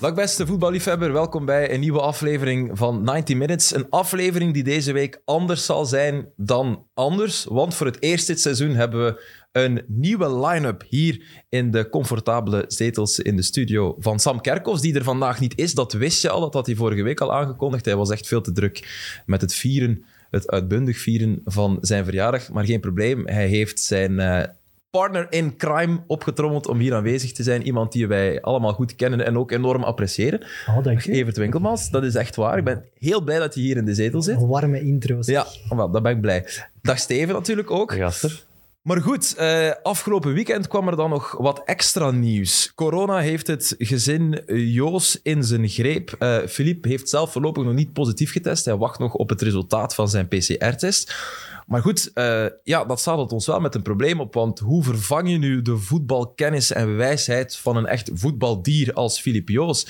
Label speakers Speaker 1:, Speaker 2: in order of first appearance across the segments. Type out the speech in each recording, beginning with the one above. Speaker 1: Dag beste voetballiefhebber, welkom bij een nieuwe aflevering van 90 Minutes. Een aflevering die deze week anders zal zijn dan anders, want voor het eerst dit seizoen hebben we een nieuwe line-up hier in de comfortabele zetels in de studio van Sam Kerkhoffs, die er vandaag niet is. Dat wist je al, dat had hij vorige week al aangekondigd. Hij was echt veel te druk met het vieren, het uitbundig vieren van zijn verjaardag, maar geen probleem. Hij heeft zijn... eh, partner in crime opgetrommeld om hier aanwezig te zijn. Iemand die wij allemaal goed kennen en ook enorm appreciëren.
Speaker 2: Oh, dank je.
Speaker 1: Evert Winkelmans, dat is echt waar. Ik ben heel blij dat je hier in de zetel zit.
Speaker 2: Een warme intro. zeg.
Speaker 1: Ja, wel, daar ben ik blij. Dag Steven natuurlijk ook.
Speaker 3: Gaster.
Speaker 1: Maar goed, eh, afgelopen weekend kwam er dan nog wat extra nieuws. Corona heeft het gezin eh, Joos in zijn greep. Eh, Philippe heeft zelf voorlopig nog niet positief getest. Hij wacht nog op het resultaat van zijn PCR-test. Maar goed, eh, ja, dat zadelt ons wel met een probleem op. Want hoe vervang je nu de voetbalkennis en wijsheid van een echt voetbaldier als Philippe Joos?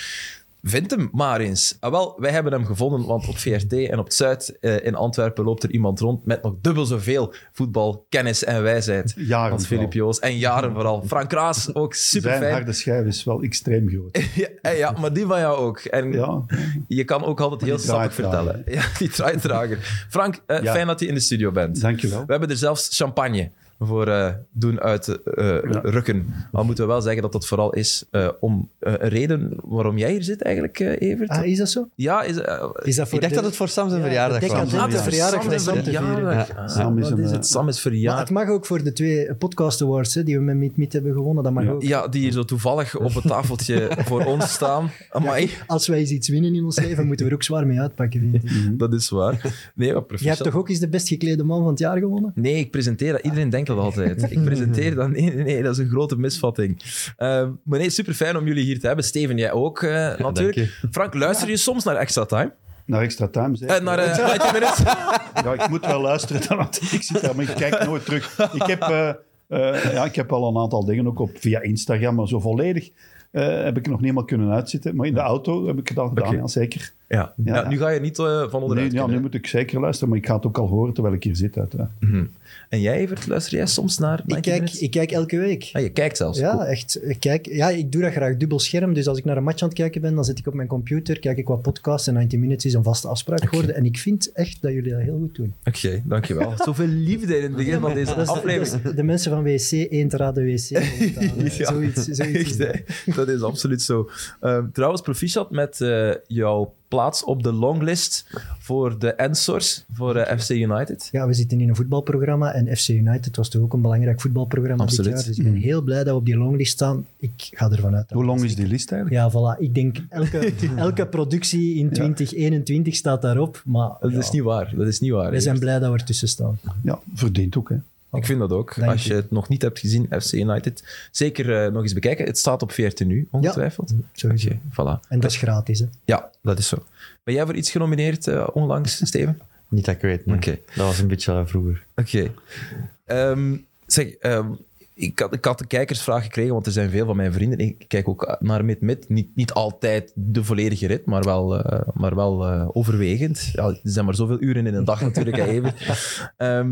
Speaker 1: Vind hem maar eens. Ah, wel, wij hebben hem gevonden, want op VRT en op het Zuid eh, in Antwerpen loopt er iemand rond met nog dubbel zoveel voetbalkennis en wijsheid
Speaker 4: Jaren
Speaker 1: als Filip Joos. En jaren vooral. Frank Raas ook super
Speaker 4: Zijn
Speaker 1: fijn.
Speaker 4: harde schijf is wel extreem groot.
Speaker 1: Ja, ja, maar die van jou ook. En
Speaker 4: Ja,
Speaker 1: je kan ook altijd heel
Speaker 4: die draait
Speaker 1: sappig vertellen. Ja, die draaidrager. Frank, eh,
Speaker 4: Ja.
Speaker 1: fijn dat je in de studio bent.
Speaker 4: dankjewel.
Speaker 1: We hebben er zelfs champagne voor eh, doen uit eh,
Speaker 4: Ja.
Speaker 1: rukken. Al moeten we wel zeggen dat dat vooral is eh, om eh, een reden waarom jij hier zit eigenlijk, eh, Evert.
Speaker 2: Ah, is dat zo?
Speaker 1: Ja, is, eh,
Speaker 2: Is dat voor
Speaker 3: Ik dacht
Speaker 2: de-
Speaker 3: dat het voor Sam zijn
Speaker 2: Ja,
Speaker 3: verjaardag
Speaker 2: de
Speaker 3: was.
Speaker 2: decadent-
Speaker 1: Ah,
Speaker 2: het is
Speaker 1: voor
Speaker 2: verjaardag
Speaker 1: Sam
Speaker 2: van
Speaker 1: zijn
Speaker 2: Sam te vieren.
Speaker 1: verjaardag.
Speaker 3: Ja.
Speaker 1: Ah,
Speaker 4: Sam is
Speaker 2: wat
Speaker 4: een,
Speaker 2: is
Speaker 4: eh,
Speaker 2: het?
Speaker 1: Sam is
Speaker 2: Maar
Speaker 1: verjaardag.
Speaker 2: het mag ook voor de twee podcast awards hè, die we met Meet Meet hebben gewonnen. Dat mag
Speaker 4: Ja.
Speaker 2: ook.
Speaker 1: Ja, die hier zo toevallig op het tafeltje voor ons staan. Amai.
Speaker 2: Als wij eens iets winnen in ons leven, moeten we er ook zwaar mee uitpakken, vind ik.
Speaker 1: Dat is waar. Nee, maar
Speaker 2: Jij hebt toch ook eens de best geklede man van het jaar gewonnen?
Speaker 1: Nee, ik presenteer dat. Iedereen denkt dat altijd. Ik presenteer dat. Nee, nee, nee, dat is een grote misvatting. Eh, maar nee, super fijn om jullie hier te hebben. Steven, jij ook eh, natuurlijk. Frank, luister je soms naar Extra Time?
Speaker 4: Naar extra time, zeker?
Speaker 1: Eh, naar eh, 90 Minutes?
Speaker 4: Ja, ik moet wel luisteren, dan, want ik zit daar, maar ik kijk nooit terug. Ik heb, eh, eh, ja, ik heb wel een aantal dingen, ook op, via Instagram, maar zo volledig eh, heb ik nog niet helemaal kunnen uitzitten. Maar in de auto heb ik het al gedaan,
Speaker 1: Oké.
Speaker 4: ja, zeker.
Speaker 1: Ja.
Speaker 4: Ja.
Speaker 1: Ja, nu ga je niet eh, van
Speaker 4: Nu,
Speaker 1: onderuit
Speaker 4: ja, nu
Speaker 1: kunnen.
Speaker 4: moet ik zeker luisteren, maar ik ga het ook al horen terwijl ik hier zit. Uiteraard.
Speaker 1: En jij, Evert, luister jij soms naar 90
Speaker 2: Ik kijk,
Speaker 1: Minutes?
Speaker 2: ik kijk elke week.
Speaker 1: Ah, je kijkt zelfs.
Speaker 2: Ja,
Speaker 1: Cool.
Speaker 2: echt. Ik Kijk, ja, ik doe dat graag dubbel scherm. Dus als ik naar een match aan het kijken ben, dan zit ik op mijn computer, kijk ik wat podcasts en 90 Minutes is een vaste afspraak geworden. En ik vind echt dat jullie dat heel goed doen.
Speaker 1: Oké, dankjewel. Zoveel liefde in het begin van deze
Speaker 2: Dat is-
Speaker 1: aflevering.
Speaker 2: dat is de mensen van WC, één te raden WC.
Speaker 1: Ja.
Speaker 2: Zoiets, zoiets is
Speaker 1: Echt,
Speaker 2: dat.
Speaker 1: hè? dat is absoluut zo. Ehm, trouwens, proficiat met eh, jouw plaats op de longlist voor de Ensors, voor eh, FC United.
Speaker 2: Ja, we zitten in een voetbalprogramma en FC United was toch ook een belangrijk voetbalprogramma
Speaker 1: Absoluut.
Speaker 2: dit jaar. Dus ik ben heel blij dat we op die longlist staan. Ik ga ervan uit. dat
Speaker 4: Hoe
Speaker 2: we
Speaker 4: lang
Speaker 2: dat
Speaker 4: is die list
Speaker 2: Ja,
Speaker 4: eigenlijk?
Speaker 2: voilà. Ik denk, elke, elke productie in 2021 staat daarop. Maar
Speaker 1: Dat
Speaker 2: ja,
Speaker 1: is niet waar. Dat is niet waar.
Speaker 2: we zijn blij dat we ertussen staan.
Speaker 4: Ja, verdient ook, hè.
Speaker 1: Ik vind dat ook.
Speaker 2: Dank
Speaker 1: Als je
Speaker 2: u.
Speaker 1: het nog niet hebt gezien, FC United, zeker eh, nog eens bekijken. Het staat op 14 nu, ongetwijfeld.
Speaker 2: Sowieso.
Speaker 1: Oké, voilà.
Speaker 2: En dat is gratis, hè.
Speaker 1: Ja, dat is zo. Ben jij voor iets genomineerd eh, onlangs, Steven?
Speaker 3: Niet dat ik weet, nee.
Speaker 1: Oké.
Speaker 3: Dat was een beetje eh, vroeger.
Speaker 1: Oké. Ehm, zeg, ehm, ik, had, ik had een kijkersvraag gekregen, want er zijn veel van mijn vrienden. Ik kijk ook naar Mid-Mid. Niet, niet altijd de volledige rit, maar wel, eh, maar wel eh, overwegend. Ja, er zijn maar zoveel uren in een dag natuurlijk, hè, Evert. Ehm,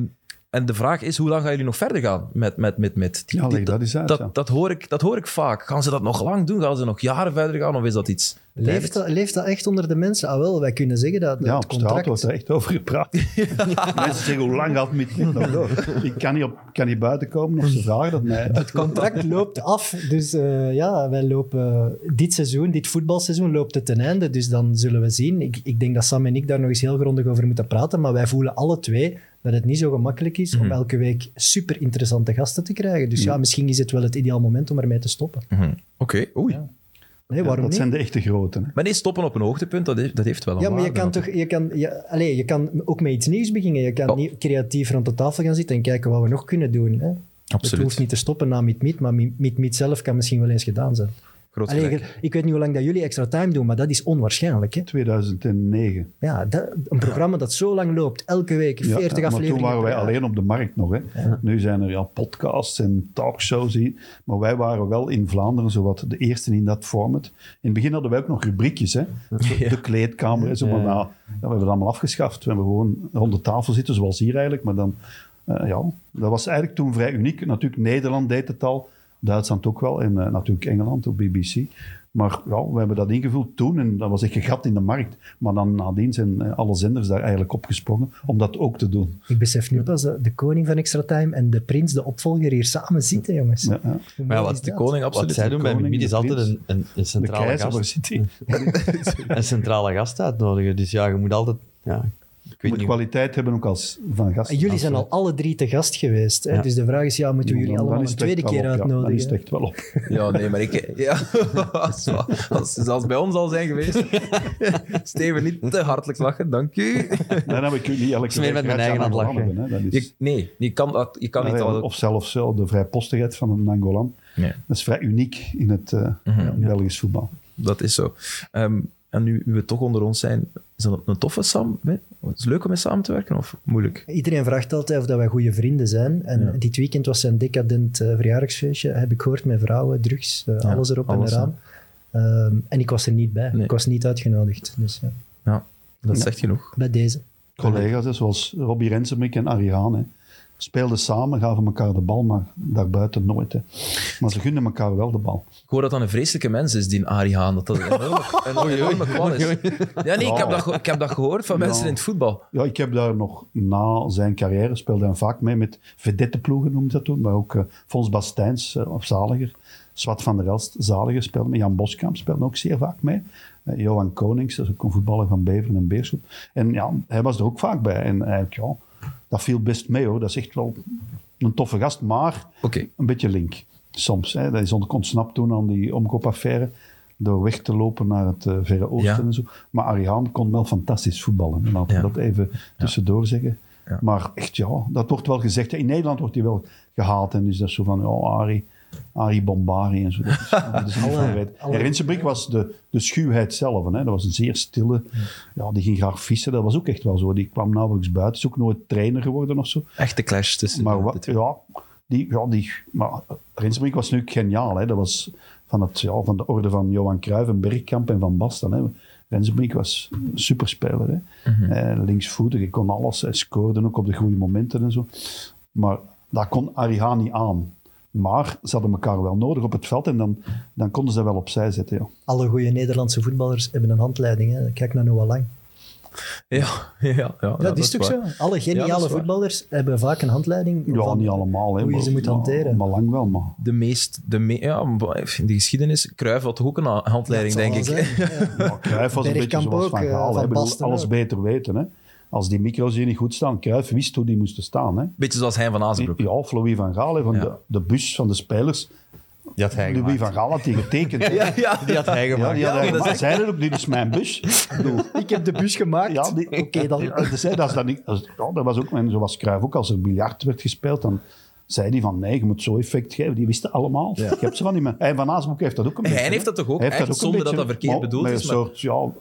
Speaker 1: en de vraag is, hoe lang gaan jullie nog verder gaan met Mid-Mid? Met, met, die-
Speaker 4: Ja,
Speaker 1: die-
Speaker 4: leg dat eens uit.
Speaker 1: dat,
Speaker 4: ja.
Speaker 1: dat, hoor ik, dat hoor ik vaak. Gaan ze dat nog lang doen? Gaan ze nog jaren verder gaan? Of is dat iets?
Speaker 2: Leeft dat, leeft dat echt onder de mensen? Ah wel, wij kunnen zeggen dat
Speaker 4: Ja,
Speaker 2: het
Speaker 4: op straat
Speaker 2: contract...
Speaker 4: wordt er echt over gepraat. Mensen zeggen, hoe lang gaat het met dit nog door? Ik kan niet, op, kan niet buiten komen of ze vragen dat mij.
Speaker 2: Het contract loopt af. Dus eh, ja, wij lopen dit seizoen, dit voetbalseizoen, loopt het ten einde. Dus dan zullen we zien. Ik, ik denk dat Sam en ik daar nog eens heel grondig over moeten praten. Maar wij voelen alle twee dat het niet zo gemakkelijk is
Speaker 4: Mhm.
Speaker 2: om elke week super interessante gasten te krijgen. Dus ja, misschien is het wel het ideaal moment om ermee te stoppen.
Speaker 1: Mhm. Oké, oei.
Speaker 2: Nee,
Speaker 4: Ja,
Speaker 2: waarom
Speaker 4: dat
Speaker 2: niet?
Speaker 4: zijn de echte grote. Hè.
Speaker 1: Maar nee, stoppen op een hoogtepunt, dat, heeft- dat heeft wel een
Speaker 2: Ja, maar je
Speaker 1: waarde
Speaker 2: kan toch... Je kan, je, allez, je kan ook met iets nieuws beginnen. Je kan
Speaker 1: Oh.
Speaker 2: niet creatief rond de tafel gaan zitten en kijken wat we nog kunnen doen. Hè? Het
Speaker 1: Absoluut.
Speaker 2: hoeft niet te stoppen na Meet Meet, maar Meet Meet zelf kan misschien wel eens gedaan zijn.
Speaker 1: Groot
Speaker 2: Allee,
Speaker 1: gelijk.
Speaker 2: ik weet niet hoe lang dat jullie extra time doen, maar dat is onwaarschijnlijk. Hè?
Speaker 4: 2009.
Speaker 2: Ja, dat- een programma dat zo lang loopt, elke week 40
Speaker 4: Ja,
Speaker 2: afleveringen.
Speaker 4: maar toen waren
Speaker 2: per
Speaker 4: wij
Speaker 2: jaar.
Speaker 4: alleen op de markt nog. Hè. Nu zijn er ja, podcasts en talkshows. hier. Maar wij waren wel in Vlaanderen zowat de eerste in dat format. In het begin hadden wij ook nog rubriekjes. Hè. De kleedkamer en zo. Maar nou, ja, we hebben dat allemaal afgeschaft. We hebben gewoon rond de tafel zitten, zoals hier eigenlijk. Maar dan, eh, ja, dat was eigenlijk toen vrij uniek. Natuurlijk, Nederland deed het al. Duitsland ook wel en eh, natuurlijk Engeland op BBC. Maar ja, we hebben dat ingevuld toen en dat was echt een gat in de markt. Maar dan nadien zijn eh, alle zenders daar eigenlijk opgesprongen om dat ook te doen.
Speaker 2: Ik besef nu pas dat de koning van Extra Time en de prins, de opvolger, hier samen zitten, jongens.
Speaker 4: Ja, ja.
Speaker 2: Hoe
Speaker 1: Maar ja,
Speaker 2: mooi
Speaker 1: wat
Speaker 2: is
Speaker 1: de
Speaker 2: dat?
Speaker 1: koning
Speaker 3: Wat
Speaker 1: absoluut...
Speaker 3: zij doen bij
Speaker 4: koning,
Speaker 3: Mimid is
Speaker 4: de
Speaker 3: altijd
Speaker 4: prins.
Speaker 3: een, een, een
Speaker 4: De
Speaker 3: centrale
Speaker 4: keizer, waar
Speaker 3: gast,
Speaker 4: zit hij?
Speaker 3: een centrale gast uitnodigen. Dus ja, je moet altijd... Ja, ik
Speaker 4: Je
Speaker 3: weet
Speaker 4: moet
Speaker 3: niet. hoe-
Speaker 4: kwaliteit hebben ook als van gast.
Speaker 2: En jullie zijn al alle drie te gast geweest. Hè?
Speaker 3: Ja.
Speaker 2: Dus de vraag is, ja, moeten we jullie
Speaker 4: Dan- dan
Speaker 2: allemaal
Speaker 4: is
Speaker 2: een
Speaker 4: het echt
Speaker 2: tweede
Speaker 4: wel
Speaker 2: keer
Speaker 4: op, ja. Dan is het
Speaker 2: uitnodigen?
Speaker 4: echt wel op.
Speaker 1: Ja, nee, maar ik... Ja, dat is waar. als zelfs bij ons al zijn geweest. Steven, niet te hartelijk lachen, dank u.
Speaker 4: Nee, nee, maar ik weet niet elke
Speaker 3: is
Speaker 4: week
Speaker 3: meer met
Speaker 4: gaat
Speaker 3: mijn eigen
Speaker 4: aan
Speaker 3: aan het lachen.
Speaker 4: Angolan hebben, hè. Dat is-
Speaker 1: Je, nee, je kan, dat, je kan niet...
Speaker 4: Allee,
Speaker 1: al-
Speaker 4: Of zelfs zo, de vrijpostigheid van een Angolan.
Speaker 1: Nee.
Speaker 4: Dat is vrij uniek in het eh,
Speaker 2: Mhm.
Speaker 4: ja, Belgisch voetbal.
Speaker 1: Dat is zo. Ehm, en nu we toch onder ons zijn, is dat een toffe Sam? Is het leuk om mee samen te werken of moeilijk?
Speaker 2: Iedereen vraagt altijd of dat wij goede vrienden zijn. En
Speaker 1: Ja.
Speaker 2: dit weekend was zijn decadent eh, verjaardagsfeestje. Heb ik gehoord met vrouwen, drugs, eh,
Speaker 1: Ja,
Speaker 2: alles erop
Speaker 1: alles,
Speaker 2: en eraan. Ehm, en ik was er niet bij.
Speaker 1: Nee.
Speaker 2: Ik was niet uitgenodigd. Dus ja,
Speaker 1: Ja, dat zegt genoeg.
Speaker 2: bij deze.
Speaker 4: Collega's, hè, zoals Robbie Rensenbrink en Arie Haan, hè, speelden samen, gaven elkaar de bal, maar daarbuiten nooit. Hè. Maar ze gunden elkaar wel de bal.
Speaker 1: Ik hoor dat dat een vreselijke mens is, die Arie Haan. Dat dat een enorme, een enorme kwal is. Ja, nee, ik heb dat, ge- ik heb dat gehoord van mensen
Speaker 4: Ja.
Speaker 1: in het voetbal.
Speaker 4: Ja, ik heb daar nog na zijn carrière speelde hij vaak mee met vedetteploegen, noemde dat toen. Maar ook eh, Fons Bastijns, eh, of Zaliger. Swat van der Elst, Zaliger speelde mee. Jan Boskamp speelde ook zeer vaak mee. Eh, Johan Konings, dat is ook een voetballer van Beveren en Beerschot. En ja, hij was er ook vaak bij. En eigenlijk, ja, dat viel best mee hoor. Dat is echt wel een toffe gast, maar
Speaker 1: Oké,
Speaker 4: een beetje link. Soms. Hè. Dat is ont- ontsnapt toen aan die omkoopaffaire. Door weg te lopen naar het eh, Verre Oosten
Speaker 1: Ja.
Speaker 4: en zo. Maar Arihaan kon wel fantastisch voetballen. En Laten we
Speaker 1: Ja.
Speaker 4: dat even tussendoor zeggen.
Speaker 1: Ja.
Speaker 4: Maar echt ja, dat wordt wel gezegd. In Nederland wordt hij wel gehaald. En is dat zo van, oh Arie, Arie Bombari en zo. Dat is, dat is niet
Speaker 2: Alle-
Speaker 4: van weet.
Speaker 2: alle-
Speaker 4: En Rinsenbrink was de, de schuwheid zelf. Hè. Dat was een zeer stille. Ja, die ging graag vissen. Dat was ook echt wel zo. Die kwam nauwelijks buiten. Is ook nooit trainer geworden of zo.
Speaker 1: echte clash tussen
Speaker 4: Maar
Speaker 1: de-
Speaker 4: wat,
Speaker 1: de twee.
Speaker 4: ja, die, ja, die, maar Rinsenbrink was nu geniaal. Hè. Dat was van, het, ja, van de orde van Johan Cruijff en Bergkamp en Van Basten. Hè. Rinsenbrink was een superspeler. Hè. Eh, linksvoetig, hij kon alles. Hij scoorde ook op de goede momenten en zo. Maar daar kon Ariha niet aan. Maar ze hadden elkaar wel nodig op het veld en dan, dan konden ze dat wel opzij zetten. Ja.
Speaker 2: Alle goede Nederlandse voetballers hebben een handleiding. Hè. Kijk naar Noah Lang.
Speaker 1: Ja, ja, ja, ja,
Speaker 2: Ja, dat is toch
Speaker 1: waar.
Speaker 2: zo?
Speaker 1: Ja,
Speaker 2: Alle
Speaker 1: dat
Speaker 2: geniale
Speaker 1: is waar.
Speaker 2: voetballers hebben vaak een handleiding.
Speaker 4: Ja,
Speaker 2: van
Speaker 4: niet allemaal. Hè,
Speaker 2: Hoe je
Speaker 4: maar-
Speaker 2: ze moet
Speaker 4: maar-
Speaker 2: hanteren.
Speaker 4: Maar lang wel, maar...
Speaker 1: De meest, de me- ja, in de geschiedenis, Cruijff had toch ook een a- handleiding,
Speaker 2: Dat zal
Speaker 1: denk ik.
Speaker 2: wel zijn, ja.
Speaker 4: Ja, Cruijff was een beetje
Speaker 2: Bergkamp
Speaker 4: zoals
Speaker 2: ook,
Speaker 4: Van
Speaker 2: eh,
Speaker 4: Gaal. hè.
Speaker 2: Van
Speaker 4: Ik bedoel,
Speaker 2: Basten
Speaker 4: alles
Speaker 2: ook.
Speaker 4: beter weten. Hè. Als die micro's hier niet goed staan, Cruijff wist hoe die moesten staan. Hè.
Speaker 1: Beetje zoals hij van Azenbroek.
Speaker 4: Ja, of Louis van Gaal, hè, van
Speaker 1: Ja.
Speaker 4: de, de bus van de spelers.
Speaker 3: Die had hij
Speaker 4: Louis
Speaker 3: gemaakt.
Speaker 4: van Gaal had die getekend. hè. Ja,
Speaker 1: ja.
Speaker 3: Die had hij gemaakt.
Speaker 4: die had
Speaker 1: Ja,
Speaker 4: hij
Speaker 1: dat is
Speaker 4: gemaakt. Zei dat ook, dit is mijn bus. Ik bedoel,
Speaker 2: Ik heb de bus gemaakt.
Speaker 4: Ja, die-
Speaker 2: Oké, dan.
Speaker 4: Ja, dus, hè, dat, is dan niet, dat, is- ja, dat was ook, en zo was Cruijff ook, als er biljart werd gespeeld, dan zei hij van nee, je moet zo effect geven. Die wisten allemaal. Ik heb ze van die men- En Van Aasbroek heeft dat ook een
Speaker 1: Hij
Speaker 4: beetje.
Speaker 1: heeft dat toch ook,
Speaker 4: Hij heeft
Speaker 1: echt,
Speaker 4: een
Speaker 1: zonder dat
Speaker 4: beetje,
Speaker 1: dat verkeerd
Speaker 4: maar
Speaker 1: bedoeld
Speaker 4: met
Speaker 1: is,
Speaker 4: Een
Speaker 1: maar-
Speaker 4: soort, ja,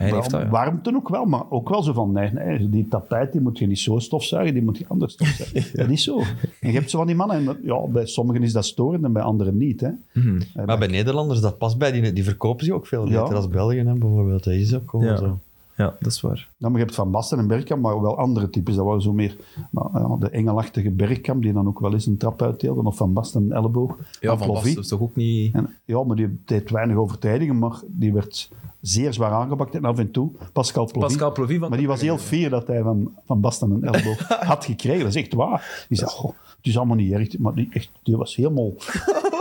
Speaker 1: Hij
Speaker 4: Wel,
Speaker 1: heeft dat, ja.
Speaker 4: Warmte ook wel, maar ook wel zo van, nee, nee, die tapijt die moet je niet zo stofzuigen, die moet je anders stofzuigen. Dat is zo. En je hebt zo van die mannen, en dat- ja, bij sommigen is dat storend en bij anderen niet. Hè. Eh,
Speaker 3: Maar bij Nederlanders, dat past bij. Die, die verkopen zich ook veel
Speaker 4: Ja.
Speaker 3: beter als Belgen hè, bijvoorbeeld. Dat is ook gewoon
Speaker 1: Ja.
Speaker 3: zo.
Speaker 1: Ja, dat is waar.
Speaker 4: dan, je hebt Van Basten en Bergkamp, maar wel andere types. Dat waren zo meer nou, ja, de engelachtige Bergkamp, die dan ook wel eens een trap uitdeelde, of Van Basten een elleboog.
Speaker 1: Ja,
Speaker 4: aan
Speaker 1: Van
Speaker 4: Plovy.
Speaker 1: Basten is toch ook niet...
Speaker 4: En, ja, maar die deed weinig overtredingen, maar die werd zeer zwaar aangepakt. En af en toe, Pascal Plovy.
Speaker 1: Pascal Plovy van-
Speaker 4: Maar die was heel fier dat hij van, van Basten een elleboog had gekregen. Dat is echt waar. Die zei, "Goh, het is allemaal niet erg. Maar die, echt, die was helemaal...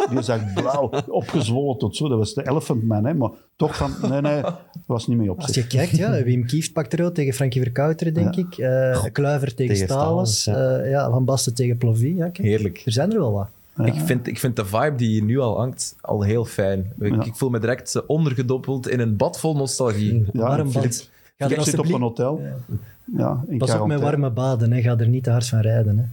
Speaker 4: Die zag blauw, opgezwollen tot zo. Dat was de elephant man, hè. Maar toch van, nee, nee, dat was niet mee op
Speaker 2: Als
Speaker 4: zich.
Speaker 2: je kijkt, ja, Wim Kieft pakt er ook tegen Frankie Verkouteren, denk ik. Eh, Kluivert tegen,
Speaker 3: Tegen
Speaker 2: Stalens.
Speaker 3: Stalens,
Speaker 2: Eh, ja, Van Basten tegen Plovy. Ja, kijk.
Speaker 1: Heerlijk.
Speaker 2: Er zijn er wel wat.
Speaker 1: Ik, vind, ik vind de vibe die hier nu al hangt al heel fijn. Ik, ik voel me direct eh, ondergedompeld in een bad vol nostalgie.
Speaker 4: Ja,
Speaker 2: Warm
Speaker 4: Filip,
Speaker 2: bad. Ga er
Speaker 4: Ik zit op
Speaker 2: alsjeblieft-
Speaker 4: een hotel. Ja, in
Speaker 2: Pas op met
Speaker 4: quarantaine.
Speaker 2: warme baden, hè. ga er niet te hard van rijden. Hè.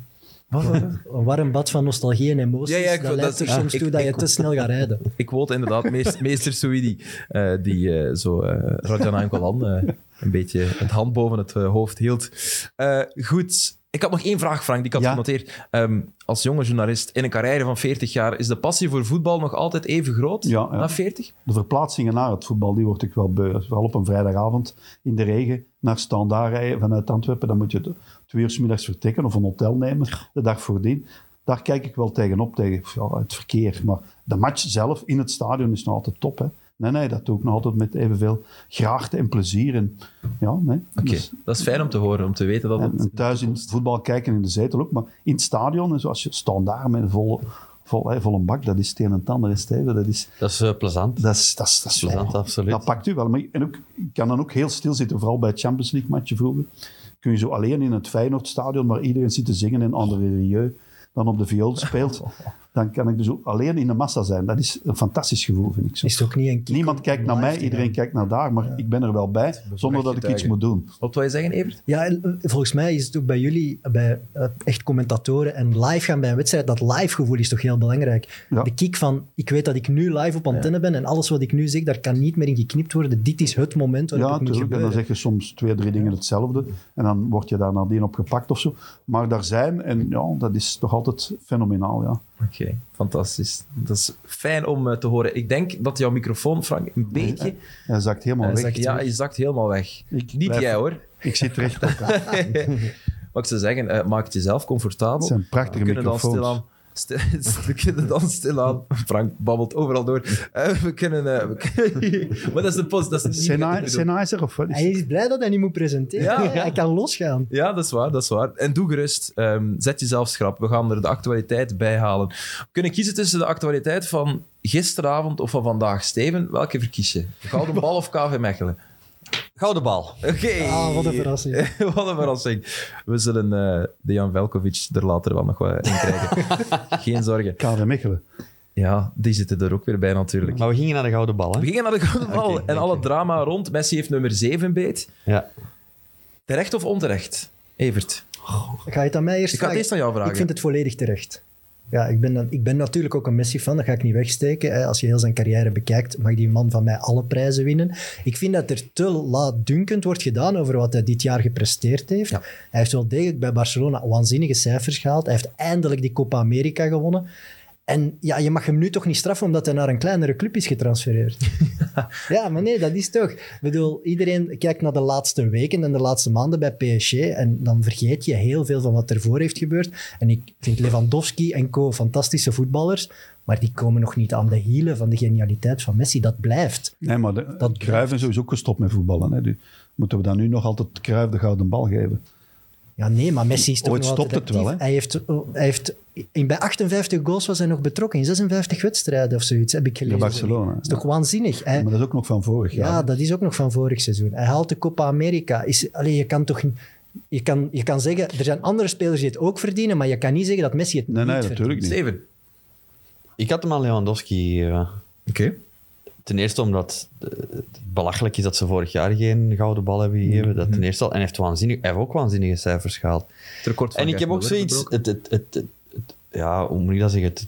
Speaker 1: Wat?
Speaker 2: Een warm bad van nostalgie en emoties,
Speaker 1: Ja, ja, ik
Speaker 2: dat
Speaker 1: wil-
Speaker 2: leidt
Speaker 1: dat-
Speaker 2: er
Speaker 1: ja,
Speaker 2: soms
Speaker 1: ik-
Speaker 2: toe dat je
Speaker 1: ik-
Speaker 2: te snel gaat rijden.
Speaker 1: Ik woot inderdaad meester, meester Souidi, eh, die eh, zo eh Rajan Angolan eh, een beetje het hand boven het eh, hoofd hield. Eh, goed, ik had nog één vraag, Frank, die ik had
Speaker 4: Ja.
Speaker 1: genoteerd. Ehm, als jonge journalist in een carrière van 40 jaar, is de passie voor voetbal nog altijd even groot
Speaker 4: Ja, ja.
Speaker 1: na 40?
Speaker 4: De verplaatsingen naar het voetbal, die word ik wel beu. Vooral op een vrijdagavond in de regen naar Standaard rijden vanuit Antwerpen. Dan moet je de- twee uur 's middags vertrekken of een hotel nemen de dag voordien. Daar kijk ik wel tegenop, tegen ja, het verkeer. Maar de match zelf in het stadion is nog altijd top. Hè. Nee, nee, dat doe ik nog altijd met evenveel graagte en plezier. En, ja, nee.
Speaker 1: Oké,
Speaker 4: Dus-
Speaker 1: dat is fijn om te horen, om te weten dat
Speaker 4: en,
Speaker 1: het...
Speaker 4: en thuis in het voetbal kijken in de zetel ook. Maar in het stadion, en zoals je staan daar met een volle, vol, hè, volle bak, dat is het een en het ander, hè, Steven. Dat is,
Speaker 3: Dat is eh, plezant.
Speaker 4: dat is, dat is, dat is fijn.
Speaker 3: Plezant, absoluut.
Speaker 4: Dat pakt u wel. Maar, en ook, ik kan dan ook heel stil zitten, vooral bij het Champions League matje vroeger. Kun je zo alleen in het Feyenoordstadion, waar iedereen zit te zingen en andere milieu dan op de viool speelt, dan kan ik dus ook alleen in de massa zijn. Dat is een fantastisch gevoel, vind ik zo.
Speaker 2: Is het ook niet een kick
Speaker 4: Niemand
Speaker 2: om
Speaker 4: kijkt naar
Speaker 2: live
Speaker 4: mij,
Speaker 2: te
Speaker 4: iedereen
Speaker 2: gaan?
Speaker 4: kijkt naar daar, maar ik ben er wel bij, zonder dat ik iets
Speaker 1: getuige.
Speaker 4: moet doen.
Speaker 1: Wat wil je zeggen, Evert?
Speaker 2: Ja, en, eh, volgens mij is het ook bij jullie, bij eh, echt commentatoren en live gaan bij een wedstrijd, dat live gevoel is toch heel belangrijk.
Speaker 4: Ja.
Speaker 2: De kick van, ik weet dat ik nu live op antenne ben en alles wat ik nu zeg, daar kan niet meer in geknipt worden. Dit is het moment waar
Speaker 4: Ja,
Speaker 2: het moet
Speaker 4: natuurlijk. En dan
Speaker 2: gebeuren.
Speaker 4: zeg je soms twee, drie dingen hetzelfde. En dan word je daar nadien op gepakt of zo. Maar daar zijn, en ja, dat is toch altijd fenomenaal, ja.
Speaker 1: Oké, fantastisch. Dat is fijn om eh, te horen. Ik denk dat jouw microfoon, Frank, een beetje...
Speaker 4: Hij zakt helemaal
Speaker 1: eh,
Speaker 4: Oh, weg.
Speaker 1: zakt- ja, je zakt helemaal weg.
Speaker 4: Ik
Speaker 1: Niet
Speaker 4: blijf-
Speaker 1: jij, hoor.
Speaker 4: Ik zit recht op. Het
Speaker 1: Wat ik zou zeggen, eh, maak het jezelf comfortabel.
Speaker 4: zijn prachtige
Speaker 1: we kunnen dan
Speaker 4: microfoons.
Speaker 1: stilaan... stil- We kunnen dan stilaan... Frank babbelt overal door. Eh, we kunnen... eh, we kunnen- maar dat is de post. Dat is niet wat ik
Speaker 4: Sennai-
Speaker 1: bedoel.
Speaker 4: Sennheiser of wat is
Speaker 2: Hij is blij dat hij niet moet presenteren.
Speaker 1: Ja.
Speaker 2: Ja, Hij kan losgaan.
Speaker 1: Ja, dat is waar, dat is waar. En doe gerust. ehm, zet jezelf schrap. We gaan er de actualiteit bij halen. We kunnen kiezen tussen de actualiteit van gisteravond of van vandaag. Steven, welke verkies je? Gouden bal of KV Mechelen?
Speaker 3: Gouden bal.
Speaker 1: Oké.
Speaker 2: Ah, wat een verrassing.
Speaker 1: Wat een verrassing. We zullen eh Dejan Velkovic er later wel nog wat in krijgen. Geen zorgen.
Speaker 4: KV Mechelen.
Speaker 1: Ja, die zitten er ook weer bij natuurlijk.
Speaker 3: Maar we gingen naar de gouden bal,
Speaker 1: We
Speaker 3: hè?
Speaker 1: gingen naar de gouden bal
Speaker 3: Oké,
Speaker 1: en
Speaker 3: oké.
Speaker 1: alle drama rond. Messi heeft nummer 7 beet.
Speaker 3: Ja.
Speaker 1: Terecht of onterecht? Evert,
Speaker 2: Ga je het aan mij eerst
Speaker 1: ik ga het
Speaker 2: vragen?
Speaker 1: eerst aan jou vragen.
Speaker 2: Ik vind het volledig terecht. Ja, ik ben, dan, ik ben natuurlijk ook een Messi-fan, dat ga ik niet wegsteken. hè. Als je heel zijn carrière bekijkt, mag die man van mij alle prijzen winnen. Ik vind dat er te laatdunkend wordt gedaan over wat hij dit jaar gepresteerd heeft.
Speaker 1: Ja.
Speaker 2: Hij heeft wel degelijk bij Barcelona waanzinnige cijfers gehaald. Hij heeft eindelijk die Copa America gewonnen. En ja, je mag hem nu toch niet straffen omdat hij naar een kleinere club is getransfereerd. Ja, maar nee, dat is toch. Ik bedoel, iedereen kijkt naar de laatste weken en de laatste maanden bij PSG en dan vergeet je heel veel van wat ervoor heeft gebeurd. En ik vind Lewandowski en co. fantastische voetballers, maar die komen nog niet aan de hielen van de genialiteit van Messi. Dat blijft.
Speaker 4: Nee, maar de,
Speaker 2: Dat-
Speaker 4: Cruijff is sowieso ook gestopt met voetballen. Hè. Die- moeten we dan nu nog altijd Cruijff de gouden bal geven?
Speaker 2: Ja, nee, maar Messi is toch
Speaker 4: Ooit
Speaker 2: nog
Speaker 4: stopt
Speaker 2: altijd
Speaker 4: het wel,
Speaker 2: actief. Hij heeft, oh, hij heeft, in, bij 58 goals was hij nog betrokken, in 56 wedstrijden of zoiets, heb ik
Speaker 4: Bij
Speaker 2: gelezen.
Speaker 4: Barcelona.
Speaker 2: Dat is toch waanzinnig. Hij-
Speaker 4: Maar dat is ook nog van vorig
Speaker 2: Eh, Ja,
Speaker 4: jaar.
Speaker 2: dat is ook nog van vorig seizoen. Hij haalt de Copa America. Is, allee, je kan toch... niet- Je kan, je kan zeggen, er zijn andere spelers die het ook verdienen, maar je kan niet zeggen dat Messi het
Speaker 4: nee,
Speaker 2: niet
Speaker 4: nee,
Speaker 2: verdient.
Speaker 4: natuurlijk niet.
Speaker 1: Steven.
Speaker 3: Ik had hem aan Lewandowski eh, gegeven.
Speaker 1: Oké.
Speaker 3: Ten eerste omdat eh, het belachelijk is dat ze vorig jaar geen gouden bal hebben gegeven. Dat ten eerste al. En hij heeft, waanzinnig, hij heeft ook waanzinnige cijfers gehaald.
Speaker 1: Het record Mm-hmm. van
Speaker 3: En ik
Speaker 1: Gert
Speaker 3: heb ook
Speaker 1: Muller
Speaker 3: zoiets.
Speaker 1: verbroken.
Speaker 3: Het, het, het, het- het- ja, hoe moet ik dat zeggen? Het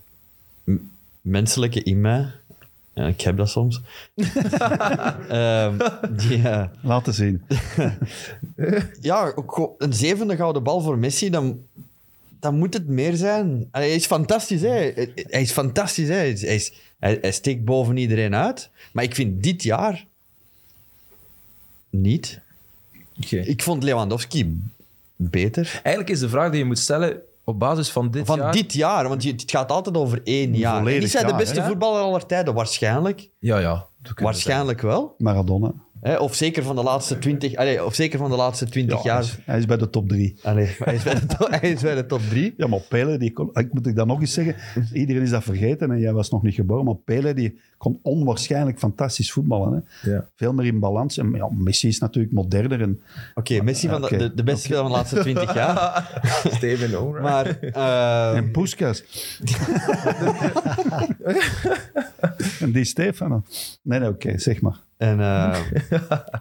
Speaker 3: m- menselijke in mij. Ja, ik heb dat soms. Ehm, die, eh,
Speaker 4: Laten zien.
Speaker 3: ja, ook gewoon een zevende gouden bal voor Messi, dan, dan moet het meer zijn. Allee, hij is fantastisch, hè. Hij is fantastisch, hè. Hij, is- hij is- hij, hij steekt boven iedereen uit. Maar ik vind dit jaar... Niet.
Speaker 1: Oké.
Speaker 3: Ik vond Lewandowski beter.
Speaker 1: Eigenlijk is de vraag die je moet stellen op basis van dit
Speaker 3: Van
Speaker 1: jaar...
Speaker 3: dit jaar, want je- het gaat altijd over één jaar. En
Speaker 4: volledig
Speaker 3: Is hij de
Speaker 4: jaar,
Speaker 3: beste
Speaker 1: hè?
Speaker 3: voetballer aller tijden? Waarschijnlijk.
Speaker 1: Ja, ja. dat kunnen we
Speaker 3: Waarschijnlijk wel.
Speaker 4: Maradona.
Speaker 3: Hè, Of zeker van de laatste twintig... allee, Of zeker van de laatste
Speaker 4: Ja,
Speaker 3: twintig
Speaker 4: hij
Speaker 3: jaar.
Speaker 4: is- hij is bij de top drie.
Speaker 3: Allee, hij, is bij de to- hij is bij de top drie.
Speaker 4: Ja, maar Pele, die kon, ik moet ik dat nog eens zeggen, iedereen is dat vergeten en jij was nog niet geboren, maar Pele die kon onwaarschijnlijk fantastisch voetballen. Hè?
Speaker 1: Ja.
Speaker 4: Veel meer in balans. En ja, Messi is natuurlijk moderner. En,
Speaker 3: Oké, Messi van de-
Speaker 4: Oké.
Speaker 3: de, de beste speler van de laatste 20 jaar.
Speaker 1: zeggen. Steven, alright.
Speaker 3: Maar eh,
Speaker 4: en Puskas. en die Stefano. Nee, nee, oké, zeg maar.
Speaker 3: en, eh,
Speaker 2: Ja,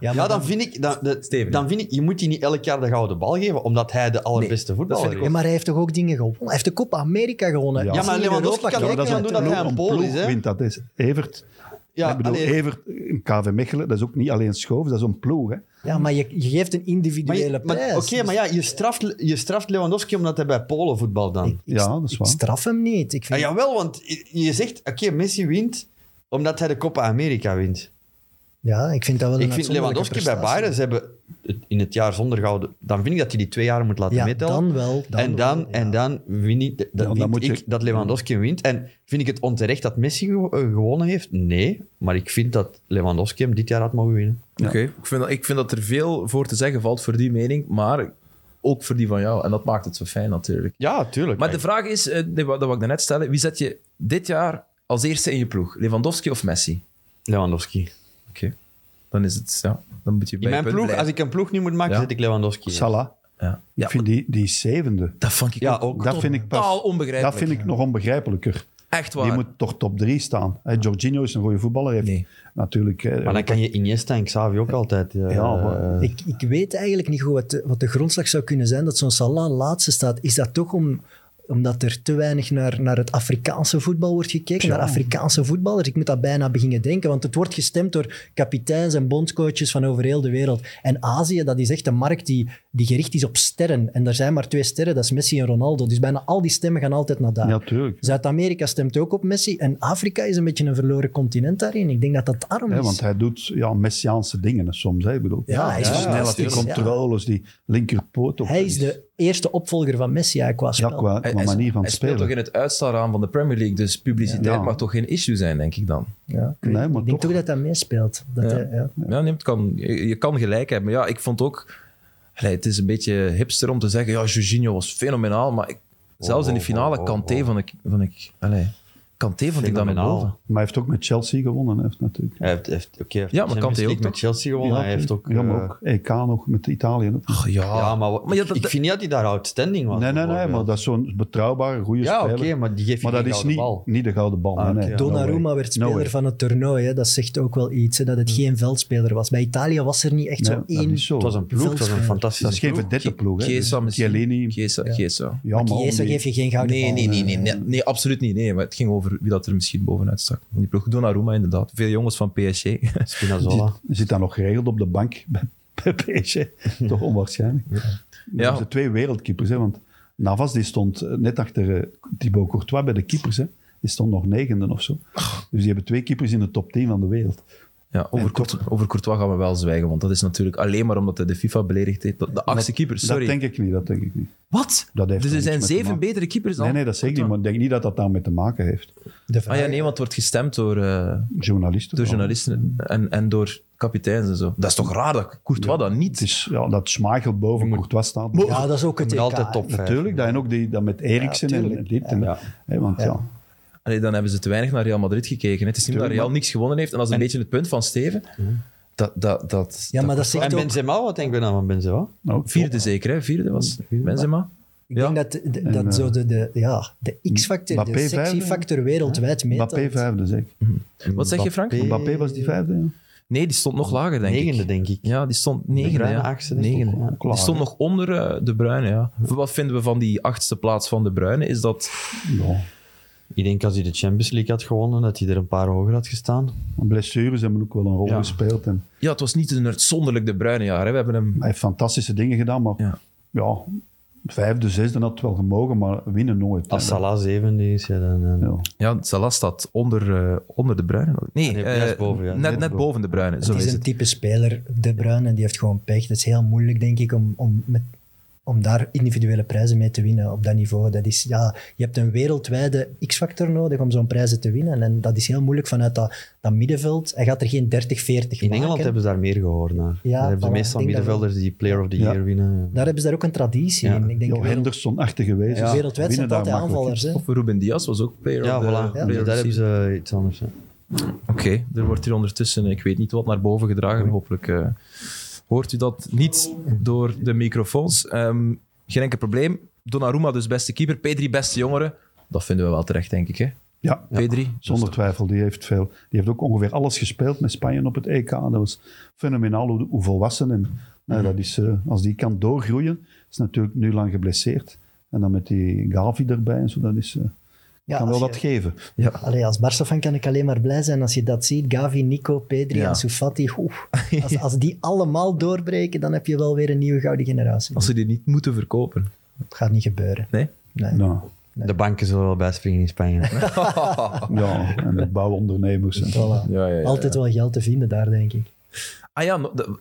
Speaker 2: maar
Speaker 3: ja, dan vind ik, dan, de-
Speaker 1: Steven.
Speaker 3: dan vind ik, je moet die niet elk jaar de gouden bal geven, omdat hij de allerbeste voetballer
Speaker 1: vind
Speaker 3: is.
Speaker 1: ik
Speaker 2: Ja, maar hij heeft toch ook dingen gewonnen? Hij heeft de Copa America gewonnen.
Speaker 4: Ja.
Speaker 2: Hij is
Speaker 3: Ja, maar
Speaker 2: in
Speaker 3: Lewandowski
Speaker 2: Europa
Speaker 3: kan
Speaker 4: Ja,
Speaker 3: ook
Speaker 2: kampioen.
Speaker 4: maar dat is
Speaker 3: niet
Speaker 4: een
Speaker 3: aan doen dat hij
Speaker 4: ploeg,
Speaker 3: een Pool is,
Speaker 4: ploeg
Speaker 3: hè?
Speaker 4: wint dat is. Evert,
Speaker 3: Ja,
Speaker 4: ik bedoel,
Speaker 3: allee,
Speaker 4: Evert, een KV Mechelen, dat is ook niet alleen Schoof, dat is een ploeg. Hè?
Speaker 2: Ja, maar je, je geeft een
Speaker 3: maar je-
Speaker 2: individuele
Speaker 3: maar- Oké,
Speaker 2: prijs. dus-
Speaker 3: maar ja, je straft, je straft Lewandowski omdat hij bij Polen voetbal dan. Ah,
Speaker 2: Ik-
Speaker 4: Ja, dat is
Speaker 2: ik
Speaker 4: waar.
Speaker 2: straf hem niet. Ik
Speaker 3: Ja,
Speaker 2: vind,
Speaker 3: jawel, want je- je zegt, oké, Messi wint omdat hij de Copa America wint.
Speaker 2: Ja, ik vind dat wel een
Speaker 3: ik vind
Speaker 2: uitzonderlijke
Speaker 3: Lewandowski bij
Speaker 2: prestatie.
Speaker 3: Bayern, ze hebben het in het jaar zonder gouden... Dan vind ik dat hij die twee jaar moet laten
Speaker 2: Ja,
Speaker 3: meetellen.
Speaker 2: dan wel. Dan
Speaker 3: en dan,
Speaker 2: wel,
Speaker 3: en
Speaker 2: ja.
Speaker 3: dan vind ik, dat,
Speaker 4: Ja, dan
Speaker 3: vind
Speaker 4: moet je-
Speaker 3: ik dat Lewandowski wint. En vind ik het onterecht dat Messi gewo- eh, gewonnen heeft? Nee. Maar ik vind dat Lewandowski hem dit jaar had mogen winnen.
Speaker 4: Ja.
Speaker 1: Oké, ik, vind dat- ik vind dat er veel voor te zeggen valt voor die mening, maar ook voor die van jou. En dat maakt het zo fijn natuurlijk.
Speaker 3: Ja, tuurlijk.
Speaker 1: Maar de vraag is, eh, nee, wat- dat wou ik daarnet stellen, wie zet je dit jaar als eerste in je ploeg? Lewandowski of Messi?
Speaker 3: Lewandowski.
Speaker 1: Oké, dan is het, ja, dan moet je bij
Speaker 3: In
Speaker 1: je
Speaker 3: mijn
Speaker 1: punt
Speaker 3: ploeg,
Speaker 1: blijven.
Speaker 3: als ik een ploeg nu moet maken,
Speaker 1: Ja.
Speaker 3: zet ik Lewandowski. in.
Speaker 4: Salah,
Speaker 1: Ja, ja
Speaker 4: ik vind die, die zevende.
Speaker 1: dat vond ik
Speaker 3: Ja,
Speaker 1: ook
Speaker 3: ook.
Speaker 4: Dat vind ik pas-
Speaker 1: totaal onbegrijpelijk.
Speaker 4: Dat vind ik nog onbegrijpelijker.
Speaker 1: Echt waar.
Speaker 4: Die moet toch top 3 staan. Hè, Jorginho is een goede voetballer. Heeft
Speaker 1: Nee.
Speaker 4: natuurlijk. hè,
Speaker 3: Maar dan kan je Iniesta en Xavi ook altijd... eh,
Speaker 4: Ja, maar-
Speaker 2: Ik, ik weet eigenlijk niet goed wat de, wat de grondslag zou kunnen zijn dat zo'n Salah laatste staat. Is dat toch om, omdat er te weinig naar, naar het Afrikaanse voetbal wordt gekeken? Naar Afrikaanse voetballers? Ik moet dat bijna beginnen denken, want het wordt gestemd door kapiteins en bondscoaches van over heel de wereld. En Azië, dat is echt een markt die, die gericht is op sterren. En er zijn maar twee sterren, dat is Messi en Ronaldo. Dus bijna al die stemmen gaan altijd naar daar.
Speaker 4: Ja, tuurlijk.
Speaker 2: Zuid-Amerika stemt ook op Messi. En Afrika is een beetje een verloren continent daarin. Ik denk dat dat daarom
Speaker 4: Hè,
Speaker 2: is.
Speaker 4: want hij doet ja, messiaanse dingen hè, soms. Hè, ik bedoel,
Speaker 2: Ja, hij is
Speaker 4: snel. Die
Speaker 2: fantastisch, ja.
Speaker 4: controles, die linkerpoot. Op,
Speaker 2: Hij is de eerste opvolger van Messi eigenlijk qua
Speaker 4: Ja,
Speaker 2: spel.
Speaker 4: qua,
Speaker 1: Hij-
Speaker 4: qua
Speaker 1: hij-
Speaker 4: manier van
Speaker 1: hij speelt
Speaker 4: spelen.
Speaker 1: toch in het uitstaalraam van de Premier League, dus publiciteit
Speaker 4: Ja.
Speaker 1: mag toch geen issue zijn, denk ik dan.
Speaker 2: Ja, ik,
Speaker 4: Nee,
Speaker 2: weet-
Speaker 4: maar
Speaker 2: ik denk
Speaker 4: toch.
Speaker 2: toch dat dat meespeelt. Dat
Speaker 1: Ja.
Speaker 2: hij- ja.
Speaker 1: Ja, nee, het kan, je je kan gelijk hebben. Maar ja, ik vond ook... allee, het is een beetje hipster om te zeggen, ja, Jorginho was fenomenaal, maar ik- zelfs in die
Speaker 3: oh,
Speaker 1: finale,
Speaker 3: oh,
Speaker 1: Kanté
Speaker 3: oh.
Speaker 1: vond ik... Vond ik allee, Kanté vond ik dan met
Speaker 3: Fenomenaal.
Speaker 1: boven.
Speaker 4: Maar hij heeft ook met Chelsea gewonnen. hè, Heeft, natuurlijk.
Speaker 3: Hij heeft, heeft, oké, hij heeft
Speaker 1: Ja,
Speaker 3: de
Speaker 1: maar
Speaker 3: Champions
Speaker 1: Kante ook
Speaker 3: League
Speaker 1: nog.
Speaker 3: met Chelsea gewonnen. hij heeft ook...
Speaker 4: ja, maar
Speaker 3: eh,
Speaker 4: ook EK nog met Italië. ook.
Speaker 1: Ach, ja.
Speaker 3: Ja, maar, wa-
Speaker 1: ja,
Speaker 3: ik,
Speaker 1: dat-
Speaker 3: ik vind niet dat hij daar outstanding was.
Speaker 4: Nee, nee, nee,
Speaker 3: bijvoorbeeld.
Speaker 4: maar dat is zo'n betrouwbare, goede
Speaker 3: Ja, oké,
Speaker 4: speler.
Speaker 3: maar die geeft
Speaker 4: maar
Speaker 3: je
Speaker 4: dat
Speaker 3: geen
Speaker 4: is
Speaker 3: gouden
Speaker 4: niet,
Speaker 3: bal.
Speaker 4: niet de gouden bal.
Speaker 3: Ah,
Speaker 4: nee,
Speaker 3: oké.
Speaker 4: nee, no
Speaker 2: Donnarumma
Speaker 4: way.
Speaker 2: werd
Speaker 4: No
Speaker 2: speler
Speaker 4: way.
Speaker 2: van het toernooi. Hè. Dat zegt ook wel iets. Hè. Dat het geen veldspeler was. Bij Italië was er niet echt
Speaker 4: Nee,
Speaker 2: zo'n
Speaker 4: dat
Speaker 2: Mm. één.
Speaker 4: is zo.
Speaker 3: Het was een ploeg, het was een
Speaker 2: Veldspeler.
Speaker 3: fantastische
Speaker 4: Dat is geen
Speaker 3: ploeg.
Speaker 4: verdette ploeg. hè.
Speaker 1: Chiesa
Speaker 4: Dus
Speaker 1: misschien.
Speaker 4: Chiellini.
Speaker 1: Chiesa,
Speaker 2: Ja.
Speaker 1: Chiesa.
Speaker 4: Ja, maar
Speaker 2: Chiesa
Speaker 4: ook niet.
Speaker 2: geef je geen gouden
Speaker 1: Nee,
Speaker 2: bal.
Speaker 1: nee, nee, nee, nee, nee, absoluut niet. Nee, maar het ging over wie dat er misschien bovenuit stak. Die ploeg Donnarumma inderdaad. Veel jongens van PSG.
Speaker 3: Spinazzola.
Speaker 4: Zit, zit dat nog geregeld op de bank bij, bij PSG? Toch onwaarschijnlijk.
Speaker 1: Ja.
Speaker 4: Ja. De twee wereldkeepers, hè, want Navas die stond eh, net achter eh, Thibaut Courtois bij de keepers. Hè. Die stond nog negende of zo. Dus die hebben twee keepers in de top 10 van de wereld.
Speaker 1: Ja, over,
Speaker 4: En
Speaker 1: Court- over Courtois gaan we wel zwijgen, want dat is natuurlijk alleen maar omdat hij de FIFA beledigd heeft. De, de achtste keeper, sorry.
Speaker 4: Dat denk ik niet, dat denk ik niet.
Speaker 1: Wat?
Speaker 4: Dat heeft
Speaker 1: dus
Speaker 4: er
Speaker 1: er
Speaker 4: niks
Speaker 1: zijn
Speaker 4: mee te
Speaker 1: zeven
Speaker 4: maken.
Speaker 1: betere keepers dan?
Speaker 4: Nee, nee, dat zeg ik niet, maar ik denk niet dat dat daarmee te maken heeft.
Speaker 2: De vraag-
Speaker 1: Ah ja, nee, want het wordt gestemd door, eh,
Speaker 4: Journalisten.
Speaker 1: door
Speaker 4: wel.
Speaker 1: journalisten en, en door kapiteins en zo. Dat is toch raar dat Courtois dat niet
Speaker 4: Het is ja, dat Schmeichel boven Courtois staat.
Speaker 2: Ja, dat is ook het
Speaker 3: Moet
Speaker 2: EK.
Speaker 3: altijd top vijf.
Speaker 4: Natuurlijk, dat, en ook die, dat met Eriksen
Speaker 2: Ja,
Speaker 4: en
Speaker 2: tuurlijk.
Speaker 4: dit. En,
Speaker 3: Ja.
Speaker 4: Hè, want ja.
Speaker 1: Allee, dan hebben ze te weinig naar Real Madrid gekeken. Het is niet dat
Speaker 4: Tuurlijk,
Speaker 1: Real
Speaker 4: maar-
Speaker 1: niks gewonnen heeft. En dat is een beetje het punt van Steven. Dat, dat, dat,
Speaker 2: Ja, maar dat zegt
Speaker 3: En
Speaker 2: ook...
Speaker 3: Benzema, wat denken we dan van Benzema?
Speaker 4: nou, top.
Speaker 1: Vierde zeker, hè? Vierde was Benzema.
Speaker 2: Ik
Speaker 1: Ja.
Speaker 2: denk dat, de- dat
Speaker 4: eh,
Speaker 2: zo de, de, ja, de X-factor, de
Speaker 4: Mbappé vijfde,
Speaker 2: sexy-factor wereldwijd meetelt.
Speaker 4: Mbappé vijfde, zeg ik.
Speaker 1: Wat zeg je, Frank?
Speaker 3: Mbappé-
Speaker 4: Mbappé was die vijfde, ja.
Speaker 1: Nee, die stond nog lager, denk
Speaker 3: Negende,
Speaker 1: ik.
Speaker 3: denk ik.
Speaker 1: Ja, die stond negende.
Speaker 3: Bruyne
Speaker 1: Ja.
Speaker 3: achtste, denk ik.
Speaker 1: negende.
Speaker 3: Ook- ook
Speaker 1: Die
Speaker 4: lager.
Speaker 1: stond nog onder eh, De Bruyne, ja. Wat vinden we van die achtste plaats van De Bruyne? Is dat...
Speaker 4: Ja,
Speaker 3: Ik denk als hij de Champions League had gewonnen, dat hij er een paar hoger had gestaan.
Speaker 4: maar blessures hebben ook wel een rol
Speaker 3: Ja.
Speaker 4: gespeeld. En
Speaker 1: Ja, het was niet een uitzonderlijk De Bruyne jaar. Hè. We hebben hem...
Speaker 4: hij heeft fantastische dingen gedaan, maar
Speaker 1: Ja.
Speaker 4: ja. vijfde, zesde had het wel gemogen, maar winnen nooit.
Speaker 3: Als
Speaker 4: hè.
Speaker 3: Salah zevende is, ja, dan... eh,
Speaker 4: Ja.
Speaker 1: Ja, Salah staat onder, eh, onder De Bruyne. nog. Nee,
Speaker 3: Nee,
Speaker 1: eh,
Speaker 3: juist boven, ja.
Speaker 1: net, net boven De Bruyne. Zo
Speaker 2: Het is
Speaker 1: is
Speaker 2: een
Speaker 1: het.
Speaker 2: type speler, De Bruyne, die heeft gewoon pech. Dat is heel moeilijk, denk ik, om, om, met, om daar individuele prijzen mee te winnen op dat niveau. Dat is, ja, je hebt een wereldwijde X-factor nodig om zo'n prijzen te winnen. En dat is heel moeilijk vanuit dat, dat middenveld. Hij gaat er geen 30, 40
Speaker 3: In
Speaker 2: maken.
Speaker 3: Engeland hebben ze daar meer gehoord naar.
Speaker 2: Ja,
Speaker 3: daar hebben ze
Speaker 2: voilà,
Speaker 3: meestal
Speaker 2: ik denk dat
Speaker 3: middenvelders die Player of the
Speaker 4: Ja.
Speaker 3: Year winnen.
Speaker 2: Daar hebben ze daar ook een traditie
Speaker 3: Ja.
Speaker 2: in. Ik denk
Speaker 4: Ja,
Speaker 2: wereld-
Speaker 4: Henderson-achtige wezen.
Speaker 2: wereldwijd zijn het
Speaker 4: Winnen
Speaker 2: altijd
Speaker 4: daar makkelijk.
Speaker 2: aanvallers. Hè?
Speaker 1: Of Ruben Diaz was ook player
Speaker 3: Ja,
Speaker 1: of the-
Speaker 3: voilà.
Speaker 1: player
Speaker 3: Dus
Speaker 1: of
Speaker 3: daar
Speaker 1: the
Speaker 3: hebben
Speaker 1: season.
Speaker 3: ze iets anders. hè.
Speaker 1: Oké, er wordt hier ondertussen, ik weet niet wat, naar boven gedragen. Hopelijk eh, hoort u dat niet door de microfoons. Ehm, geen enkel probleem. Donnarumma dus beste keeper, Pedri beste jongere. Dat vinden we wel terecht, denk ik. Hè?
Speaker 4: Ja,
Speaker 1: Pedri.
Speaker 4: zonder twijfel. Die heeft, veel, die heeft ook ongeveer alles gespeeld met Spanje op het EK. Dat was fenomenaal hoe, hoe volwassen. En, nou, dat is, eh, als die kan doorgroeien, is natuurlijk nu lang geblesseerd. En dan met die Gavi erbij en zo, dat is, eh,
Speaker 2: Ja,
Speaker 4: kan wel
Speaker 2: als
Speaker 4: wat
Speaker 2: je-
Speaker 4: geven.
Speaker 1: Ja.
Speaker 2: Allee, als Barca fan kan ik alleen maar blij zijn als je dat ziet. Gavi, Nico, Pedri,
Speaker 1: Ja.
Speaker 2: Ansu Fati. Oeh. Als, als die allemaal doorbreken, dan heb je wel weer een nieuwe gouden generatie.
Speaker 1: Als ze die niet moeten verkopen.
Speaker 2: Het gaat niet gebeuren.
Speaker 1: Nee?
Speaker 2: Nee.
Speaker 4: Nou,
Speaker 3: De banken zullen wel bijspringen in Spanje.
Speaker 4: ja, en de bouwondernemers. En,
Speaker 2: Voilà.
Speaker 1: Ja, ja, ja,
Speaker 2: Altijd wel geld te vinden daar, denk ik.
Speaker 1: Ah ja, no- de-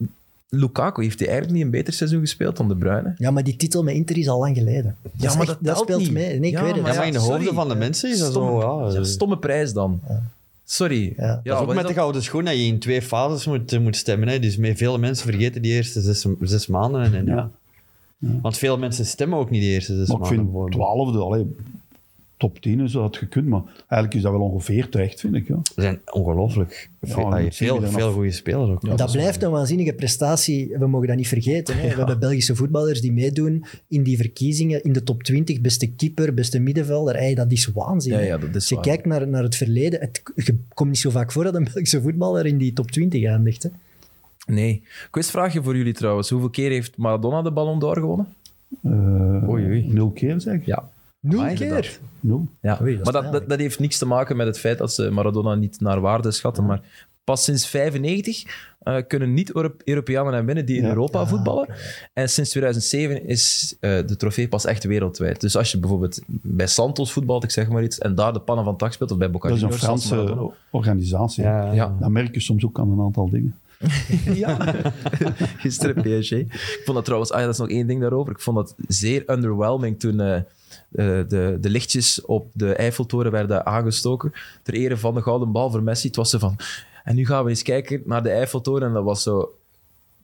Speaker 1: Lukaku, heeft hij eigenlijk niet een beter seizoen gespeeld dan De Bruyne?
Speaker 2: Ja, maar die titel met Inter is al lang geleden. Dat, is
Speaker 1: maar
Speaker 2: echt-
Speaker 1: dat telt
Speaker 2: speelt
Speaker 1: niet.
Speaker 2: mee. Nee, ik
Speaker 1: Ja,
Speaker 2: weet het.
Speaker 3: Ja,
Speaker 1: maar
Speaker 3: maar in de
Speaker 1: sorry.
Speaker 3: hoofden van de mensen is dat
Speaker 1: Stomme-
Speaker 3: zo... Ja, eh.
Speaker 1: ja, stomme prijs dan. Sorry.
Speaker 2: Ja. Dat is
Speaker 3: dat is
Speaker 1: wat
Speaker 3: ook met de gouden schoen dat je in twee fases moet, eh, moet stemmen. Hè. Dus me- vele mensen vergeten die eerste zes, zes maanden. En, en, ja.
Speaker 4: Ja.
Speaker 3: Want veel mensen stemmen ook niet die eerste dus zes
Speaker 4: Maar ik
Speaker 3: maanden.
Speaker 4: vind
Speaker 3: bijvoorbeeld.
Speaker 4: twaalfde, allee, top 10 en zo had gekund, maar eigenlijk is dat wel ongeveer terecht, vind ik. Ja.
Speaker 3: Er zijn ongelooflijk
Speaker 4: Ja,
Speaker 3: veel,
Speaker 4: dan
Speaker 3: ah,
Speaker 4: moet je
Speaker 3: veel,
Speaker 4: dan
Speaker 3: veel
Speaker 4: af-
Speaker 3: goede spelers ook.
Speaker 2: dat blijft een waanzinnige prestatie. We mogen dat niet vergeten. Hè. We hebben Belgische voetballers die meedoen in die verkiezingen. In de top 20, beste keeper, beste middenvelder. Ey, dat is waanzin.
Speaker 1: Ja,
Speaker 2: hè.
Speaker 1: ja, dat is
Speaker 2: Als je
Speaker 1: waar.
Speaker 2: kijkt naar, naar het verleden, het je komt niet zo vaak voor dat een Belgische voetballer in die top 20 eindigt. Hè.
Speaker 1: Nee. Quizvraagje voor jullie trouwens. Hoeveel keer heeft Maradona de Ballon d'Or gewonnen?
Speaker 4: Eh,
Speaker 1: Oei, oei.
Speaker 4: Nul keer zeg.
Speaker 1: Ja.
Speaker 2: Nul
Speaker 1: Amai,
Speaker 2: keer.
Speaker 1: inderdaad.
Speaker 4: Nul.
Speaker 1: ja.
Speaker 2: Oei, dat
Speaker 1: maar
Speaker 2: is
Speaker 1: dat, dat,
Speaker 2: pijnlijk.
Speaker 1: dat heeft niks te maken met het feit dat ze Maradona niet naar waarde schatten. Maar pas sinds 95 eh, kunnen niet-Europeanen hem winnen die in
Speaker 4: Ja.
Speaker 1: Europa voetballen. En sinds 2007 is eh, de trofee pas echt wereldwijd. Dus als je bijvoorbeeld bij Santos voetbalt, ik zeg maar iets, en daar de pannen van tak speelt, of bij Boca
Speaker 4: Dat is een
Speaker 1: Juniors, Santos,
Speaker 4: Franse
Speaker 1: Maradona.
Speaker 4: organisatie.
Speaker 3: Ja.
Speaker 1: Ja.
Speaker 4: Dan merk je soms ook aan een aantal dingen.
Speaker 1: Ja, gisteren PSG. Ik vond dat trouwens, ah ja, dat is nog één ding daarover. Ik vond dat zeer underwhelming toen eh, eh, de, de lichtjes op de Eiffeltoren werden aangestoken. Ter ere van de gouden bal voor Messi. Het was zo van. En nu gaan we eens kijken naar de Eiffeltoren. En dat was zo.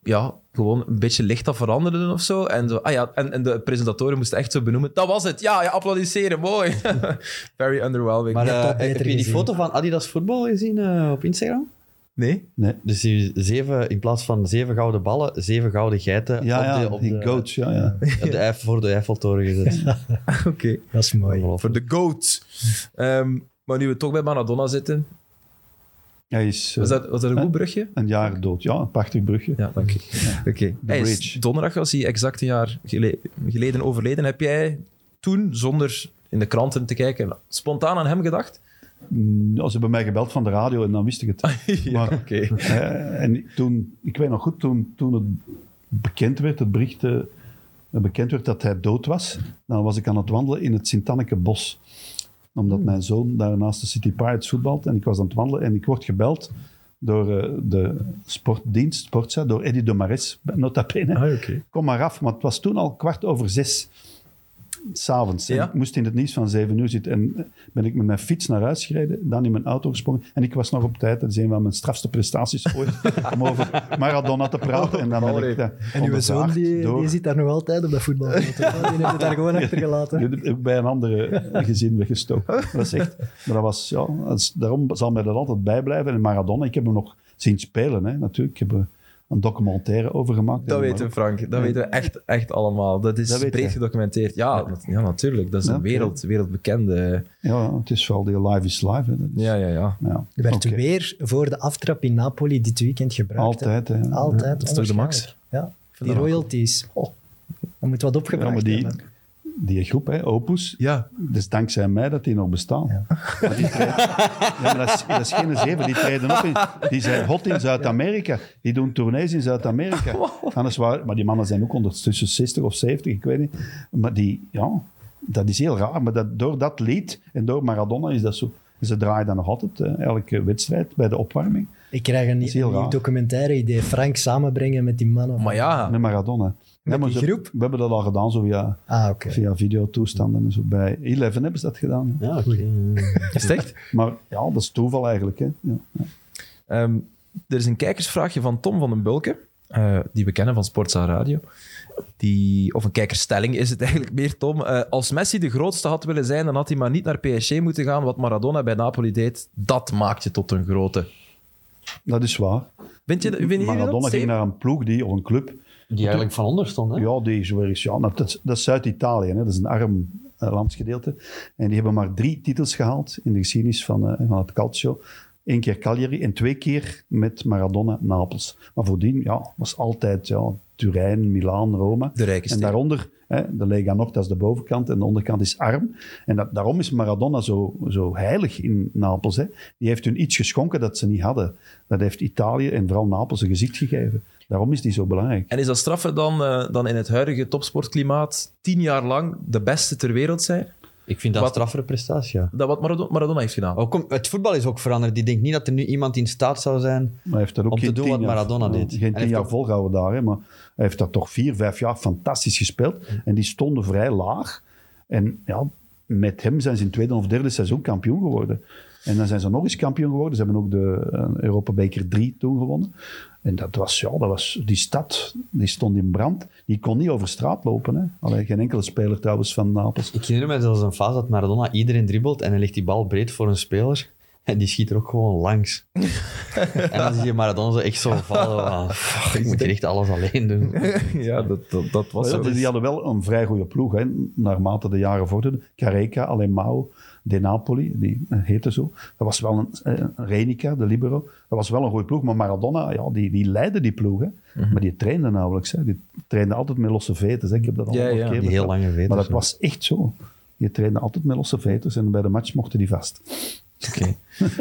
Speaker 1: Ja, gewoon een beetje licht dat veranderde of zo. En, zo, ah ja, en, en de presentatoren moesten echt zo benoemen. Dat was het. Ja, ja applaudisseren. Mooi. Very underwhelming.
Speaker 3: Maar
Speaker 2: heb
Speaker 3: eh,
Speaker 2: dat beter
Speaker 3: heb je die
Speaker 2: gezien.
Speaker 3: foto van Adidas voetbal gezien eh, op Instagram?
Speaker 1: nee?
Speaker 4: Nee.
Speaker 3: Dus die zeven, in plaats van zeven gouden ballen, zeven gouden geiten
Speaker 4: Ja,
Speaker 3: op
Speaker 4: ja,
Speaker 3: de, op
Speaker 4: die
Speaker 3: de,
Speaker 4: goats. Ja, ja.
Speaker 3: op de Eif- voor de Eiffeltoren gezet.
Speaker 1: Oké.
Speaker 2: Dat is mooi.
Speaker 1: Voor de GOAT. Ehm, maar nu we toch bij Maradona zitten.
Speaker 4: Hij is eh,
Speaker 1: Was dat, was dat een goed brugje?
Speaker 4: een jaar dood. Ja, een prachtig brugje.
Speaker 1: Ja, dank je. Oké. Hij is
Speaker 4: bridge.
Speaker 1: donderdag was hij exact een jaar gele- geleden overleden. Heb jij toen, zonder in de kranten te kijken, spontaan aan hem gedacht?
Speaker 4: Mm, Als ze bij mij gebeld van de radio en dan wist ik het. Maar, eh, en toen, ik weet nog goed, toen, toen het bekend werd, het bericht eh, bekend werd dat hij dood was, dan was ik aan het wandelen in het Sint-Anneke bos. Omdat mijn zoon daar naast de City Pirates voetbalt en ik was aan het wandelen en ik word gebeld door eh, de sportdienst, sportza, door Eddie Domares, nota bene.
Speaker 1: Ah,
Speaker 4: Kom maar af, want het was toen al kwart over zes. S'avonds. En
Speaker 1: Ja.
Speaker 4: Ik moest in het nieuws van zeven uur zitten. En eh, ben ik met mijn fiets naar huis gereden, dan in mijn auto gesprongen. En ik was nog op tijd. Dat is een van mijn strafste prestaties ooit. om over Maradona te praten. En dan ben ik daar
Speaker 2: En uw zoon
Speaker 4: ondervraagd
Speaker 2: die,
Speaker 4: door-
Speaker 2: die zit daar nog altijd op dat voetbal. Die heeft het daar gewoon achtergelaten.
Speaker 4: die heb ik bij een andere gezin weggestoken. Dat is echt... Maar dat was... Ja, dat is- daarom zal mij dat altijd bijblijven. En Maradona, ik heb hem nog zien spelen, hè, natuurlijk. Ik heb er een documentaire over gemaakt.
Speaker 1: Dat
Speaker 4: En-
Speaker 1: weten we, Frank. Dat weten we echt, echt allemaal. Dat is
Speaker 4: Dat weet
Speaker 1: breed
Speaker 4: hij.
Speaker 1: gedocumenteerd. Ja, dat- ja, natuurlijk. Dat is
Speaker 4: Ja,
Speaker 1: een
Speaker 4: oké.
Speaker 1: wereld, wereldbekende...
Speaker 4: Ja, het is wel die Live is Live. Hè. Dat is-
Speaker 1: Ja, ja, ja.
Speaker 4: ja.
Speaker 2: Er werd
Speaker 4: Oké.
Speaker 2: weer voor de aftrap in Napoli dit weekend gebruikt.
Speaker 4: Altijd, hè.
Speaker 2: hè. Altijd.
Speaker 1: Dat is toch de max?
Speaker 2: Ja,
Speaker 1: dat
Speaker 2: die
Speaker 1: wel
Speaker 2: royalties. Oh, dat moet wat
Speaker 4: Ja, maar
Speaker 2: opgebracht
Speaker 4: die,
Speaker 2: worden.
Speaker 4: die groep, hè, Opus,
Speaker 1: Ja.
Speaker 4: het is dankzij mij dat die nog bestaan. Maar die treden- ja, maar dat, is, dat is geen zeven, die treden op. in- die zijn hot in Zuid-Amerika. Die doen tournees in Zuid-Amerika. Anders waar, maar die mannen zijn ook ondertussen 60 of 70, ik weet niet. Maar die, ja, dat is heel raar. Maar dat, door dat lied en door Maradona is dat zo. Ze draaien dan nog altijd eh, elke wedstrijd bij de opwarming
Speaker 2: Ik krijg een,
Speaker 4: is heel
Speaker 2: een nieuw
Speaker 4: raar.
Speaker 2: documentaire idee. Frank samenbrengen met die mannen.
Speaker 1: Maar ja,
Speaker 4: met Maradona. Nee, maar
Speaker 2: die
Speaker 4: ze-
Speaker 2: groep?
Speaker 4: We hebben dat al gedaan zo via,
Speaker 2: Ah, oké.
Speaker 4: via videotoestanden en zo. Bij Eleven hebben ze dat gedaan. ja.
Speaker 3: Ja, oké.
Speaker 1: is het echt?
Speaker 4: Maar ja, dat is toeval eigenlijk. Hè? Ja.
Speaker 1: Ehm, er is een kijkersvraagje van Tom van den Bulke, eh, die we kennen van Sportza Radio. Die, of een kijkerstelling is het eigenlijk meer, Tom. Eh, als Messi de grootste had willen zijn, dan had hij maar niet naar PSG moeten gaan. Wat Maradona bij Napoli deed, dat maakt je tot een grote.
Speaker 4: Dat is waar.
Speaker 1: Vind je, vind je
Speaker 4: Maradona
Speaker 1: dat?
Speaker 4: ging
Speaker 1: Steven?
Speaker 4: naar een ploeg die, of een club.
Speaker 3: Die eigenlijk van onder stond, hè?
Speaker 4: Ja, die zo ergens. Ja, nou, dat, is- dat is Zuid-Italië, hè. dat is een arm eh, landsgedeelte. En die hebben maar drie titels gehaald in de geschiedenis van, eh, van het Calcio. Eén keer Cagliari en twee keer met Maradona Napels. Maar voordien ja, was altijd ja, Turijn, Milaan, Rome.
Speaker 1: De rijke
Speaker 4: En
Speaker 1: steden.
Speaker 4: daaronder, hè, de Lega Nord, dat is de bovenkant en de onderkant is arm. En dat, daarom is Maradona zo, zo heilig in Napels. Hè. Die heeft hun iets geschonken dat ze niet hadden. Dat heeft Italië en vooral Napels een gezicht gegeven. Daarom is die zo belangrijk.
Speaker 1: En is dat straffer dan, eh, dan in het huidige topsportklimaat tien jaar lang de beste ter wereld zijn?
Speaker 3: Ik vind dat
Speaker 1: Wat-
Speaker 3: een straffere prestatie, ja.
Speaker 1: Dat wat Maradona, Maradona heeft gedaan.
Speaker 4: Oh.
Speaker 3: Ook om- het voetbal is ook veranderd. Ik denk niet dat er nu iemand in staat zou zijn.
Speaker 4: Maar hij heeft dat ook
Speaker 3: Om te
Speaker 4: geen
Speaker 3: doen
Speaker 4: tien
Speaker 3: wat
Speaker 4: jaar-
Speaker 3: Maradona deed. En
Speaker 4: Geen
Speaker 3: hij
Speaker 4: tien
Speaker 3: heeft
Speaker 4: jaar
Speaker 3: ook-
Speaker 4: volgehouden daar, hè, maar hij heeft dat toch vier, vijf jaar fantastisch gespeeld. En die stonden vrij laag. En ja, met hem zijn ze in tweede of derde seizoen kampioen geworden. En dan zijn ze nog eens kampioen geworden. Ze hebben ook de eh, Europa Beker 3 toen gewonnen. En dat was, ja, dat was die stad, die stond in brand. Die kon niet over straat lopen. Hè. Allee, geen enkele speler trouwens van Napels.
Speaker 3: Ik herinner me zelfs een fase dat Maradona iedereen dribbelt en hij legt die bal breed voor een speler. En die schiet er ook gewoon langs. en dan zie je Maradona zo echt zo vallen. van, "Fuck, ik moet hier echt alles alleen doen.
Speaker 1: ja, dat, dat, dat was
Speaker 4: Maar Oh ja,
Speaker 1: zo.
Speaker 4: die hadden wel een vrij goede ploeg, hè, naarmate de jaren vorderden. Careca, Alemão, De Napoli, die heette zo. Dat was wel een, eh, Renica, de libero. Dat was wel een goede ploeg, maar Maradona, ja, die, die leidde die ploeg. Hè. Maar die trainde nauwelijks. Hè. Die trainde altijd met losse veters. hè. Ik heb dat al
Speaker 1: Ja,
Speaker 4: een
Speaker 1: ja.
Speaker 4: keer
Speaker 1: Die
Speaker 3: heel
Speaker 4: verteld.
Speaker 3: lange veters,
Speaker 4: Maar dat
Speaker 3: ja.
Speaker 4: was echt zo. Die trainde altijd met losse veters en bij de match mochten die vast.
Speaker 1: Oké.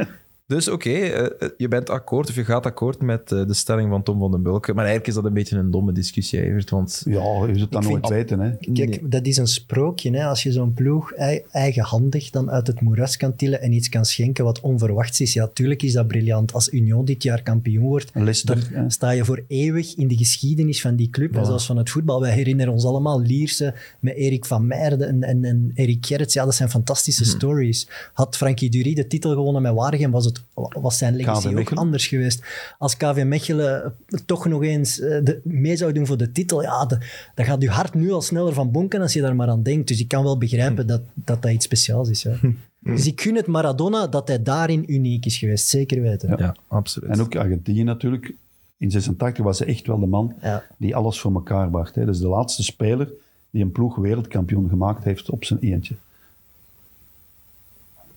Speaker 1: dus oké, eh, je bent akkoord of je gaat akkoord met eh, de stelling van Tom van den Bulke. Maar eigenlijk is dat een beetje een domme discussie, Evert. Want
Speaker 4: Ja, je zult dat
Speaker 2: Ik
Speaker 4: nooit
Speaker 2: vind-
Speaker 4: weten. Hè.
Speaker 2: Kijk,
Speaker 1: Nee.
Speaker 2: dat is een sprookje. Hè? Als je zo'n ploeg ei- eigenhandig dan uit het moeras kan tillen en iets kan schenken wat onverwachts is, ja, tuurlijk is dat briljant. Als Union dit jaar kampioen wordt,
Speaker 4: Leicester, hè.
Speaker 2: dan eh, sta je voor eeuwig in de geschiedenis van die club. En zoals van het voetbal. Wij herinneren ons allemaal Lierse met Erik van Meijden en, en, en Erik Gerrits. Ja, dat zijn fantastische stories. Had Frankie Dury de titel gewonnen met Waregem, was, het, was zijn legacy ook
Speaker 4: Mechelen.
Speaker 2: anders geweest. Als KV Mechelen toch nog eens eh, de, mee zou doen voor de titel, ja, de- dan gaat je hart nu al sneller van bonken als je daar maar aan denkt. Dus ik kan wel begrijpen dat dat, dat iets speciaals is. Ja. Dus ik gun het Maradona dat hij daarin uniek is geweest. Zeker weten.
Speaker 1: ja, absoluut.
Speaker 4: En ook Argentinië natuurlijk. In 86 was hij echt wel de man
Speaker 2: Ja.
Speaker 4: die alles voor elkaar bracht. Hè. Dat is de laatste speler die een ploeg wereldkampioen gemaakt heeft op zijn eentje.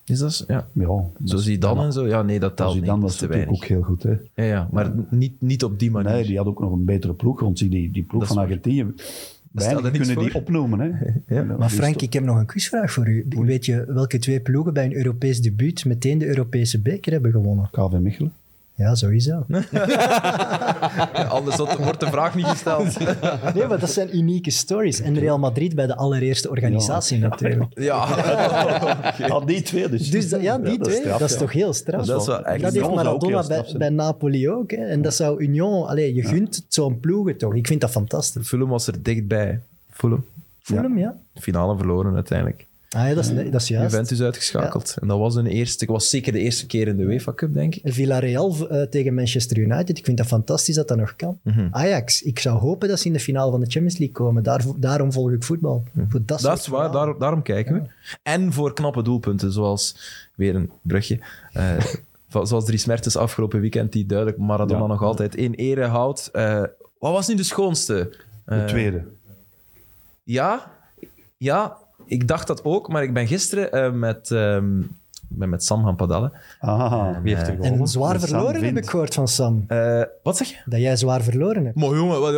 Speaker 1: is dat, zo? ja.
Speaker 4: Ja,
Speaker 1: Zo zie dan en zo. Ja, nee, dat telt niet.
Speaker 4: dan
Speaker 1: Dat
Speaker 4: was
Speaker 1: is te
Speaker 4: natuurlijk
Speaker 1: weinig.
Speaker 4: ook heel goed. Hè.
Speaker 1: Ja, ja, maar Niet, niet op die manier.
Speaker 4: Nee, die had ook nog een betere ploeg rond zich. Die, die ploeg
Speaker 1: Dat is
Speaker 4: van
Speaker 1: waar.
Speaker 4: Argentinië,
Speaker 1: stelde
Speaker 4: weinig
Speaker 1: niks
Speaker 4: kunnen die
Speaker 1: voor.
Speaker 4: opnoemen. Hè.
Speaker 1: Ja,
Speaker 4: Nou,
Speaker 2: Maar
Speaker 4: dus
Speaker 2: Frank, ik heb nog een quizvraag voor u. Weet je welke twee ploegen bij een Europees debuut meteen de Europese beker hebben gewonnen?
Speaker 4: KV Mechelen.
Speaker 2: Ja, sowieso.
Speaker 1: Anders wordt- wordt de vraag niet gesteld.
Speaker 2: Nee, maar dat zijn unieke stories. En Real Madrid bij de allereerste organisatie natuurlijk.
Speaker 1: ja.
Speaker 4: Ja, die twee dus.
Speaker 2: Dus dat, ja, die
Speaker 4: dat
Speaker 2: twee,
Speaker 4: straf,
Speaker 2: dat is
Speaker 4: ja.
Speaker 2: toch heel straf.
Speaker 1: Dat is wel echt-
Speaker 2: Dat heeft
Speaker 4: Union zou ook heel
Speaker 2: Maradona
Speaker 4: straf
Speaker 2: bij,
Speaker 4: zijn.
Speaker 2: bij Napoli ook. Hè. En dat zou Union... Allee, je gunt het zo'n ploegen toch. Ik vind dat fantastisch.
Speaker 1: Fulham was er dichtbij. Fulham.
Speaker 2: Fulham, ja?
Speaker 1: Finale verloren uiteindelijk.
Speaker 2: Ah ja, dat is, nee, dat is juist.
Speaker 1: Juventus uitgeschakeld. En dat was, een eerste, was zeker de eerste keer in de UEFA Cup, denk ik.
Speaker 2: Villarreal eh, tegen Manchester United. Ik vind dat fantastisch dat dat nog kan. Ajax, ik zou hopen dat ze in de finale van de Champions League komen. Daarvoor- daarom volg ik voetbal. Voor dat,
Speaker 1: Dat
Speaker 2: soort
Speaker 1: is waar,
Speaker 2: verhalen.
Speaker 1: daar- daarom kijken we. En voor knappe doelpunten, zoals weer een brugje. eh, van- zoals Dries Mertens afgelopen weekend, die duidelijk Maradona
Speaker 4: Ja.
Speaker 1: nog altijd in ere houdt. Eh, wat was nu de schoonste? Eh,
Speaker 4: De tweede.
Speaker 1: Ja, ja, ik dacht dat ook, maar ik ben gisteren eh, met, ehm, ik ben met Sam gaan padellen.
Speaker 4: Ah,
Speaker 3: Wie heeft er gewonnen?
Speaker 2: En zwaar
Speaker 4: Dat Sam
Speaker 2: verloren heb
Speaker 4: wint.
Speaker 2: ik gehoord van Sam.
Speaker 1: Eh, wat zeg je?
Speaker 2: Dat jij zwaar verloren hebt.
Speaker 1: Maar jongen, wat...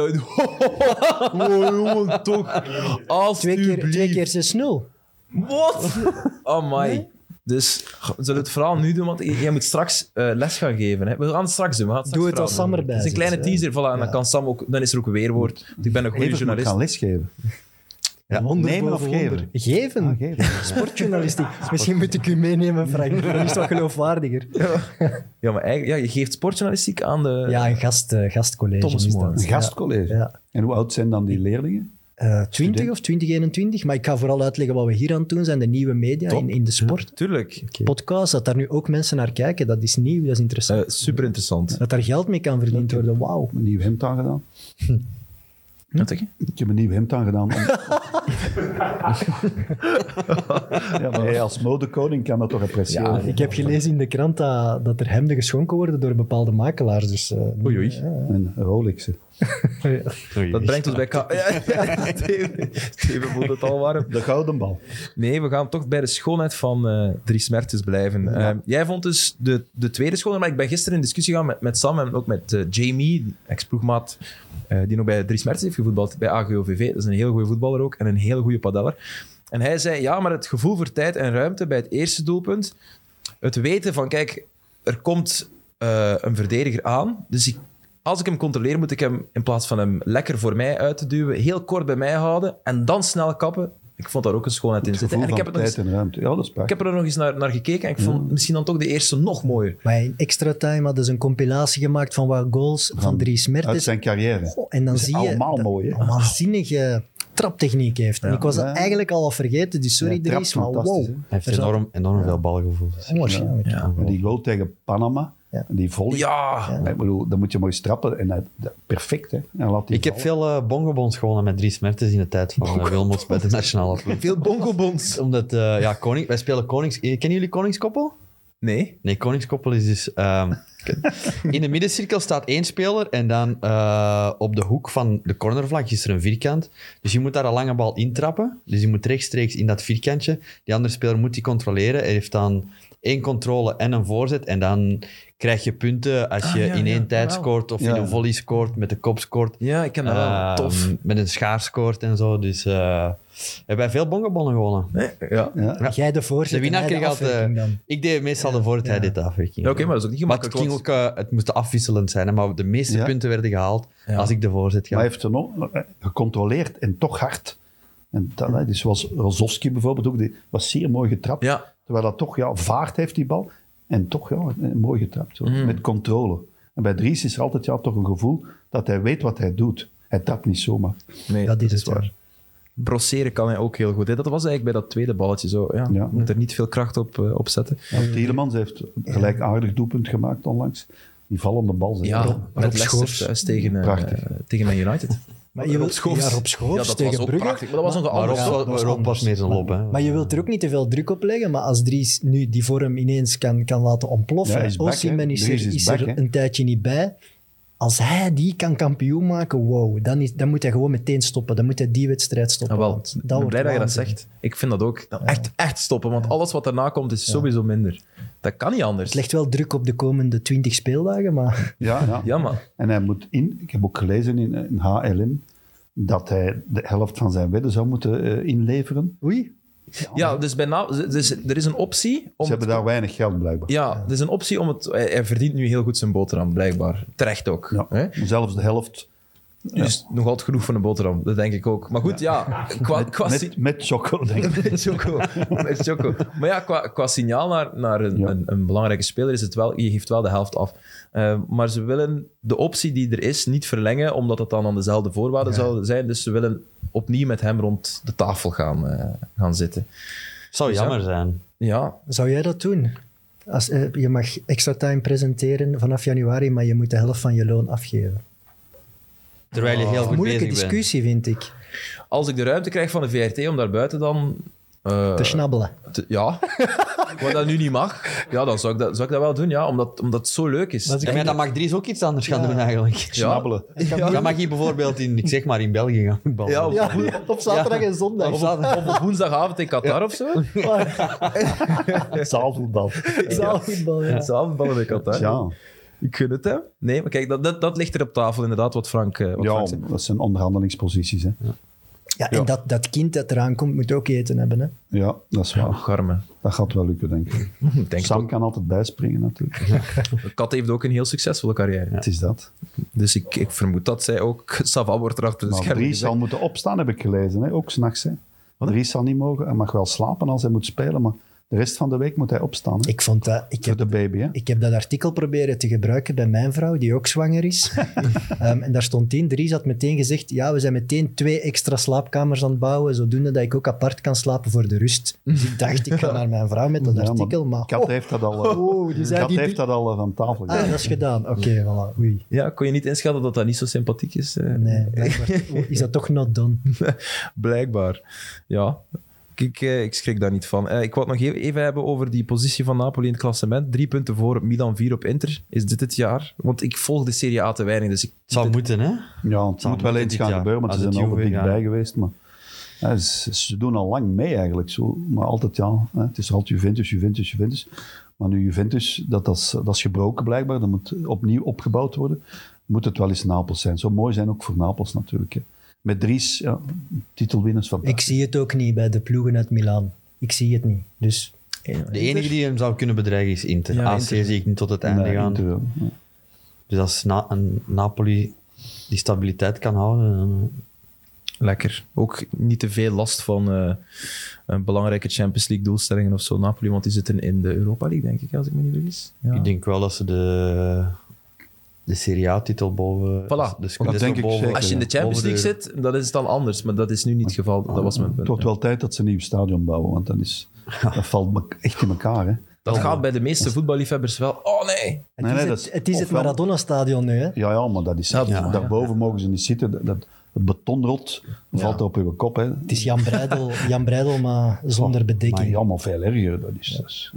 Speaker 1: Oh, jongen, toch.
Speaker 2: Twee keer,
Speaker 1: Alsjeblieft.
Speaker 2: twee keer 6-0.
Speaker 1: Wat? Oh my. Dus goh, we zullen het verhaal nu doen, want jij moet straks eh, les gaan geven. Hè? We gaan het straks doen. We gaan het
Speaker 2: Doe
Speaker 1: straks
Speaker 2: het als
Speaker 1: verhaal
Speaker 2: Sam
Speaker 1: doen.
Speaker 2: erbij
Speaker 1: Het is een kleine
Speaker 2: zit, hè.
Speaker 1: teaser, voilà, en dan, kan Sam ook, dan is er ook een weerwoord. Want ik ben een goede
Speaker 4: Evert moet
Speaker 1: journalist.
Speaker 4: gaan lesgeven.
Speaker 3: Ja,
Speaker 2: Honderd
Speaker 4: nemen of
Speaker 2: boven honderd.
Speaker 4: geven?
Speaker 2: Geven.
Speaker 4: Ah, geven.
Speaker 2: Sportjournalistiek. Misschien moet ik u meenemen, Frank. Dan is dat geloofwaardiger.
Speaker 1: Ja, maar eigenlijk, ja, je geeft sportjournalistiek aan de...
Speaker 2: Ja, een gast, eh, gastcollege.
Speaker 1: Thomas
Speaker 2: is dat.
Speaker 1: Moore.
Speaker 4: Een gastcollege.
Speaker 2: Ja.
Speaker 4: En hoe oud zijn dan die leerlingen?
Speaker 2: Eh, 20 of 2021. Maar ik ga vooral uitleggen wat we hier aan het doen zijn. De nieuwe media in, in de sport.
Speaker 1: Tuurlijk.
Speaker 2: Podcast, dat daar nu ook mensen naar kijken. Dat is nieuw, dat is interessant.
Speaker 1: Eh, super interessant.
Speaker 4: Eh.
Speaker 2: dat daar geld mee kan verdiend worden. Wauw.
Speaker 4: Een nieuw hemd aangedaan.
Speaker 1: Wat zeg je?
Speaker 4: Ik heb een nieuw hemd aangedaan. om- ja, maar hij als modekoning kan dat toch appreciëren.
Speaker 1: Ja,
Speaker 4: Ja,
Speaker 2: Ik heb gelezen in de krant dat, dat er hemden geschonken worden door bepaalde makelaars. Dus, eh,
Speaker 1: Oei, oei.
Speaker 4: En Rolexen.
Speaker 1: Dat brengt ons bij... Ka- Ja, ja, Steven- Steven voelt het al warm.
Speaker 4: De gouden bal.
Speaker 1: Nee, we gaan toch bij de schoonheid van eh Dries Mertens blijven. Eh, jij vond dus de, de tweede schoonheid, maar ik ben gisteren in discussie gegaan met, met Sam en ook met eh, Jamie, ex-ploegmaat, eh, die nog bij Dries Mertens heeft gevoetbald bij AGOVV. Dat is een heel goede voetballer ook en een heel goede padeller. En hij zei, ja, maar het gevoel voor tijd en ruimte bij het eerste doelpunt, het weten van, kijk, er komt eh, een verdediger aan, dus ik, als ik hem controleer, moet ik hem in plaats van hem lekker voor mij uit te duwen, heel kort bij mij houden en dan snel kappen Ik vond daar ook een schoonheid in zitten.
Speaker 4: gevoel
Speaker 1: En ik heb,
Speaker 4: van
Speaker 1: het nog
Speaker 4: tijd
Speaker 1: eens,
Speaker 4: en ruimte. Ja, dat is
Speaker 1: ik
Speaker 4: prachtig.
Speaker 1: heb er nog eens naar, naar gekeken en ik vond misschien dan toch de eerste nog mooier.
Speaker 2: Maar in Extra Time hadden ze een compilatie gemaakt van wat goals van Dries
Speaker 4: Uit
Speaker 2: Mertens.
Speaker 4: zijn carrière.
Speaker 2: Oh, en dan zie je
Speaker 4: allemaal
Speaker 2: dat
Speaker 4: mooi, hè?
Speaker 2: een waanzinnige traptechniek heeft. En ik was dat
Speaker 4: Ja.
Speaker 2: eigenlijk al vergeten, dus sorry
Speaker 4: Ja, trapt
Speaker 2: Dries, maar
Speaker 4: fantastisch,
Speaker 2: wow.
Speaker 4: hè? Hij
Speaker 3: Hij heeft
Speaker 2: Er zat-
Speaker 3: enorm, enorm veel balgevoel.
Speaker 2: Onwaarschijnlijk.
Speaker 1: Ah,
Speaker 4: Maar Die goal tegen Panama,
Speaker 2: Ja.
Speaker 4: die volley.
Speaker 1: Ja,
Speaker 4: Ik bedoel, dan moet je mooi strappen. En hij, dat- perfect, hè. En laat die
Speaker 3: Ik heb
Speaker 4: vallen.
Speaker 3: veel eh bongobons gewonnen met drie smertes in de tijd van eh, Wilmots bij de nationale ploeg.
Speaker 1: veel bonkobons.
Speaker 3: Omdat, eh, ja, koning, wij spelen Konings... eh, Kennen jullie Koningskoppel?
Speaker 1: Nee.
Speaker 3: Nee, Koningskoppel is dus... ehm, in de middencirkel staat één speler en dan eh, op de hoek van de cornervlak is er een vierkant. Dus je moet daar een lange bal intrappen. Dus je moet rechtstreeks in dat vierkantje. Die andere speler moet die controleren. Hij heeft dan één controle en een voorzet. En dan krijg je punten als
Speaker 1: Ah,
Speaker 3: je
Speaker 1: ja,
Speaker 3: in één
Speaker 1: ja,
Speaker 3: tijd
Speaker 1: jawel.
Speaker 3: scoort of
Speaker 4: Ja.
Speaker 3: in een volley scoort, met de kop scoort.
Speaker 1: Ja, ik ken dat wel.
Speaker 3: Ehm,
Speaker 1: Tof.
Speaker 3: Met een schaar scoort en zo. Dus eh hebben wij veel bongobonnen gewonnen.
Speaker 1: Nee, ja.
Speaker 4: Ja.
Speaker 3: Ja.
Speaker 2: Jij de voorzet
Speaker 3: De winnaar
Speaker 2: en hij
Speaker 3: kreeg
Speaker 2: de
Speaker 3: altijd...
Speaker 2: afwerking dan.
Speaker 3: ik deed meestal de voorzet, hij deed de afwerking.
Speaker 1: Ja, oké, maar dat is ook niet
Speaker 3: Maar het,
Speaker 1: gemakkelijk.
Speaker 3: ging
Speaker 1: want-
Speaker 3: ook, eh, het moest afwisselend zijn, hè, maar de meeste
Speaker 4: Ja.
Speaker 3: punten werden gehaald
Speaker 1: Ja.
Speaker 3: als ik de voorzet
Speaker 4: Maar
Speaker 3: gaf.
Speaker 4: hij heeft er nog eh, gecontroleerd en toch hard. En dat, hè, dus zoals Rozovski bijvoorbeeld ook, die was zeer mooi getrapt.
Speaker 1: Ja.
Speaker 4: Terwijl dat toch, ja, vaart heeft die bal. En toch, ja, eh, mooi getrapt. zo,
Speaker 1: Mm.
Speaker 4: Met controle. En bij Dries is er altijd ja, toch een gevoel dat hij weet wat hij doet. Hij trapt niet zomaar.
Speaker 1: Nee,
Speaker 2: Dat is het, ja.
Speaker 1: Brosseren kan hij ook heel goed. hè. Dat was eigenlijk bij dat tweede balletje zo. Ja,
Speaker 4: Ja.
Speaker 1: Moet er niet veel kracht op, eh, op zetten.
Speaker 4: Ja, Tielemans heeft een gelijkaardig doelpunt gemaakt onlangs. Die vallende bal. zeg.
Speaker 1: Ja,
Speaker 4: Rob-
Speaker 1: met
Speaker 2: Rob
Speaker 1: Leicester
Speaker 2: Schoofs.
Speaker 1: thuis tegen, eh,
Speaker 4: Prachtig.
Speaker 1: tegen Man United.
Speaker 2: Maar je wilt- ja, Rob Schoofs
Speaker 1: dat
Speaker 2: tegen
Speaker 1: was ook
Speaker 2: Brugge.
Speaker 1: prachtig, maar dat was nog een
Speaker 3: Maar
Speaker 1: ander
Speaker 3: Rob,
Speaker 2: Ja,
Speaker 1: spel.
Speaker 2: dat was
Speaker 3: maar Rob was
Speaker 2: anders.
Speaker 3: meer zijn lop. Hè.
Speaker 2: Maar je wilt er ook niet te veel druk op leggen, maar als Dries nu die vorm ineens kan, kan laten
Speaker 4: Ja,
Speaker 2: ontploffen, oh,
Speaker 4: hij
Speaker 2: ja,
Speaker 4: is back, hè.
Speaker 2: is,
Speaker 4: Dries
Speaker 2: er,
Speaker 4: is
Speaker 2: is er
Speaker 4: back, hè.
Speaker 2: een tijdje niet bij. Als hij die kan kampioen maken, wow, dan, is, dan moet hij gewoon meteen stoppen. Dan moet hij die wedstrijd stoppen.
Speaker 1: Ja, Nou, Ah, wel,
Speaker 2: want
Speaker 1: ik ben
Speaker 2: wordt
Speaker 1: blij dat je dat
Speaker 2: waanzin.
Speaker 1: zegt. Ik vind dat ook. Nou, echt, echt stoppen, want alles wat daarna komt is sowieso minder. Dat kan niet anders.
Speaker 2: Het legt wel druk op de komende 20 speeldagen, maar
Speaker 4: Ja, ja.
Speaker 1: Ja, maar
Speaker 4: En hij moet in, ik heb ook gelezen in, eh, in HLN, dat hij de helft van zijn wedden zou moeten eh, inleveren.
Speaker 2: oei.
Speaker 1: ja, dus, bijna, dus er is een optie om
Speaker 4: Ze hebben daar weinig geld blijkbaar.
Speaker 1: Ja, het is een optie om het... Hij, hij verdient nu heel goed zijn boterham, blijkbaar. Terecht ook.
Speaker 4: Ja.
Speaker 1: Hè?
Speaker 4: Zelfs de helft
Speaker 1: Dus nog altijd genoeg van een boterham, dat denk ik ook. Maar goed, ja, qua, qua
Speaker 4: met,
Speaker 1: si-
Speaker 4: met choco, denk ik.
Speaker 1: met choco. Met choco. Maar ja, qua, qua signaal naar, naar een,
Speaker 4: Ja.
Speaker 1: een, een belangrijke speler is het wel... Je geeft wel de helft af. Eh, maar ze willen de optie die er is niet verlengen, omdat het dan aan dezelfde voorwaarden zou zijn. Dus ze willen opnieuw met hem rond de tafel gaan, eh, gaan zitten.
Speaker 3: zou
Speaker 1: Dus ja.
Speaker 3: jammer zijn.
Speaker 1: Ja,
Speaker 2: Zou jij dat doen? Als, eh, je mag extra time presenteren vanaf januari, maar je moet de helft van je loon afgeven.
Speaker 3: Terwijl je heel goed
Speaker 2: Moeilijke
Speaker 3: bezig bent.
Speaker 2: discussie, vind ik.
Speaker 1: als ik de ruimte krijg van de VRT om daarbuiten dan... eh,
Speaker 2: Te snabbelen.
Speaker 1: Te- ja. Wat dat nu niet mag, ja, dan zou ik dat, zou ik dat wel doen, ja, omdat, omdat het zo leuk is.
Speaker 2: Maar ze-
Speaker 3: Ja, maar dan mag Dries ook iets anders gaan doen eigenlijk.
Speaker 1: Ja.
Speaker 4: Snabbelen.
Speaker 3: Dan mag hij bijvoorbeeld in, ik zeg maar, in België gaan voetballen.
Speaker 1: Ja,
Speaker 2: Ja, op zaterdag
Speaker 3: Ja.
Speaker 2: en zondag.
Speaker 3: Of dat-
Speaker 1: Of op woensdagavond in Qatar of zo.
Speaker 4: Zaalvoetbal.
Speaker 2: Zaalvoetbal, ja.
Speaker 1: Zaalvoetballen in Qatar.
Speaker 4: Ja,
Speaker 1: Ik gun het hem. Nee, maar kijk, dat, dat, dat ligt er op tafel inderdaad, wat Frank, eh, wat
Speaker 4: ja,
Speaker 1: Frank zei.
Speaker 4: dat zijn onderhandelingsposities. Hè.
Speaker 2: Ja, en dat, dat kind dat eraan komt, moet ook eten hebben. Hè?
Speaker 4: Ja, dat is waar.
Speaker 1: Ach, arme.
Speaker 4: Dat gaat wel lukken, denk ik.
Speaker 1: Ik Denk
Speaker 4: Sam kan altijd bijspringen, natuurlijk.
Speaker 1: het. Kat heeft ook een heel succesvolle carrière.
Speaker 4: Het is dat.
Speaker 1: Dus ik, ik vermoed dat zij ook... Sava wordt erachter de
Speaker 4: Maar
Speaker 1: schermen
Speaker 4: Dries zal
Speaker 1: gezet.
Speaker 4: moeten opstaan, heb ik gelezen. Hè? Ook s'nachts. Dries zal niet mogen. Hij mag wel slapen als hij moet spelen, maar de rest van de week moet hij opstaan. Hè?
Speaker 2: Ik, vond dat, ik,
Speaker 4: Voor
Speaker 2: heb,
Speaker 4: de baby. Hè?
Speaker 2: ik heb dat artikel proberen te gebruiken bij mijn vrouw, die ook zwanger is. Ehm, en daar stond in, Dries had meteen gezegd, ja, we zijn meteen twee extra slaapkamers aan het bouwen, zodoende dat ik ook apart kan slapen voor de rust. Dus ik dacht, ik ga naar mijn vrouw met dat
Speaker 4: Ja, maar
Speaker 2: artikel, maar...
Speaker 4: Kat heeft dat al, eh,
Speaker 2: Oh, die zei
Speaker 4: Kat
Speaker 2: die-
Speaker 4: heeft dat al eh, van tafel
Speaker 2: Ah,
Speaker 4: gehaald.
Speaker 2: dat is gedaan. Oké, voilà. Oei.
Speaker 1: Ja, kon je niet inschatten dat dat niet zo sympathiek is? eh?
Speaker 2: Nee, blijkbaar is dat toch not done.
Speaker 1: Blijkbaar. Ja. Ik, eh, ik schrik daar niet van. Eh, ik wou het nog e- even hebben over die positie van Napoli in het klassement. Drie punten voor op Milan, vier op Inter. Is dit het jaar? Want ik volg de Serie A te weinig, dus ik...
Speaker 3: Het zou moeten, hè?
Speaker 4: Ja, het
Speaker 3: Zou
Speaker 4: moet wel
Speaker 3: moeten
Speaker 4: eens
Speaker 3: dit
Speaker 4: gaan
Speaker 3: jaar.
Speaker 4: gebeuren, want ze
Speaker 3: Als het
Speaker 4: zijn over
Speaker 3: Juve
Speaker 4: dichtbij
Speaker 3: gaat.
Speaker 4: geweest. Maar, ja, ze, ze doen al lang mee eigenlijk. Zo. Maar altijd ja, hè, het is altijd Juventus, Juventus, Juventus. Maar nu Juventus, dat, dat, is, dat is gebroken blijkbaar. Dat moet opnieuw opgebouwd worden. Moet het wel eens Napels zijn. Zo mooi zijn ook voor Napels natuurlijk. Hè. Met Dries, ja, titelwinners van
Speaker 2: Ik zie het ook niet bij de ploegen uit Milaan. Ik zie het niet. Dus
Speaker 3: De enige die hem zou kunnen bedreigen is Inter.
Speaker 1: Ja,
Speaker 3: AC
Speaker 1: Inter.
Speaker 3: zie ik niet tot het einde
Speaker 4: Nee,
Speaker 3: gaan.
Speaker 4: eh, Inter wel. Ja.
Speaker 3: Dus als Na- een Napoli die stabiliteit kan houden, dan
Speaker 1: Lekker. Ook niet te veel last van eh, een belangrijke Champions League doelstellingen of zo. Napoli, want die zitten in de Europa League, denk ik, als ik me niet vergis. Ja.
Speaker 3: Ik denk wel dat ze de, de Serie A-titel boven...
Speaker 1: Voilà.
Speaker 3: de
Speaker 4: Dat denk ik zeker.
Speaker 1: Als je in de Champions League
Speaker 3: zit.
Speaker 1: zit, dat is dan anders. Maar dat is nu niet het geval. Dat was mijn
Speaker 4: Het
Speaker 1: punt.
Speaker 4: wordt wel tijd dat ze een nieuw stadion bouwen, want dat, is, dat valt me echt in elkaar. Hè.
Speaker 1: Dat gaat bij de meeste voetballiefhebbers wel. Oh nee!
Speaker 2: Het
Speaker 4: Nee,
Speaker 2: is
Speaker 4: nee,
Speaker 2: het,
Speaker 4: dat-
Speaker 2: het, is het
Speaker 4: ofwel-
Speaker 2: Maradona-stadion nu, hè?
Speaker 4: Ja, ja, maar dat is echt,
Speaker 1: Ja.
Speaker 4: daarboven mogen ze niet zitten. Dat, dat- het beton rot, valt op uw kop. Hè. Het
Speaker 2: Het is Jan Breidel, Jan Breidel maar zonder
Speaker 4: maar
Speaker 2: bedekking.
Speaker 4: jammer veel erger. Dat is, dat is-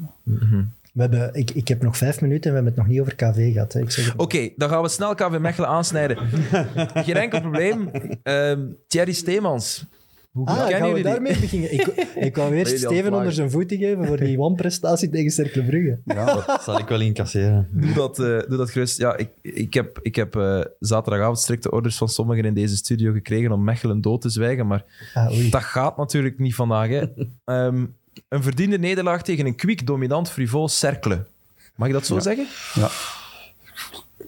Speaker 2: We hebben, ik, ik heb nog vijf minuten en we hebben het nog niet over KV gehad. Hè. Ik zeg het.
Speaker 3: Oh,
Speaker 1: Oké, dan gaan we snel KV Mechelen aansnijden. Geen enkel probleem. Ehm, Thierry Steemans. Hoe
Speaker 2: Ah,
Speaker 1: kennen
Speaker 2: gaan we
Speaker 1: jullie die?
Speaker 2: daarmee beginnen? Ik, ik wou
Speaker 1: Jullie
Speaker 2: eerst
Speaker 1: aan het
Speaker 2: Steven onder
Speaker 1: plagen.
Speaker 2: zijn voeten geven voor die wanprestatie tegen Cercle Brugge.
Speaker 3: Dat zal ik wel incasseren.
Speaker 1: Doe dat, eh, doe dat gerust. Ja, ik, ik heb, ik heb eh, zaterdagavond strikte orders van sommigen in deze studio gekregen om Mechelen dood te zwijgen. Maar
Speaker 2: Ah, oei.
Speaker 1: dat gaat natuurlijk niet vandaag. Hè. Ehm, een verdiende nederlaag tegen een kwiek, dominant, frivol cercle. Mag ik dat zo zeggen?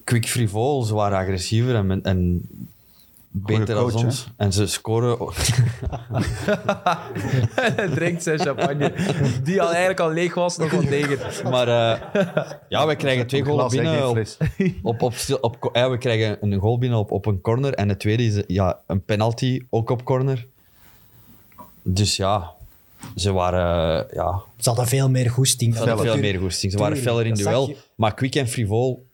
Speaker 3: Quick frivol, zwaar agressiever en, en beter
Speaker 4: coach,
Speaker 3: dan ons. En ze scoren...
Speaker 1: Drinkt zijn champagne, die al eigenlijk al leeg was, nog wat tegen.
Speaker 3: Maar eh, ja, we krijgen twee
Speaker 4: Een glas
Speaker 3: goals
Speaker 4: en
Speaker 3: binnen
Speaker 4: geen
Speaker 3: op,
Speaker 4: fles.
Speaker 3: op, op, stil- op, ko- ja, we krijgen een goal binnen op, op een corner. En de tweede is ja, een penalty, ook op corner. Dus ja, ze waren eh, ja,
Speaker 2: Ze hadden veel meer goesting.
Speaker 3: ze hadden veel meer goesting. Ze waren
Speaker 2: Tuurlijk,
Speaker 3: feller in
Speaker 2: dat zag
Speaker 3: duel.
Speaker 2: je.
Speaker 3: Maar quick en frivol,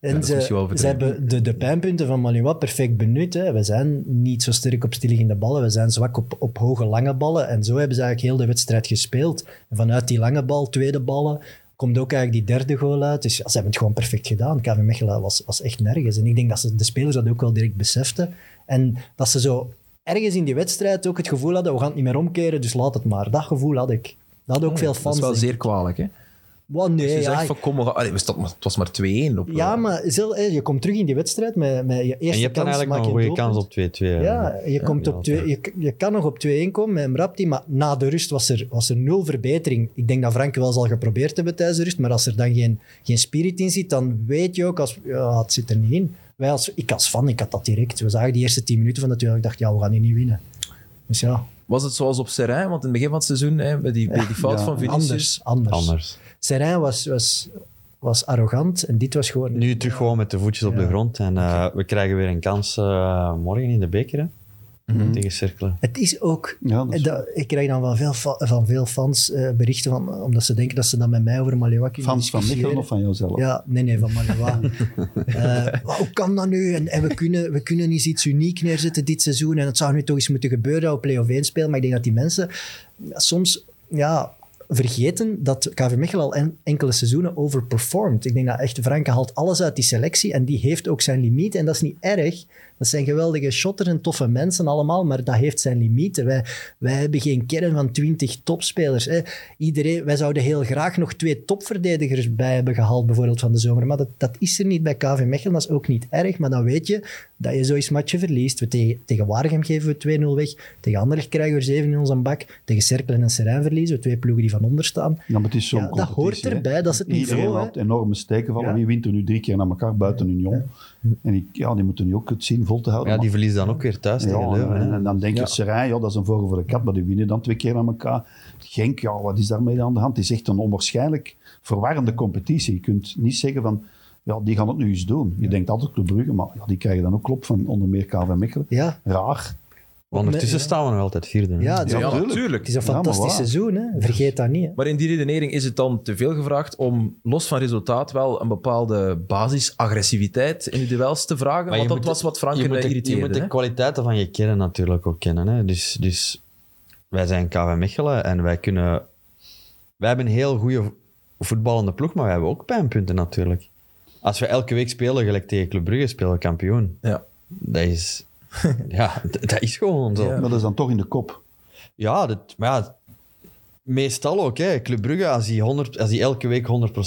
Speaker 2: En
Speaker 1: dat is misschien wel
Speaker 2: ze, ze
Speaker 1: overdreven.
Speaker 2: hebben de, de pijnpunten van Malouat perfect benut. Hè. We zijn niet zo sterk op stilliggende ballen. We zijn zwak op, op hoge lange ballen. En zo hebben ze eigenlijk heel de wedstrijd gespeeld. En vanuit die lange bal, tweede ballen, komt ook eigenlijk die derde goal uit. Dus ja, ze hebben het gewoon perfect gedaan. KV Mechelen was, was echt nergens. En ik denk dat ze, de spelers dat ook wel direct beseften. En dat ze zo ergens in die wedstrijd ook het gevoel hadden, we gaan het niet meer omkeren, dus laat het maar. Dat gevoel had ik. Dat hadden ook veel
Speaker 1: Oh, Dat
Speaker 2: fans.
Speaker 1: is wel
Speaker 2: denk ik.
Speaker 1: zeer kwalijk, hè?
Speaker 2: Wow, nee,
Speaker 1: Dus je
Speaker 2: ja,
Speaker 1: zegt
Speaker 2: ik-
Speaker 1: van, kom, we gaan- Allee, we stonden maar- het was maar 2-1. Op,
Speaker 2: ja, maar zel- eh, je komt terug in die wedstrijd met, met je
Speaker 3: en
Speaker 2: eerste
Speaker 3: je hebt dan
Speaker 2: kans,
Speaker 3: eigenlijk nog een
Speaker 2: maak je
Speaker 3: goede kans
Speaker 2: doelpunt.
Speaker 3: op 2-2. eh.
Speaker 2: Ja, je, komt
Speaker 3: ja,
Speaker 2: op twee, je, je kan nog op 2-1 komen met Mrapti, maar na de rust was er, was er nul verbetering. Ik denk dat Frank wel zal geprobeerd hebben tijdens de rust, maar als er dan geen, geen spirit in zit, dan weet je ook, als, ja, het zit er niet in. Wij als, ik als fan, ik had dat direct. We zagen die eerste 10 minuten van dat duel, ik dacht, ja, we gaan hier niet winnen. Dus ja,
Speaker 1: Was het zoals op Serrain? Want in het begin van het seizoen, hè, bij, die, bij die fout
Speaker 4: Ja,
Speaker 1: van Vinicius...
Speaker 2: anders, anders.
Speaker 3: Anders.
Speaker 2: Serijn was, was, was arrogant en dit was gewoon...
Speaker 3: Nu terug gewoon met de voetjes op de grond. En eh, we krijgen weer een kans eh, morgen in de beker. hè. Tegen Cerkelen.
Speaker 2: Het is ook
Speaker 4: Ja, dat is-
Speaker 2: Dat- ik krijg dan van veel, fa- van veel fans eh, berichten van, omdat ze denken dat ze dan met mij over Malewa kunnen
Speaker 4: Fans van
Speaker 2: discussiëren.
Speaker 4: Mechelen of van jouzelf?
Speaker 2: Ja, nee, nee, van Malewa. Eh, maar hoe kan dat nu? En, en we, kunnen, we kunnen eens iets uniek neerzetten dit seizoen. En het zou nu toch eens moeten gebeuren dat we play-off 1 spelen. Maar ik denk dat die mensen soms ja, vergeten dat KV Mechelen al en- enkele seizoenen overperformed. Ik denk dat echt Franke haalt alles uit die selectie en die heeft ook zijn limiet. En dat is niet erg. Dat zijn geweldige shotters en toffe mensen allemaal, maar dat heeft zijn limieten. Wij, wij hebben geen kern van twintig topspelers. Hè. Iedereen, wij zouden heel graag nog twee topverdedigers bij hebben gehaald, bijvoorbeeld van de zomer. Maar dat, dat is er niet bij KV Mechelen. Dat is ook niet erg. Maar dan weet je dat je zoiets matje verliest. We tegen, tegen Waregem geven we 2-0 weg. Tegen Anderlecht krijgen we er 7 in onze bak. Tegen Cerkelen en Serijn verliezen we twee ploegen die van onder staan.
Speaker 4: Ja, maar het is zo'n
Speaker 2: Ja, dat
Speaker 4: competitie,
Speaker 2: hoort
Speaker 4: hè.
Speaker 2: erbij, dat is het niveau,
Speaker 4: Iedereen
Speaker 2: hè.
Speaker 4: had enorme steken van.
Speaker 2: Ja.
Speaker 4: Wie wint er nu drie keer naar elkaar buiten Union? En ik, ja, die moeten nu ook het zien vol te houden.
Speaker 3: Ja, die
Speaker 4: maar-
Speaker 3: verliezen dan ook weer thuis tegen
Speaker 4: Ja,
Speaker 3: Leuven.
Speaker 4: en,
Speaker 3: hè.
Speaker 4: en dan denk je, Serijn, ja, dat is een vogel voor de kat, maar die winnen dan twee keer aan elkaar. Genk, ja, wat is daarmee aan de hand? Het is echt een onwaarschijnlijk verwarrende competitie. Je kunt niet zeggen van, ja, die gaan het nu eens doen. Je denkt altijd Club Brugge, maar ja, die krijgen dan ook klop van onder meer KV Mechelen.
Speaker 2: Ja,
Speaker 4: Raar.
Speaker 3: Want ondertussen
Speaker 2: Ja.
Speaker 3: staan we nog altijd vierde. hè.
Speaker 2: ja, het, is,
Speaker 1: Ja,
Speaker 4: Ja,
Speaker 1: natuurlijk.
Speaker 4: tuurlijk.
Speaker 2: het is een
Speaker 4: Ja, maar
Speaker 2: fantastisch
Speaker 4: waar.
Speaker 2: seizoen. Hè. Vergeet dat niet. Hè.
Speaker 1: Maar in die redenering is het dan te veel gevraagd om los van resultaat wel een bepaalde basisaggressiviteit in de duels te vragen?
Speaker 3: Maar je
Speaker 1: want dat
Speaker 3: moet-
Speaker 1: was wat
Speaker 3: je
Speaker 1: Franken
Speaker 3: moet, de, je
Speaker 1: irriteerde.
Speaker 3: moet de
Speaker 1: hè?
Speaker 3: kwaliteiten van je kern natuurlijk ook kennen. Hè. Dus, dus wij zijn KV Mechelen en wij kunnen... Wij hebben een heel goede voetballende ploeg, maar wij hebben ook pijnpunten natuurlijk. Als we elke week spelen, gelijk tegen Club Brugge spelen, we kampioen.
Speaker 1: Ja.
Speaker 3: Dat is... Ja, d- dat is gewoon zo.
Speaker 1: Ja.
Speaker 4: Maar dat is dan toch in de kop.
Speaker 3: Ja, dat, maar ja, meestal ook. Hè. Club Brugge, als die, 100, als die elke week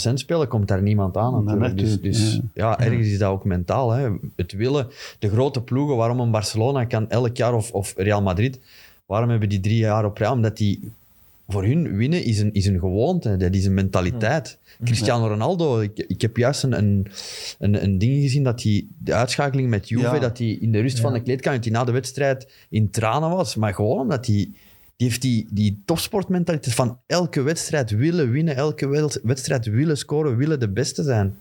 Speaker 3: 100% spelen, komt daar niemand aan natuurlijk.
Speaker 4: Nee,
Speaker 3: dus
Speaker 4: natuurlijk,
Speaker 3: dus
Speaker 4: ja.
Speaker 3: ja. ergens is dat ook mentaal. Hè. Het willen, de grote ploegen, waarom een Barcelona kan elk jaar, of, of Real Madrid, waarom hebben die drie jaar op rij? Omdat die voor hun winnen is een, is een gewoonte, dat is een mentaliteit. Cristiano Ronaldo, ik, ik heb juist een, een, een, een ding gezien dat hij de uitschakeling met Juve,
Speaker 4: Ja.
Speaker 3: dat hij in de rust van de kleedkamer, dat hij na de wedstrijd in tranen was. Maar gewoon omdat hij, die heeft die, die topsportmentaliteit van elke wedstrijd willen winnen, elke wel- wedstrijd willen scoren, willen de beste zijn.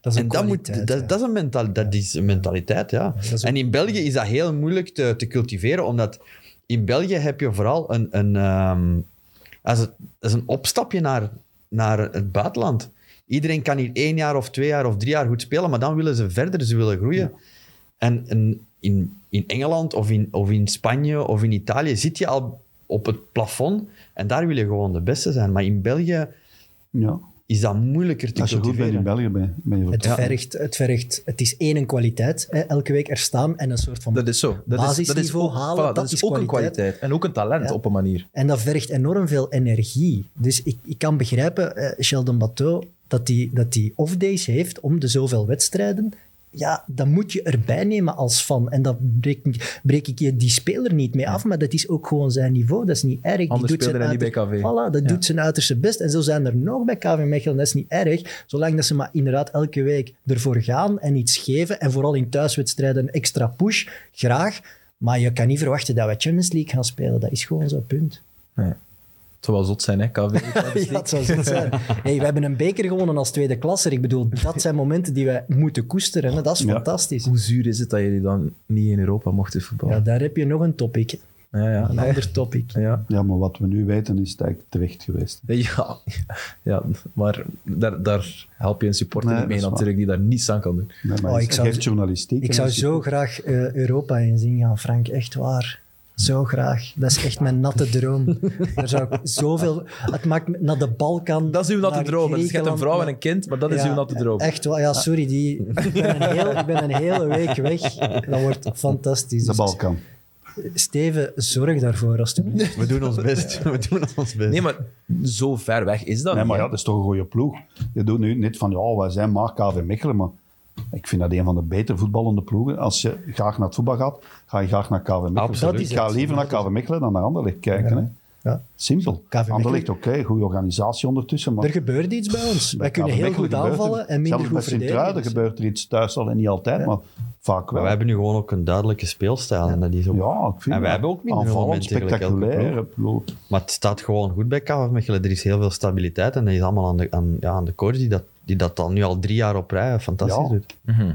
Speaker 2: Dat is een
Speaker 3: en dat, moet,
Speaker 2: kwaliteit,
Speaker 3: dat,
Speaker 2: ja.
Speaker 3: dat, is een mentali- dat is een mentaliteit, ja.
Speaker 2: dat is ook-
Speaker 3: En in België is dat heel moeilijk te, te cultiveren, omdat in België heb je vooral een, een, ehm, als het, dat is een opstapje naar, naar het buitenland. Iedereen kan hier één jaar of twee jaar of drie jaar goed spelen, maar dan willen ze verder, ze willen groeien. En, en in, in Engeland of in, of in Spanje of in Italië zit je al op het plafond en daar wil je gewoon de beste zijn. Maar in België
Speaker 4: Ja.
Speaker 3: is dat moeilijker te
Speaker 4: Als je goed bent in
Speaker 3: cultiveren.
Speaker 4: België, ben, ben je goed.
Speaker 2: Het, vergt, het vergt, het is één een kwaliteit, hè, elke week er staan en een soort van...
Speaker 1: Dat is zo. Dat is, dat is
Speaker 2: Basisniveau
Speaker 1: ook,
Speaker 2: halen,
Speaker 1: voilà,
Speaker 2: dat
Speaker 1: dat
Speaker 2: is
Speaker 1: is ook een
Speaker 2: kwaliteit.
Speaker 1: kwaliteit. En ook een talent
Speaker 2: Ja.
Speaker 1: op een manier.
Speaker 2: En dat vergt enorm veel energie. Dus ik, ik kan begrijpen, eh, Sheldon Bateau, dat hij dat die off-days heeft om de zoveel wedstrijden. Ja, dat moet je erbij nemen als fan. En dat breek, ik- breek ik je die speler niet mee af, maar dat is ook gewoon zijn niveau. Dat is niet erg. Die
Speaker 1: Anders speelde hij niet
Speaker 2: uiter-
Speaker 1: bij KV.
Speaker 2: Voilà, dat
Speaker 1: Ja.
Speaker 2: doet zijn uiterste best. En zo zijn er nog bij KV Mechelen. Dat is niet erg, zolang dat ze maar inderdaad elke week ervoor gaan en iets geven. En vooral in thuiswedstrijden een extra push, graag. Maar je kan niet verwachten dat we Champions League gaan spelen. Dat is gewoon zo'n punt.
Speaker 1: Het zou wel zot zijn, hè, KV.
Speaker 2: Ja, het zou zo zijn. Hey, we hebben een beker gewonnen als tweede klasser. Ik bedoel, dat zijn momenten die wij moeten koesteren. hè. Dat is
Speaker 4: Ja.
Speaker 2: fantastisch.
Speaker 1: Hoe zuur is het dat jullie dan niet in Europa mochten
Speaker 2: Ja,
Speaker 1: voetballen?
Speaker 2: daar heb je nog een topic. hè.
Speaker 1: Ja, ja.
Speaker 2: Een
Speaker 1: Nee.
Speaker 2: ander topic.
Speaker 1: ja.
Speaker 4: Ja, maar wat we nu weten is het eigenlijk terecht geweest.
Speaker 1: Ja, ja, maar daar, daar help je een supporter
Speaker 4: Nee,
Speaker 1: niet mee
Speaker 4: dat is
Speaker 1: natuurlijk, die daar niets aan kan doen.
Speaker 4: Nee, maar
Speaker 2: Oh,
Speaker 4: het
Speaker 2: ik zou-
Speaker 4: geeft journalistiek.
Speaker 2: Ik
Speaker 4: en
Speaker 2: zou
Speaker 4: als je-
Speaker 2: zo graag eh, Europa in zien gaan, Frank. Echt waar. Zo graag. Dat is echt mijn natte droom. Daar zou ik zoveel... Het maakt me naar de Balkan...
Speaker 1: Dat is uw natte
Speaker 2: naar
Speaker 1: droom. hè. Dus je hebt een
Speaker 2: Griekenland,
Speaker 1: vrouw en
Speaker 2: naar-
Speaker 1: een kind, maar dat is
Speaker 2: Ja,
Speaker 1: uw natte droom.
Speaker 2: Echt wel. Ja, sorry. Die, ik, ben een heel, ik ben een hele week weg. Dat wordt fantastisch.
Speaker 4: De
Speaker 2: Dus
Speaker 4: Balkan.
Speaker 2: Steven, zorg daarvoor, alstublieft.
Speaker 3: We doen ons best. We doen ons best.
Speaker 1: Nee, maar zo ver weg is dat
Speaker 4: Nee,
Speaker 3: Oh,
Speaker 1: niet,
Speaker 4: maar ja,
Speaker 1: hè.
Speaker 4: dat is toch een goede ploeg. Je doet nu niet van, ja, wij zijn maar KV Mechelen, maar ik vind dat een van de beter voetballende ploegen. Als je graag naar het voetbal gaat, ga je graag naar KV Mechelen.
Speaker 3: Absoluut.
Speaker 2: Dat is
Speaker 4: Ik ga
Speaker 2: het.
Speaker 4: liever naar KV Mechelen dan naar Anderlecht kijken. Hè.
Speaker 2: Ja.
Speaker 4: Simpel.
Speaker 2: Mechelen-
Speaker 4: Anderlecht, oké, goede organisatie ondertussen, maar...
Speaker 2: Er gebeurt iets bij ons. Wij
Speaker 4: bij
Speaker 2: kunnen
Speaker 4: KV
Speaker 2: heel
Speaker 4: Mechelen
Speaker 2: goed
Speaker 4: gebeurt er-
Speaker 2: aanvallen en minder
Speaker 4: Zelfs bij
Speaker 2: goed verdedigen.
Speaker 4: Sint-Truiden
Speaker 2: dus-
Speaker 4: gebeurt er iets thuis al en niet altijd, maar vaak
Speaker 3: Maar
Speaker 4: wel.
Speaker 3: wij hebben nu gewoon ook een duidelijke speelstijl. En dat is ook...
Speaker 4: ja, ik vind
Speaker 3: En wij
Speaker 4: dat
Speaker 3: hebben ook minder
Speaker 4: aanvallend,
Speaker 3: momenten gelijk elke
Speaker 4: spectaculair. Ik bedoel,
Speaker 3: Maar het staat gewoon goed bij KV Mechelen. Er is heel veel stabiliteit. En dat is allemaal aan de, aan, ja, aan de coach die dat, die dat al nu al drie jaar op rij eh, fantastisch
Speaker 4: Ja.
Speaker 3: doet.
Speaker 1: Mhm.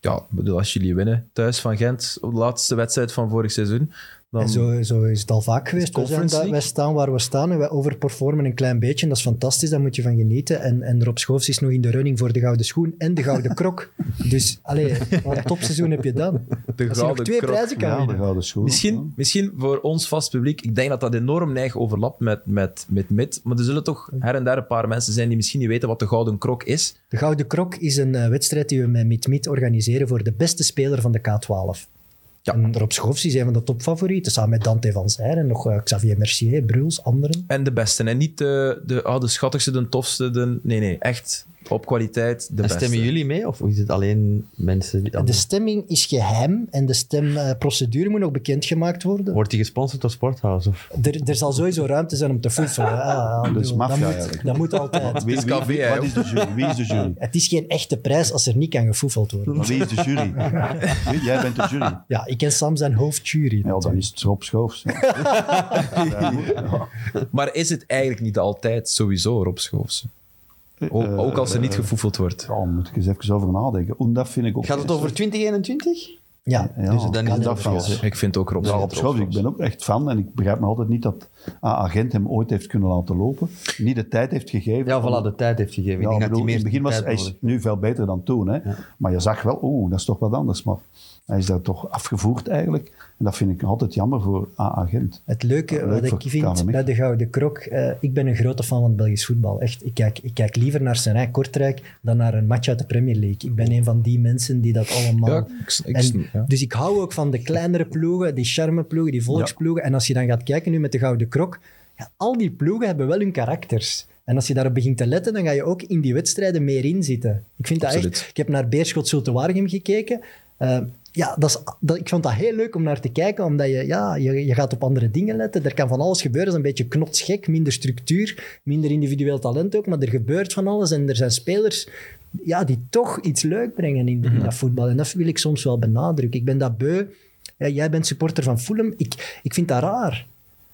Speaker 1: Ja, ik bedoel, als jullie winnen thuis van Gent, op de laatste wedstrijd van vorig seizoen, dan...
Speaker 2: En zo, zo is het al vaak geweest. We
Speaker 1: Conference
Speaker 2: zijn daar-
Speaker 1: League?
Speaker 2: wij staan waar we staan en wij overperformen een klein beetje. Dat is fantastisch, daar moet je van genieten. En, en Rob Schoofs is nog in de running voor de gouden schoen en de gouden krok. Dus, allee, wat een topseizoen heb je dan.
Speaker 1: de
Speaker 2: Als je nog
Speaker 1: gouden
Speaker 2: twee
Speaker 1: krok.
Speaker 2: prijzen kan
Speaker 4: ja, de
Speaker 2: winnen.
Speaker 4: gouden schoen.
Speaker 1: Misschien, misschien voor ons vast publiek, ik denk dat dat enorm neig overlapt met, met, met MIT, maar er zullen toch her en daar een paar mensen zijn die misschien niet weten wat de Gouden Krok is.
Speaker 2: De gouden krok is een eh, wedstrijd die we met MidMid organiseren voor de beste speler van de K12.
Speaker 1: Ja.
Speaker 2: En Rob Schoofs is een van de topfavorieten, samen met Dante van Zijr en nog eh, Xavier Mercier, Bruls, anderen.
Speaker 1: En de beste, en niet de, de, ah, de schattigste, de tofste, de, nee, nee, echt op kwaliteit de
Speaker 3: En
Speaker 1: beste.
Speaker 3: stemmen jullie mee? Of is het alleen mensen die...
Speaker 2: De stemming is geheim en de stemprocedure moet nog bekendgemaakt worden.
Speaker 3: Wordt die gesponsord door Sporthouse? Of...
Speaker 2: Er, er zal sowieso ruimte zijn om te foefelen. Ah, ah,
Speaker 4: Dat is
Speaker 2: bedoel,
Speaker 4: maffia
Speaker 2: dat, moet,
Speaker 4: eigenlijk.
Speaker 2: dat moet altijd.
Speaker 4: Wie,
Speaker 1: Het is
Speaker 4: wie-
Speaker 1: KV,
Speaker 4: wie-
Speaker 1: hè,
Speaker 4: wat is de jury? Wie is de jury?
Speaker 2: Het is geen echte prijs als er niet kan gefoefeld worden.
Speaker 4: Maar wie is de jury? Wie- Jij bent de jury.
Speaker 2: Ja, ik ken Sam zijn hoofdjury.
Speaker 4: Ja, dan is het Rob Schoofs. Ja. Ja, moet- ja.
Speaker 1: Maar is het eigenlijk niet altijd sowieso Rob Schoofs? O-
Speaker 4: Eh,
Speaker 1: ook als er niet gevoefeld wordt.
Speaker 4: Ja, daar moet ik eens even over nadenken. Om dat vind ik ook...
Speaker 3: Gaat het over 2021?
Speaker 2: Ja,
Speaker 4: Ja,
Speaker 2: dus
Speaker 3: dan
Speaker 4: dan
Speaker 3: is het
Speaker 4: dat
Speaker 3: Rob
Speaker 4: wel.
Speaker 3: Schoofs.
Speaker 1: Ik vind ook Rob
Speaker 4: eh, Ja,
Speaker 1: Schoofs.
Speaker 4: Rob Schoofs, ik ben ook echt fan en ik begrijp me altijd niet dat een agent hem ooit heeft kunnen laten lopen. Niet de tijd heeft gegeven.
Speaker 3: Ja,
Speaker 4: om-
Speaker 3: voilà, de tijd heeft gegeven.
Speaker 4: Ja,
Speaker 3: ik denk
Speaker 4: bedoel,
Speaker 3: dat
Speaker 4: in
Speaker 3: die
Speaker 4: het begin
Speaker 3: meer
Speaker 4: was
Speaker 3: tijd
Speaker 4: hij
Speaker 3: nodig
Speaker 4: is nu veel beter dan toen. Hè? Maar je zag wel, oeh, dat is toch wat anders. Maar hij is daar toch afgevoerd eigenlijk. En dat vind ik altijd jammer voor een agent.
Speaker 2: Het leuke
Speaker 4: Ja, leuk voor
Speaker 2: wat ik vind
Speaker 4: KVM.
Speaker 2: bij de Gouden Krok, eh, ik ben een grote fan van het Belgisch voetbal. Echt, ik kijk, ik kijk liever naar zijn eigen Kortrijk dan naar een match uit de Premier League. Ik ben een van die mensen die dat allemaal...
Speaker 1: Ja, ik- ik-
Speaker 2: En-
Speaker 1: ja.
Speaker 2: Dus ik hou ook van de kleinere ploegen, die charmeploegen, die volksploegen. En als je dan gaat kijken nu met de Gouden Krok, ja, al die ploegen hebben wel hun karakters. En als je daarop begint te letten, dan ga je ook in die wedstrijden meer inzitten. Ik vind dat
Speaker 1: Absoluut.
Speaker 2: echt... Ik heb naar Beerschot Zulte Waregem gekeken. Eh, Eh, ja, dat is, dat, ik vond dat heel leuk om naar te kijken, omdat je, ja, je, je gaat op andere dingen letten. Er kan van alles gebeuren. Het is een beetje knotsgek, minder structuur, minder individueel talent ook, maar er gebeurt van alles. En er zijn spelers ja, die toch iets leuk brengen in, in dat voetbal. En dat wil ik soms wel benadrukken. Ik ben dat beu. Ja, jij bent supporter van Fulham. Ik, ik vind dat raar.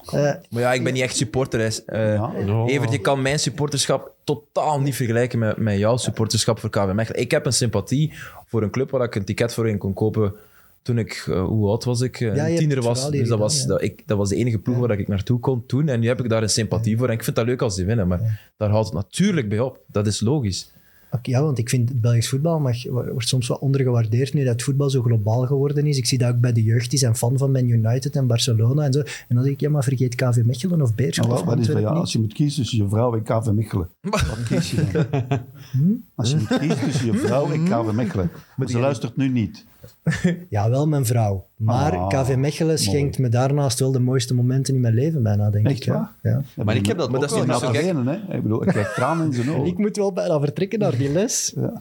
Speaker 2: Eh,
Speaker 1: Maar ja, ik ben niet echt supporter. hè. Eh
Speaker 4: Ja.
Speaker 1: Evert, je kan mijn supporterschap totaal niet vergelijken met, met jouw supporterschap voor KV Mechelen. Ik heb een sympathie voor een club waar ik een ticket voor in kon kopen toen ik, eh, hoe oud was ik? Een
Speaker 2: je hebt
Speaker 1: tiener
Speaker 2: het
Speaker 1: was.
Speaker 2: verhaal
Speaker 1: Dus
Speaker 2: hier
Speaker 1: dat was,
Speaker 2: gedaan,
Speaker 1: dat, ik, dat was de enige ploeg waar ik naartoe kon toen. En nu heb ik daar een sympathie voor. En ik vind dat leuk als die winnen, maar daar houdt het natuurlijk bij op. Dat is logisch.
Speaker 2: Oké, ja, want ik vind het Belgisch voetbal mag, wordt soms wat ondergewaardeerd nu dat het voetbal zo globaal geworden is. Ik zie dat ook bij de jeugd, die zijn fan van Man United en Barcelona en zo. En dan denk ik, ja, maar vergeet KV Mechelen of Beerschot
Speaker 4: Maar
Speaker 2: of
Speaker 4: Ah, wat, wat is bij
Speaker 2: Antwerpen
Speaker 4: jou,
Speaker 2: niet.
Speaker 4: als je moet kiezen tussen je vrouw en KV Mechelen, wat kies je dan? Als je moet kiezen tussen je vrouw en KV Mechelen, maar ze luistert nu niet.
Speaker 2: Ja, wel mijn vrouw. Maar
Speaker 4: Ah,
Speaker 2: KV Mechelen schenkt me daarnaast wel de mooiste momenten in mijn leven bijna, denk
Speaker 4: Echt
Speaker 2: ik. ja.
Speaker 4: waar?
Speaker 2: Ja.
Speaker 3: Maar ik heb dat
Speaker 1: Maar
Speaker 3: ook
Speaker 1: dat is
Speaker 3: wel
Speaker 1: niet
Speaker 4: Nou,
Speaker 1: zo
Speaker 4: dat
Speaker 1: gek.
Speaker 4: wenen, hè? Ik bedoel, ik krijg tranen in zijn
Speaker 2: Ik
Speaker 4: ogen.
Speaker 2: moet wel bijna vertrekken naar die les.
Speaker 4: Maar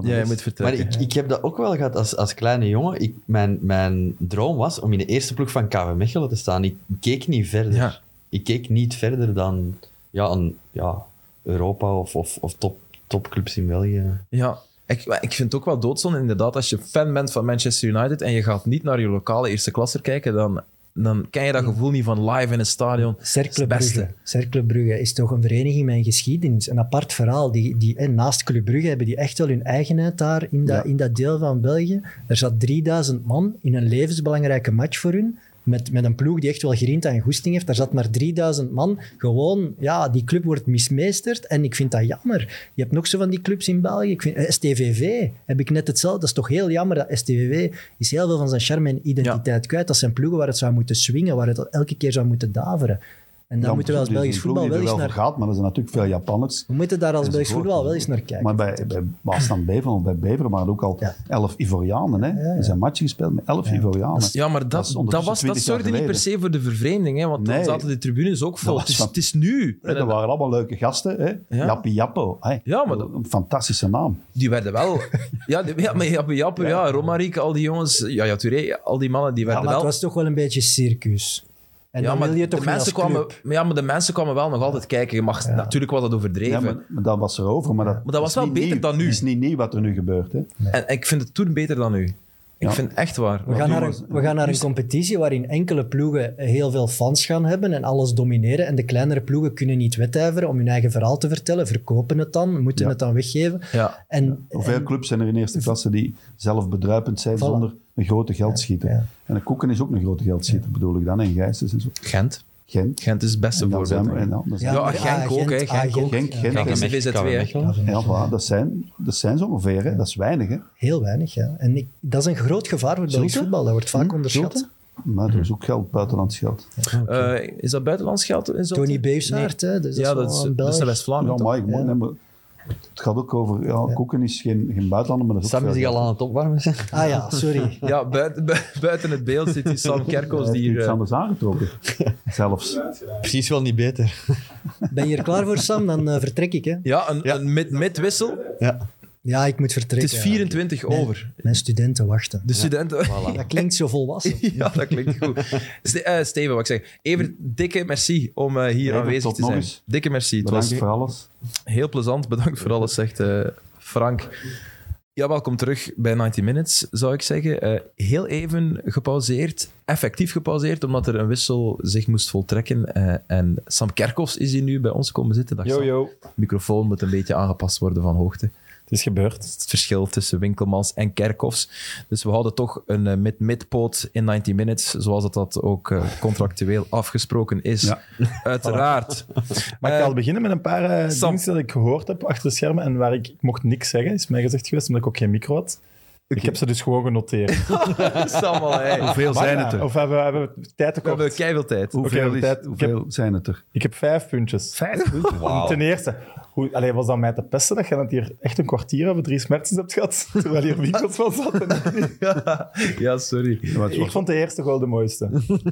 Speaker 4: dat
Speaker 1: Ja, je
Speaker 4: is-
Speaker 1: moet
Speaker 3: Maar
Speaker 1: vertellen.
Speaker 3: ik, ik heb dat ook wel gehad als, als kleine jongen. Ik, mijn, mijn droom was om in de eerste ploeg van KV Mechelen te staan. Ik keek niet verder.
Speaker 1: Ja.
Speaker 3: Ik keek niet verder dan ja, een, ja, Europa of, of, of top, topclubs in België.
Speaker 1: Ja, ik, maar ik vind het ook wel doodzonde inderdaad. Als je fan bent van Manchester United en je gaat niet naar je lokale eerste klasser kijken, dan, dan ken je dat gevoel niet van live in het stadion.
Speaker 2: Hmm. Cercle
Speaker 1: Dat is het
Speaker 2: Brugge. Cercle Brugge is toch een vereniging met een geschiedenis. Een apart verhaal. Die, die, en naast Club Brugge hebben die echt wel hun eigenheid daar in dat, in dat deel van België. Er zat 3000 man in een levensbelangrijke match voor hun. Met, met een ploeg die echt wel grinta en goesting heeft. Daar zat maar 3000 man. Gewoon, ja, die club wordt mismeesterd. En ik vind dat jammer. Je hebt nog zo van die clubs in België. Ik vind, eh, STVV heb ik net hetzelfde. Dat is toch heel jammer. Dat STVV is heel veel van zijn charme en identiteit kwijt. Dat zijn ploegen waar het zou moeten swingen. Waar het elke keer zou moeten daveren. En daar
Speaker 4: Ja,
Speaker 2: moeten we als
Speaker 4: dus
Speaker 2: Belgisch
Speaker 4: een ploeg
Speaker 2: voetbal
Speaker 4: die
Speaker 2: wel
Speaker 4: er
Speaker 2: eens
Speaker 4: wel
Speaker 2: naar...
Speaker 4: voor gaat, maar er zijn natuurlijk veel Japanners.
Speaker 2: We moeten daar als Belgisch
Speaker 4: Enzovoort.
Speaker 2: voetbal wel eens naar kijken.
Speaker 4: Maar bij, bij Baasland Beveren of bij Beveren waren ook al
Speaker 2: Ja.
Speaker 4: elf Ivorianen. Hè? Er zijn matchen gespeeld met elf Ivorianen.
Speaker 1: Dus Ja, maar dat, dat,
Speaker 4: ondertussen
Speaker 1: was, dat
Speaker 4: 20 jaar
Speaker 1: zorgde niet per
Speaker 4: geleden.
Speaker 1: se voor de vervreemding, hè, want dan
Speaker 4: Nee.
Speaker 1: zaten de tribunes ook vol.
Speaker 4: was
Speaker 1: Het is,
Speaker 4: van-
Speaker 1: het is nu.
Speaker 4: Hè, dat waren allemaal leuke gasten. Hè?
Speaker 1: Ja.
Speaker 4: Jappie Jappo. Hè?
Speaker 1: Ja, maar dat-
Speaker 4: Een fantastische naam.
Speaker 1: Die werden wel... ja, die, ja, maar Jappe Jappe, ja. Romariek, al die jongens, ja, ja, Touré, al die mannen, die
Speaker 2: Ja,
Speaker 1: werden
Speaker 2: maar het
Speaker 1: wel...
Speaker 2: was toch wel een beetje circus. En
Speaker 1: Ja,
Speaker 2: dan
Speaker 1: maar,
Speaker 2: wil je toch
Speaker 1: de
Speaker 2: niet als
Speaker 1: mensen kwamen,
Speaker 2: club.
Speaker 1: maar ja, maar de mensen kwamen wel nog altijd kijken. Je mag, Natuurlijk was dat
Speaker 4: Ja,
Speaker 1: overdreven.
Speaker 4: maar, maar dat was erover. Maar dat,
Speaker 1: Maar dat was
Speaker 4: is
Speaker 1: wel
Speaker 4: niet
Speaker 1: beter
Speaker 4: nieuw.
Speaker 1: dan nu.
Speaker 4: Het is niet nieuw wat er nu gebeurt. Hè?
Speaker 1: en, en ik vind het toen beter dan nu. Ik
Speaker 4: Ja.
Speaker 1: vind het echt waar.
Speaker 2: We gaan, naar
Speaker 4: was-
Speaker 2: een, we gaan naar een competitie waarin enkele ploegen heel veel fans gaan hebben en alles domineren. En de kleinere ploegen kunnen niet wedijveren om hun eigen verhaal te vertellen. Verkopen het dan, moeten
Speaker 4: Ja.
Speaker 2: het dan weggeven.
Speaker 1: Ja.
Speaker 2: En,
Speaker 4: Hoeveel clubs zijn er in eerste klasse die zelf bedruipend zijn
Speaker 2: Voilà.
Speaker 4: zonder een grote geldschieter?
Speaker 2: Ja, ja.
Speaker 4: En de Koeken is ook een grote geldschieter, bedoel ik dan. En Gijsens en zo.
Speaker 1: Gent.
Speaker 4: Gent.
Speaker 1: Gent is het beste
Speaker 4: En dan
Speaker 1: voorbeeld.
Speaker 4: zijn
Speaker 1: denk
Speaker 4: we- en
Speaker 1: ik.
Speaker 4: dan-
Speaker 1: Ja,
Speaker 4: dan zijn we-
Speaker 1: ja,
Speaker 2: maar-
Speaker 1: Genk
Speaker 2: ah,
Speaker 1: ook, hè.
Speaker 2: Gent,
Speaker 1: Genk
Speaker 2: ah,
Speaker 1: ook.
Speaker 4: Genk, Genk.
Speaker 1: Genk is de
Speaker 3: Mechelen,
Speaker 1: VZW,
Speaker 3: KV
Speaker 1: hè.
Speaker 3: Mechelen.
Speaker 4: Ja, voilà, dat, zijn, dat zijn ze ongeveer. Hè. Dat is weinig. Hè.
Speaker 2: heel weinig, ja. En ik, dat is een groot gevaar voor het Belgisch
Speaker 4: Zulte?
Speaker 2: voetbal. Dat wordt vaak
Speaker 4: Hm?
Speaker 2: onderschat.
Speaker 4: Zulte? Maar er is ook geld, buitenlands geld.
Speaker 1: Eh, is dat buitenlands geld? in Zulte?
Speaker 2: Tony Beusnaert, hè. Dus
Speaker 1: ja,
Speaker 2: wel
Speaker 1: dat is, Ah,
Speaker 2: een
Speaker 1: dat is een
Speaker 2: Belg.
Speaker 4: Ja,
Speaker 1: West-Vlaming. toch?
Speaker 4: maar, ik- nee, maar het gaat ook over... Ja, Koeken is geen, geen buitenlander, maar dat is ook
Speaker 3: Sam
Speaker 4: veel
Speaker 3: is zich al
Speaker 4: geld.
Speaker 3: aan het opwarmen. zeg.
Speaker 2: Ah ja, sorry.
Speaker 1: Ja, buiten, bu- buiten het beeld zit die Sam Kerkos die
Speaker 4: Hij heeft
Speaker 1: hier...
Speaker 4: iets
Speaker 1: eh,
Speaker 4: anders aangetrokken. Zelfs.
Speaker 3: Precies wel niet beter.
Speaker 2: Ben je er klaar voor, Sam? Dan eh, vertrek ik, hè.
Speaker 1: ja, een, een mid, midwissel.
Speaker 3: Ja.
Speaker 2: Ja, ik moet
Speaker 1: Het
Speaker 2: vertrekken.
Speaker 1: is 24 over.
Speaker 2: Mijn studenten wachten.
Speaker 1: De studenten...
Speaker 2: Dat klinkt zo volwassen.
Speaker 1: Ja, dat klinkt goed. Ste- eh, Steven, wat ik zeg. Even dikke merci om eh, hier
Speaker 4: Evert,
Speaker 1: aanwezig
Speaker 4: tot
Speaker 1: te
Speaker 4: nog
Speaker 1: zijn.
Speaker 4: eens.
Speaker 1: Dikke merci. Het
Speaker 4: Bedankt
Speaker 1: was
Speaker 4: voor alles.
Speaker 1: heel plezant. Bedankt voor alles, zegt eh, Frank. Ja, welkom terug bij 90 Minutes, zou ik zeggen. Eh, heel even gepauzeerd, effectief gepauzeerd, omdat er een wissel zich moest voltrekken. Eh, en Sam Kerkhoffs is hier nu bij ons komen zitten. Dag, Sam.
Speaker 5: Jojo,
Speaker 1: De microfoon moet een beetje aangepast worden van hoogte.
Speaker 5: het is gebeurd.
Speaker 1: Het verschil tussen Winkelmans en Kerkhoffs. Dus we houden toch een eh, mid-midpoot in 90 minutes, zoals dat, dat ook eh, contractueel afgesproken is.
Speaker 4: Ja.
Speaker 1: Uiteraard.
Speaker 5: Maar ik
Speaker 1: Eh,
Speaker 5: ga al beginnen met een paar eh
Speaker 1: Sam.
Speaker 5: dingen die ik gehoord heb achter de schermen en waar ik, ik mocht niks zeggen, is mij gezegd geweest, omdat ik ook geen micro had. Ik heb ze dus gewoon genoteerd.
Speaker 1: Sam al, hey.
Speaker 4: Hoeveel zijn
Speaker 5: Maar,
Speaker 4: het er?
Speaker 5: Of hebben we, hebben we tijd
Speaker 1: We hebben
Speaker 5: tekort?
Speaker 1: keiveel tijd.
Speaker 4: Hoeveel,
Speaker 5: Oké,
Speaker 4: is-
Speaker 5: tijd- ik
Speaker 4: hoeveel zijn het er?
Speaker 5: Ik heb vijf puntjes.
Speaker 4: Vijf punten.
Speaker 5: Ten eerste, hoe, allee, was dat mij te pesten dat je dat hier echt een kwartier over drie smertens hebt gehad, terwijl hier winkels van zaten?
Speaker 1: Ja, sorry.
Speaker 5: ik vond de eerste wel de mooiste.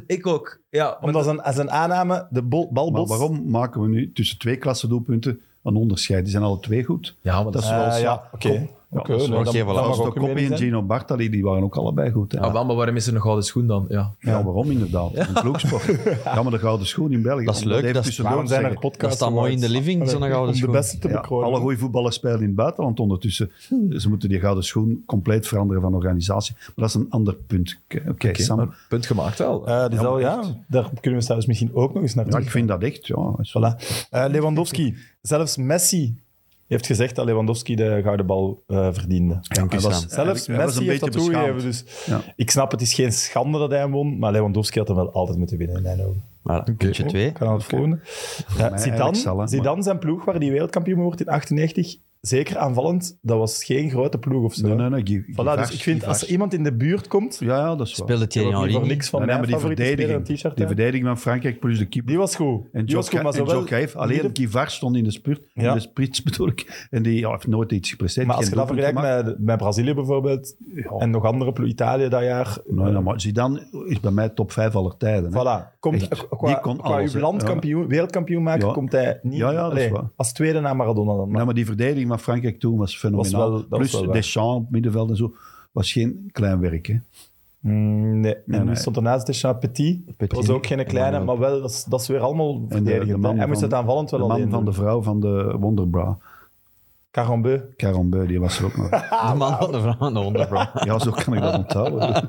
Speaker 1: Ik ook. Ja, maar
Speaker 5: Omdat zijn, zijn aanname, de bol,
Speaker 4: Maar
Speaker 5: balbos...
Speaker 4: waarom maken we nu tussen twee klassen doelpunten een onderscheid? Die zijn alle twee goed.
Speaker 1: Ja, maar dat
Speaker 4: dat is
Speaker 5: Eh,
Speaker 4: wel
Speaker 5: ja, oké. Oké,
Speaker 4: dat is
Speaker 5: nee,
Speaker 4: wel
Speaker 5: dan-
Speaker 3: geen
Speaker 5: dan
Speaker 3: wel
Speaker 5: mag
Speaker 4: Als
Speaker 5: ook
Speaker 4: de
Speaker 5: uw mening
Speaker 4: Koppi en
Speaker 5: zijn.
Speaker 4: Gino Bartali, die waren ook allebei goed. Hè?
Speaker 1: Ah, wel, maar waarom is er een gouden schoen dan? Ja.
Speaker 4: Ja, waarom inderdaad? Een ploegsport. Ja, maar de gouden schoen in België.
Speaker 3: Dat is
Speaker 4: om
Speaker 3: leuk,
Speaker 4: even
Speaker 3: dat is-
Speaker 4: tussendoor
Speaker 5: Waarom
Speaker 4: te
Speaker 5: zijn er
Speaker 4: zeggen.
Speaker 5: podcasts?
Speaker 3: Dat staat mooi in de living, zo'n gouden
Speaker 5: Om de
Speaker 3: schoen.
Speaker 5: beste te
Speaker 4: Ja,
Speaker 5: bekronen. Hmm.
Speaker 4: alle goede voetballers spelen in het buitenland ondertussen. Ze moeten die gouden schoen compleet veranderen van organisatie. Maar dat is een ander punt. Oké,
Speaker 1: Oké,
Speaker 4: Sam.
Speaker 1: maar punt gemaakt wel.
Speaker 5: Eh, dus
Speaker 4: Ja,
Speaker 5: al,
Speaker 4: maar
Speaker 5: ja, daar kunnen we zelfs misschien ook nog eens naar
Speaker 4: Ja,
Speaker 5: terug.
Speaker 4: ik vind dat echt. Ja, is wel-
Speaker 5: Voilà. Eh, Lewandowski, zelfs Messi heeft gezegd dat Lewandowski de gouden bal eh, verdiende.
Speaker 3: Dank u,
Speaker 4: Hij was-
Speaker 3: Sam.
Speaker 5: Zelfs
Speaker 4: hij was
Speaker 5: Messi
Speaker 4: een
Speaker 5: heeft dat
Speaker 4: beetje
Speaker 5: toegegeven.
Speaker 4: beschaamd.
Speaker 5: Dus
Speaker 4: Ja.
Speaker 5: ik snap, het is geen schande dat hij hem won, maar Lewandowski had hem wel altijd moeten winnen in mijn ogen.
Speaker 3: Maar puntje twee.
Speaker 5: Ik ga naar het volgende.
Speaker 4: mij
Speaker 5: Eh,
Speaker 4: eigenlijk
Speaker 5: Zidane,
Speaker 4: zal, hè, maar-
Speaker 5: Zidane, zijn ploeg waar hij wereldkampioen wordt in 98, zeker aanvallend, dat was geen grote ploeg of zo.
Speaker 4: Nee, nee, nee. Guy- Guy
Speaker 5: Voilà, dus
Speaker 4: Vargas,
Speaker 5: ik vind,
Speaker 4: Guy
Speaker 5: als er
Speaker 4: Vargas.
Speaker 5: iemand in de buurt komt,
Speaker 4: Ja, ja, dat is waar.
Speaker 3: Speelde
Speaker 5: ik heb
Speaker 3: Thierry
Speaker 5: ook
Speaker 3: Henry
Speaker 5: liever
Speaker 3: niet.
Speaker 5: niks van
Speaker 4: Nee, nee,
Speaker 5: mijn
Speaker 4: maar die
Speaker 5: favoriete speler
Speaker 4: verdediging,
Speaker 5: een t-shirt.
Speaker 4: die
Speaker 5: hè.
Speaker 4: verdediging van Frankrijk plus de keeper.
Speaker 5: Die was goed.
Speaker 4: En
Speaker 5: die was goed, maar zowel...
Speaker 4: Jokke heeft alleen
Speaker 5: midden-
Speaker 4: Guy stond in de spurt,
Speaker 5: Ja.
Speaker 4: in de sprits bedoel ik. En die ja, heeft nooit iets gepresteerd.
Speaker 5: Maar
Speaker 4: geen
Speaker 5: als je dat
Speaker 4: doelpunt
Speaker 5: vergelijkt
Speaker 4: gemaakt.
Speaker 5: met, met Brazilië bijvoorbeeld, en nog andere ploeg, Italië dat jaar...
Speaker 4: Nee, nee, maar Zidane is bij mij top 5 aller tijden. hè.
Speaker 5: Voilà. Komt,
Speaker 4: Echt.
Speaker 5: qua
Speaker 4: Die kon
Speaker 5: qua
Speaker 4: alles,
Speaker 5: uw
Speaker 4: hè.
Speaker 5: landkampioen, wereldkampioen maken,
Speaker 4: Ja.
Speaker 5: komt hij niet...
Speaker 4: Ja, ja, dat is waar.
Speaker 5: Als tweede na Maradona dan.
Speaker 4: Nou, maar die verdediging van Frankrijk toen was fenomenaal.
Speaker 5: wel- dat was
Speaker 4: Plus
Speaker 5: wel waar.
Speaker 4: Deschamps op middenveld en zo. Was geen klein werk, hè.
Speaker 5: Mm, nee. En
Speaker 4: nee.
Speaker 5: wie stond ernaast Deschamps Petit.
Speaker 3: Petit.
Speaker 5: was ook geen kleine, maar wel, dat is, dat is weer allemaal verdedigend. hè. Hij moest het aanvallend wel
Speaker 4: de man
Speaker 5: alleen
Speaker 4: van de
Speaker 5: doen.
Speaker 4: vrouw van de Wonderbra.
Speaker 5: Carambeu.
Speaker 4: Carambeu, die was er ook nog.
Speaker 3: De man van de vrouw aan de onderbroek.
Speaker 4: ja, zo kan ik dat onthouden.
Speaker 5: Ja,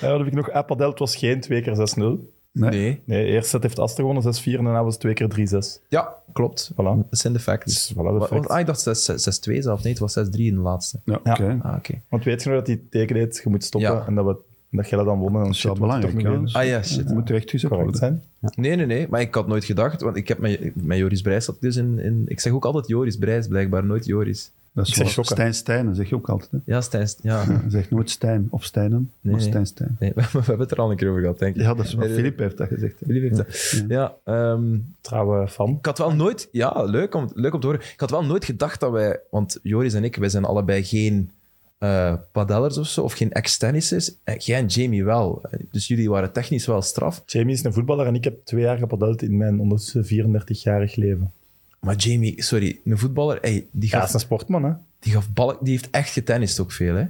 Speaker 5: dan heb ik nog Appadel. Het was geen 2 keer 6-0.
Speaker 4: Nee.
Speaker 1: Nee.
Speaker 5: Nee, eerst set heeft Aster gewonnen, 6-4. En daarna was het 2 keer 3-6.
Speaker 1: Ja, klopt.
Speaker 5: Voilà.
Speaker 1: Dat zijn de facts.
Speaker 5: Dus, voilà, de
Speaker 1: Wa-
Speaker 5: facts.
Speaker 1: Ah, ik dacht 6 6 2 zelf. Nee, het was 6-3 in de laatste.
Speaker 4: Ja, oké.
Speaker 1: Ah, oké.
Speaker 5: Want weet je nog dat hij het teken deed, je moet stoppen
Speaker 1: Ja.
Speaker 5: en dat, we, dat jij dat dan won. En
Speaker 4: Dat is wel belangrijk, ja.
Speaker 5: Dat
Speaker 1: Ah ja, shit.
Speaker 4: Dat moet recht gezet
Speaker 5: correct
Speaker 4: worden.
Speaker 5: zijn.
Speaker 1: Nee, nee, nee. Maar ik had nooit gedacht, want ik heb met, met Joris Brijs zat ik dus in, in... Ik zeg ook altijd Joris Brijs, blijkbaar nooit Joris.
Speaker 4: Dat is
Speaker 5: Ik zeg
Speaker 4: wel-
Speaker 5: Jokke.
Speaker 4: Stijn Stijnen zeg je ook altijd, hè.
Speaker 1: Ja, Stijn... Ja.
Speaker 4: Hij zegt nooit Stijn of Stijnen,
Speaker 1: Nee,
Speaker 4: maar
Speaker 1: nee.
Speaker 4: Stijn Stijn.
Speaker 1: Nee, we hebben het er al een keer over gehad, denk ik.
Speaker 4: Ja, dat is wat
Speaker 1: Nee,
Speaker 4: Filip heeft dat gezegd. hè.
Speaker 1: Jullie weten dat. Ja, ehm,
Speaker 5: Trouwe fan.
Speaker 1: Ik had wel nooit, ja, leuk om, leuk om te horen. Ik had wel nooit gedacht dat wij, want Joris en ik, wij zijn allebei geen eh padellers of zo, of geen ex-tennissers. En Jij en Jamie wel. Dus jullie waren technisch wel straf.
Speaker 5: Jamie is een voetballer en ik heb twee jaar gepadeld in mijn ondertussen 34-jarig leven.
Speaker 1: Maar Jamie, sorry, een voetballer, ey, die,
Speaker 5: Ja,
Speaker 1: gaf,
Speaker 5: dat is een sportman, hè?
Speaker 1: die, gaf balk, die heeft echt getennist ook veel. Hè?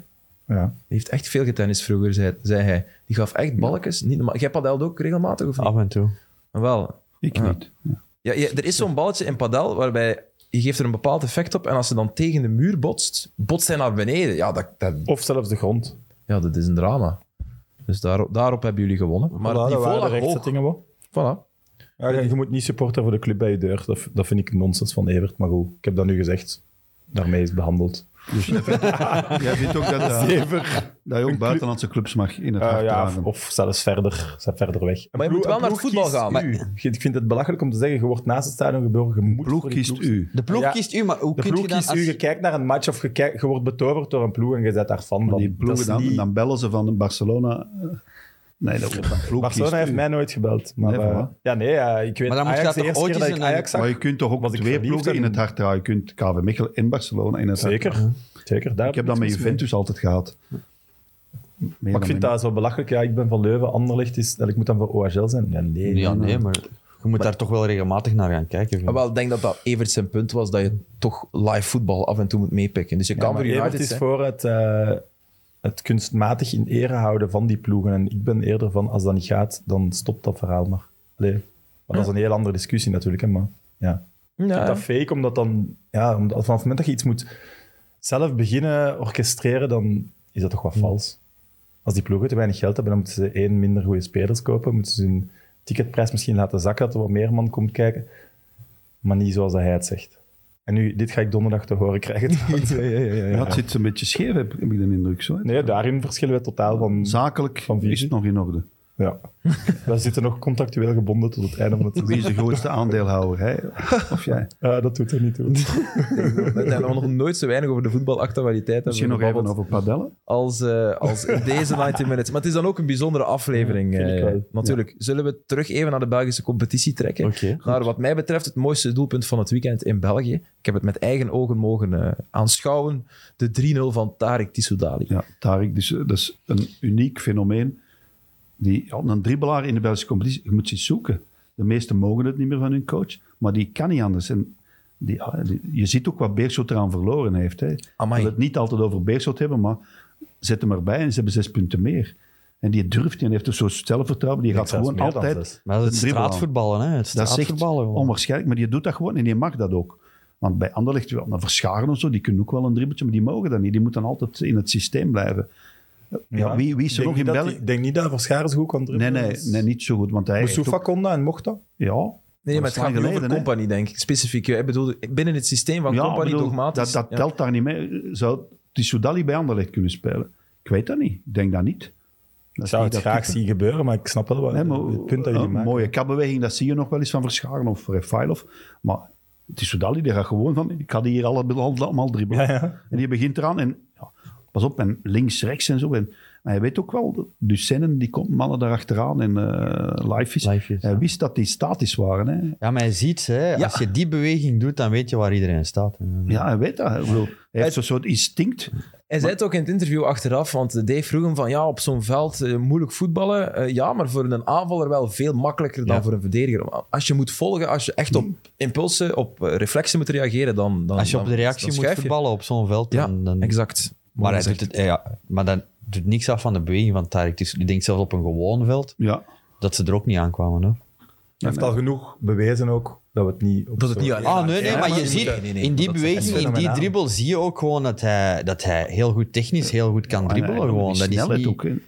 Speaker 1: Die
Speaker 5: Ja.
Speaker 1: heeft echt veel getennist vroeger, zei, zei hij. Die gaf echt balkjes. Niet normaal. Jij padelt ook regelmatig of niet?
Speaker 3: Af en toe.
Speaker 1: Wel.
Speaker 4: Ik niet.
Speaker 1: Ja, je- er is zo'n balletje in padel waarbij je geeft er een bepaald effect op en als ze dan tegen de muur botst, botst hij naar beneden. Ja, dat, dat,
Speaker 5: Of zelfs de grond.
Speaker 1: Ja, dat is een drama. Dus daarop, daarop hebben jullie gewonnen. Maar
Speaker 5: Voilà,
Speaker 1: het
Speaker 5: dat
Speaker 1: niveau
Speaker 5: waren de
Speaker 1: lag hoog.
Speaker 5: rechtzettingen wel.
Speaker 1: Voilà.
Speaker 5: Ja, je, je moet niet supporter voor de club bij je deur. Dat, dat vind ik nonsens van Evert. Maar goed, ik heb dat nu gezegd. Daarmee is het behandeld.
Speaker 4: Jij vindt ook dat, eh, dat je ook buitenlandse clubs mag in het
Speaker 5: Eh,
Speaker 4: hart
Speaker 5: ja,
Speaker 4: dragen.
Speaker 5: of, of zelfs verder, zelfs verder weg. Een
Speaker 1: Maar je moet wel
Speaker 5: een
Speaker 1: naar het voetbal
Speaker 5: kiest
Speaker 1: gaan, maar-
Speaker 5: u. Ik vind het belachelijk om te zeggen, je wordt naast het stadion geboren. Je moet
Speaker 4: ploeg
Speaker 5: voor die
Speaker 4: kiest
Speaker 5: stemmen.
Speaker 4: u.
Speaker 3: De ploeg
Speaker 5: Ja.
Speaker 3: kiest u, maar hoe
Speaker 5: De
Speaker 3: kun
Speaker 5: ploeg
Speaker 3: je dan...
Speaker 5: kiest u, je
Speaker 3: Als...
Speaker 5: kijkt naar een match of je, kijkt- je wordt betoverd door een ploeg en je bent daar fan
Speaker 4: Maar
Speaker 5: van.
Speaker 4: die ploegen
Speaker 5: Dat
Speaker 4: dan,
Speaker 5: is niet-
Speaker 4: dan bellen ze van Barcelona. eh, Nee, dat wordt dan ploeg
Speaker 5: Barcelona
Speaker 4: kiest
Speaker 5: heeft
Speaker 4: u.
Speaker 5: mij nooit gebeld. Maar,
Speaker 4: Nee,
Speaker 5: eh,
Speaker 4: voilà.
Speaker 5: ja, nee, ja, ik weet
Speaker 3: Maar dan moet je dat
Speaker 5: Ajax, de
Speaker 3: toch
Speaker 5: eerste
Speaker 3: ooit
Speaker 5: keer dat
Speaker 3: eens
Speaker 5: ik
Speaker 3: een-
Speaker 5: Ajax zag,
Speaker 4: Maar je kunt toch ook
Speaker 5: was ik
Speaker 4: twee
Speaker 5: verliefd
Speaker 4: ploegen in
Speaker 5: en-
Speaker 4: het hart dragen. Je kunt KV Mechelen en Barcelona in het hart
Speaker 5: Zeker, zeker. Daar
Speaker 4: Ik heb
Speaker 5: ik
Speaker 4: dat met
Speaker 5: niks mee.
Speaker 4: Juventus altijd gehad. Meer
Speaker 5: Maar
Speaker 4: dan
Speaker 5: ik vind
Speaker 4: met-
Speaker 5: dat zo belachelijk. Ja, ik ben van Leuven, Anderlecht is... en Ik moet dan voor OHL zijn. Ja, nee.
Speaker 3: Ja, nee, maar je moet daar toch wel regelmatig naar gaan kijken. vind
Speaker 1: Maar
Speaker 5: Ah,
Speaker 3: ik.
Speaker 1: wel, ik denk dat dat Evert zijn punt was, dat je toch live voetbal af en toe moet meepikken. Dus je
Speaker 5: Ja,
Speaker 1: kan
Speaker 5: maar
Speaker 1: voor
Speaker 5: Evert
Speaker 1: United
Speaker 5: is
Speaker 1: zijn.
Speaker 5: voor het, eh, het kunstmatig in ere houden van die ploegen. En ik ben eerder van, als dat niet gaat, dan stopt dat verhaal maar. Allee, maar dat is een heel andere discussie natuurlijk. Hè, maar ja. Ik vind
Speaker 1: Ja,
Speaker 5: dat fake, omdat dan... Ja, omdat, vanaf het moment dat je iets moet zelf beginnen orchestreren, dan is dat toch wat vals. Als die ploegen te weinig geld hebben, dan moeten ze één minder goede spelers kopen. Moeten ze hun ticketprijs misschien laten zakken, dat er wat meer man komt kijken. Maar niet zoals dat hij het zegt. En nu, dit ga ik donderdag te horen krijgen. trouwens.
Speaker 4: Ja, het zit een beetje scheef, heb, heb ik de indruk. Zo. hè.
Speaker 5: Nee, daarin verschillen we totaal van...
Speaker 4: Zakelijk
Speaker 5: Van visie.
Speaker 4: is het nog in orde.
Speaker 5: Ja. We zitten nog contractueel gebonden tot het einde van het
Speaker 4: Wie
Speaker 5: seizoen.
Speaker 4: is de grootste aandeelhouder? Hij of jij?
Speaker 5: Eh, dat doet er niet toe.
Speaker 1: we hebben nog nooit zo weinig over de voetbalactualiteit
Speaker 4: Misschien nog even
Speaker 1: gebabbeld
Speaker 4: over padellen.
Speaker 1: als, eh, als in deze 90 Minutes. Maar het is dan ook een bijzondere aflevering.
Speaker 5: vind ik
Speaker 1: eh,
Speaker 5: wel.
Speaker 1: natuurlijk. Zullen we terug even naar de Belgische competitie trekken?
Speaker 4: Oh,
Speaker 3: Oké.
Speaker 1: naar wat mij betreft het mooiste doelpunt van het weekend in België. Ik heb het met eigen ogen mogen eh, aanschouwen. De 3-0 van Tarek Tissoudali.
Speaker 4: Ja, Tarek, dus, eh, dat is een uniek fenomeen. Die, ja, een dribbelaar in de Belgische competitie, je moet ze zoeken. De meesten mogen het niet meer van hun coach, maar die kan niet anders. En die, ah, die- je ziet ook wat Beerschot eraan verloren heeft. Hè. We
Speaker 1: Amai.
Speaker 4: willen het niet altijd over Beerschot hebben, maar zet hem erbij en ze hebben zes punten meer. En die durft, die heeft een soort zelfvertrouwen, die
Speaker 5: Ik
Speaker 4: gaat
Speaker 5: denk zelfs
Speaker 4: gewoon
Speaker 5: meer dan
Speaker 4: altijd...
Speaker 5: zes.
Speaker 3: Maar dat is
Speaker 4: een
Speaker 3: het
Speaker 4: dribbel aan.
Speaker 3: straatvoetballen, hè? Het
Speaker 4: Dat is echt
Speaker 3: straatvoetballen. gewoon.
Speaker 4: onwaarschijnlijk, maar die doet dat gewoon en die mag dat ook. Want bij Anderlecht, wel, maar Verscharen of zo, die kunnen ook wel een dribbeltje, maar die mogen dat niet. Die moeten altijd in het systeem blijven. Ja, wie, wie is er
Speaker 5: Ik
Speaker 4: nog
Speaker 5: denk niet
Speaker 4: in
Speaker 5: dat
Speaker 4: België?
Speaker 5: die- Ik denk niet dat Verscharen zo goed kan
Speaker 4: Nee,
Speaker 5: dribbelen.
Speaker 4: nee,
Speaker 5: als-
Speaker 4: nee, niet zo goed. Want hij heeft
Speaker 5: Moussoufa
Speaker 4: ook-
Speaker 5: kon dat en mocht dat.
Speaker 4: ja,
Speaker 1: Nee, maar
Speaker 4: dat
Speaker 1: het
Speaker 4: is
Speaker 1: gaat
Speaker 4: lang
Speaker 1: niet over
Speaker 4: geleden, hè?
Speaker 1: Company, denk ik. Specifiek. hè. Ik bedoel, binnen het systeem van
Speaker 4: ja
Speaker 1: Company
Speaker 4: bedoel,
Speaker 1: dogmatisch.
Speaker 4: dat, dat
Speaker 1: ja.
Speaker 4: telt daar niet mee. Zou Tissoudali bij Anderlecht kunnen spelen? Ik weet dat niet. Ik denk dat niet. Dat
Speaker 5: Ik
Speaker 4: is
Speaker 5: zou
Speaker 4: niet
Speaker 5: het
Speaker 4: dat
Speaker 5: graag
Speaker 4: type.
Speaker 5: zien gebeuren, maar ik snap wel wat,
Speaker 4: Nee, maar, oh,
Speaker 5: het punt dat jullie
Speaker 4: een
Speaker 5: maken.
Speaker 4: mooie kapbeweging, dat zie je nog wel eens van Verscharen of Refailov. Maar Tissoudali, die gaat gewoon van... Ik ga die hier alle- allemaal dribbelen.
Speaker 5: Ja, ja.
Speaker 4: En die begint eraan en... Ja, pas op, en links, rechts en zo. En, maar hij weet ook wel, dat Ducennen, die komt mannen daarachteraan en eh live is.
Speaker 3: Live is,
Speaker 4: hij
Speaker 3: ja.
Speaker 4: wist dat die statisch waren. Hè.
Speaker 3: Ja, maar je ziet, hè, als je die beweging doet, dan weet je waar iedereen staat.
Speaker 4: Ja, hij weet dat. Ik bedoel, hij heeft zo'n soort instinct.
Speaker 1: Hij zei het ook in het interview achteraf, want Dave vroeg hem van ja, op zo'n veld eh, moeilijk voetballen. Eh, ja, maar voor een aanvaller wel veel makkelijker dan
Speaker 3: Ja.
Speaker 1: voor een verdediger. Als je moet volgen, als je echt op impulsen, op eh, reflexen moet reageren, dan, dan
Speaker 3: Als je op
Speaker 1: dan-
Speaker 3: de
Speaker 1: dan
Speaker 3: reactie moet
Speaker 1: schuif je.
Speaker 3: voetballen op zo'n veld,
Speaker 1: Ja,
Speaker 3: dan... dan
Speaker 1: exact.
Speaker 3: maar, hij
Speaker 1: hij
Speaker 3: doet het, ja, maar dat doet niks af van de beweging van Tarek. Dus ik denk zelfs op een gewoon veld
Speaker 4: Ja.
Speaker 3: dat ze er ook niet aankwamen. Hoor.
Speaker 5: Hij heeft al genoeg bewezen ook dat we het niet... Op
Speaker 1: Dat het
Speaker 5: zo'n-
Speaker 1: niet alleen
Speaker 3: Ah, nee,
Speaker 1: Ja,
Speaker 3: nee, maar je ziet
Speaker 1: nee, nee, nee,
Speaker 3: in die
Speaker 1: dat is-
Speaker 3: beweging, in die
Speaker 5: fenomenaal.
Speaker 3: dribbel, zie je ook gewoon dat hij, dat hij heel goed technisch heel goed kan dribbelen.
Speaker 4: En, eh,
Speaker 3: gewoon.
Speaker 4: die
Speaker 3: Dat is,
Speaker 4: snelheid
Speaker 3: niet,
Speaker 4: ook, hè.
Speaker 3: dat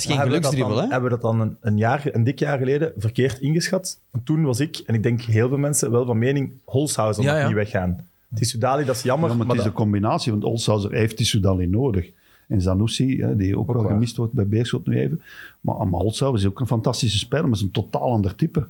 Speaker 3: is geen
Speaker 5: Maar hebben we dat
Speaker 3: geluksdribbel,
Speaker 5: dan-
Speaker 3: hè?
Speaker 5: Hebben we dat dan een, een, jaar, een dik jaar geleden verkeerd ingeschat? Want toen was ik, en ik denk heel veel mensen, wel van mening, Holshouser
Speaker 1: Ja,
Speaker 5: mag
Speaker 1: ja.
Speaker 5: niet weggaan. Tissoudali, dat is jammer.
Speaker 4: Ja, maar
Speaker 5: maar
Speaker 4: het is
Speaker 5: dat-
Speaker 4: de combinatie, want Olshauser heeft Tissoudali nodig. En Zanussi, hè, die ook, wel
Speaker 5: waar.
Speaker 4: gemist wordt bij Beerschot nu even. Maar, maar Olshauser is ook een fantastische speler, maar is een totaal ander type.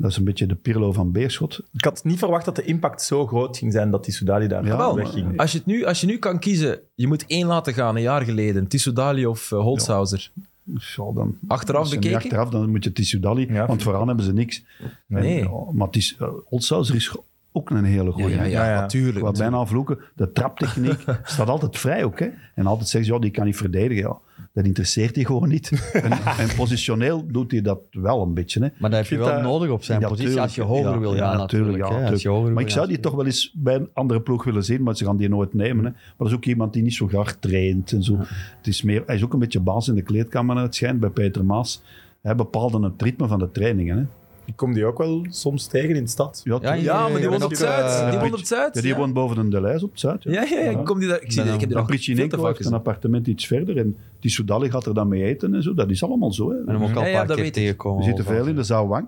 Speaker 4: Dat is een beetje de Pirlo van Beerschot.
Speaker 5: ik had niet verwacht dat de impact zo groot ging zijn dat Tissoudali daar
Speaker 4: Ja,
Speaker 1: Wel,
Speaker 5: wegging.
Speaker 1: als, je het nu, als je nu kan kiezen, je moet één laten gaan, een jaar geleden, Tissoudali of eh, Holshouser.
Speaker 4: Zo, dan,
Speaker 1: Achteraf
Speaker 4: als je hem
Speaker 1: bekeken?
Speaker 4: Achteraf, dan moet je Tissoudali,
Speaker 5: Ja,
Speaker 4: want vooraan hebben ze niks.
Speaker 1: Nee.
Speaker 4: En, ja, maar Tis- eh, Olshauser is ook een hele goeie. hè.
Speaker 5: ja, ja.
Speaker 1: natuurlijk.
Speaker 4: Wat bijna vloeken, de traptechniek staat altijd vrij ook. Hè? En altijd zeggen ze, ja, die kan niet verdedigen. Ja, dat interesseert hij gewoon niet. En, en positioneel doet hij dat wel een beetje. Hè?
Speaker 3: Maar dat heb je
Speaker 4: vind
Speaker 3: wel
Speaker 4: dat-
Speaker 3: nodig op zijn
Speaker 4: Ja,
Speaker 3: positie
Speaker 4: tuurlijk.
Speaker 3: als je hoger
Speaker 4: Ja,
Speaker 3: wil
Speaker 4: ja,
Speaker 3: gaan, natuurlijk.
Speaker 4: ja,
Speaker 3: hè. Als je
Speaker 4: tuurlijk.
Speaker 3: hoger
Speaker 4: maar
Speaker 3: wil
Speaker 4: ik zou
Speaker 3: gaan.
Speaker 4: die toch wel eens bij een andere ploeg willen zien, maar ze gaan die nooit nemen. Hè? Maar dat is ook iemand die niet zo graag traint en zo. Het is meer, hij is ook een beetje baas in de kleedkamer, naar het schijnt, bij Peter Maas. Hij bepaalde het ritme van de trainingen. Hè?
Speaker 5: Ik kom die ook wel soms tegen in de stad.
Speaker 3: Ja,
Speaker 4: tuurlijk.
Speaker 1: Ja, maar die
Speaker 3: Ja,
Speaker 1: won
Speaker 3: en
Speaker 1: op het
Speaker 3: ook, eh,
Speaker 1: Zuid. Die
Speaker 4: Pritch-
Speaker 1: won op het Zuid.
Speaker 4: Ja, die woont boven een Delijs op het Zuid.
Speaker 1: Ja, ja, ja, ik, kom die, daar- ik, zie, die- ik heb die nog
Speaker 4: Dan
Speaker 1: veel te
Speaker 4: Pritchinenko
Speaker 1: vaak
Speaker 4: heeft een
Speaker 1: gezien.
Speaker 4: appartement iets verder en die Soudali gaat er dan mee eten en zo. Dat is allemaal zo. Hè.
Speaker 3: En hem ook
Speaker 1: Ja,
Speaker 3: al een
Speaker 1: ja,
Speaker 3: paar
Speaker 1: dat
Speaker 3: keer
Speaker 1: weet ik.
Speaker 3: tegenkomen.
Speaker 4: We zitten veel in de Zouwang.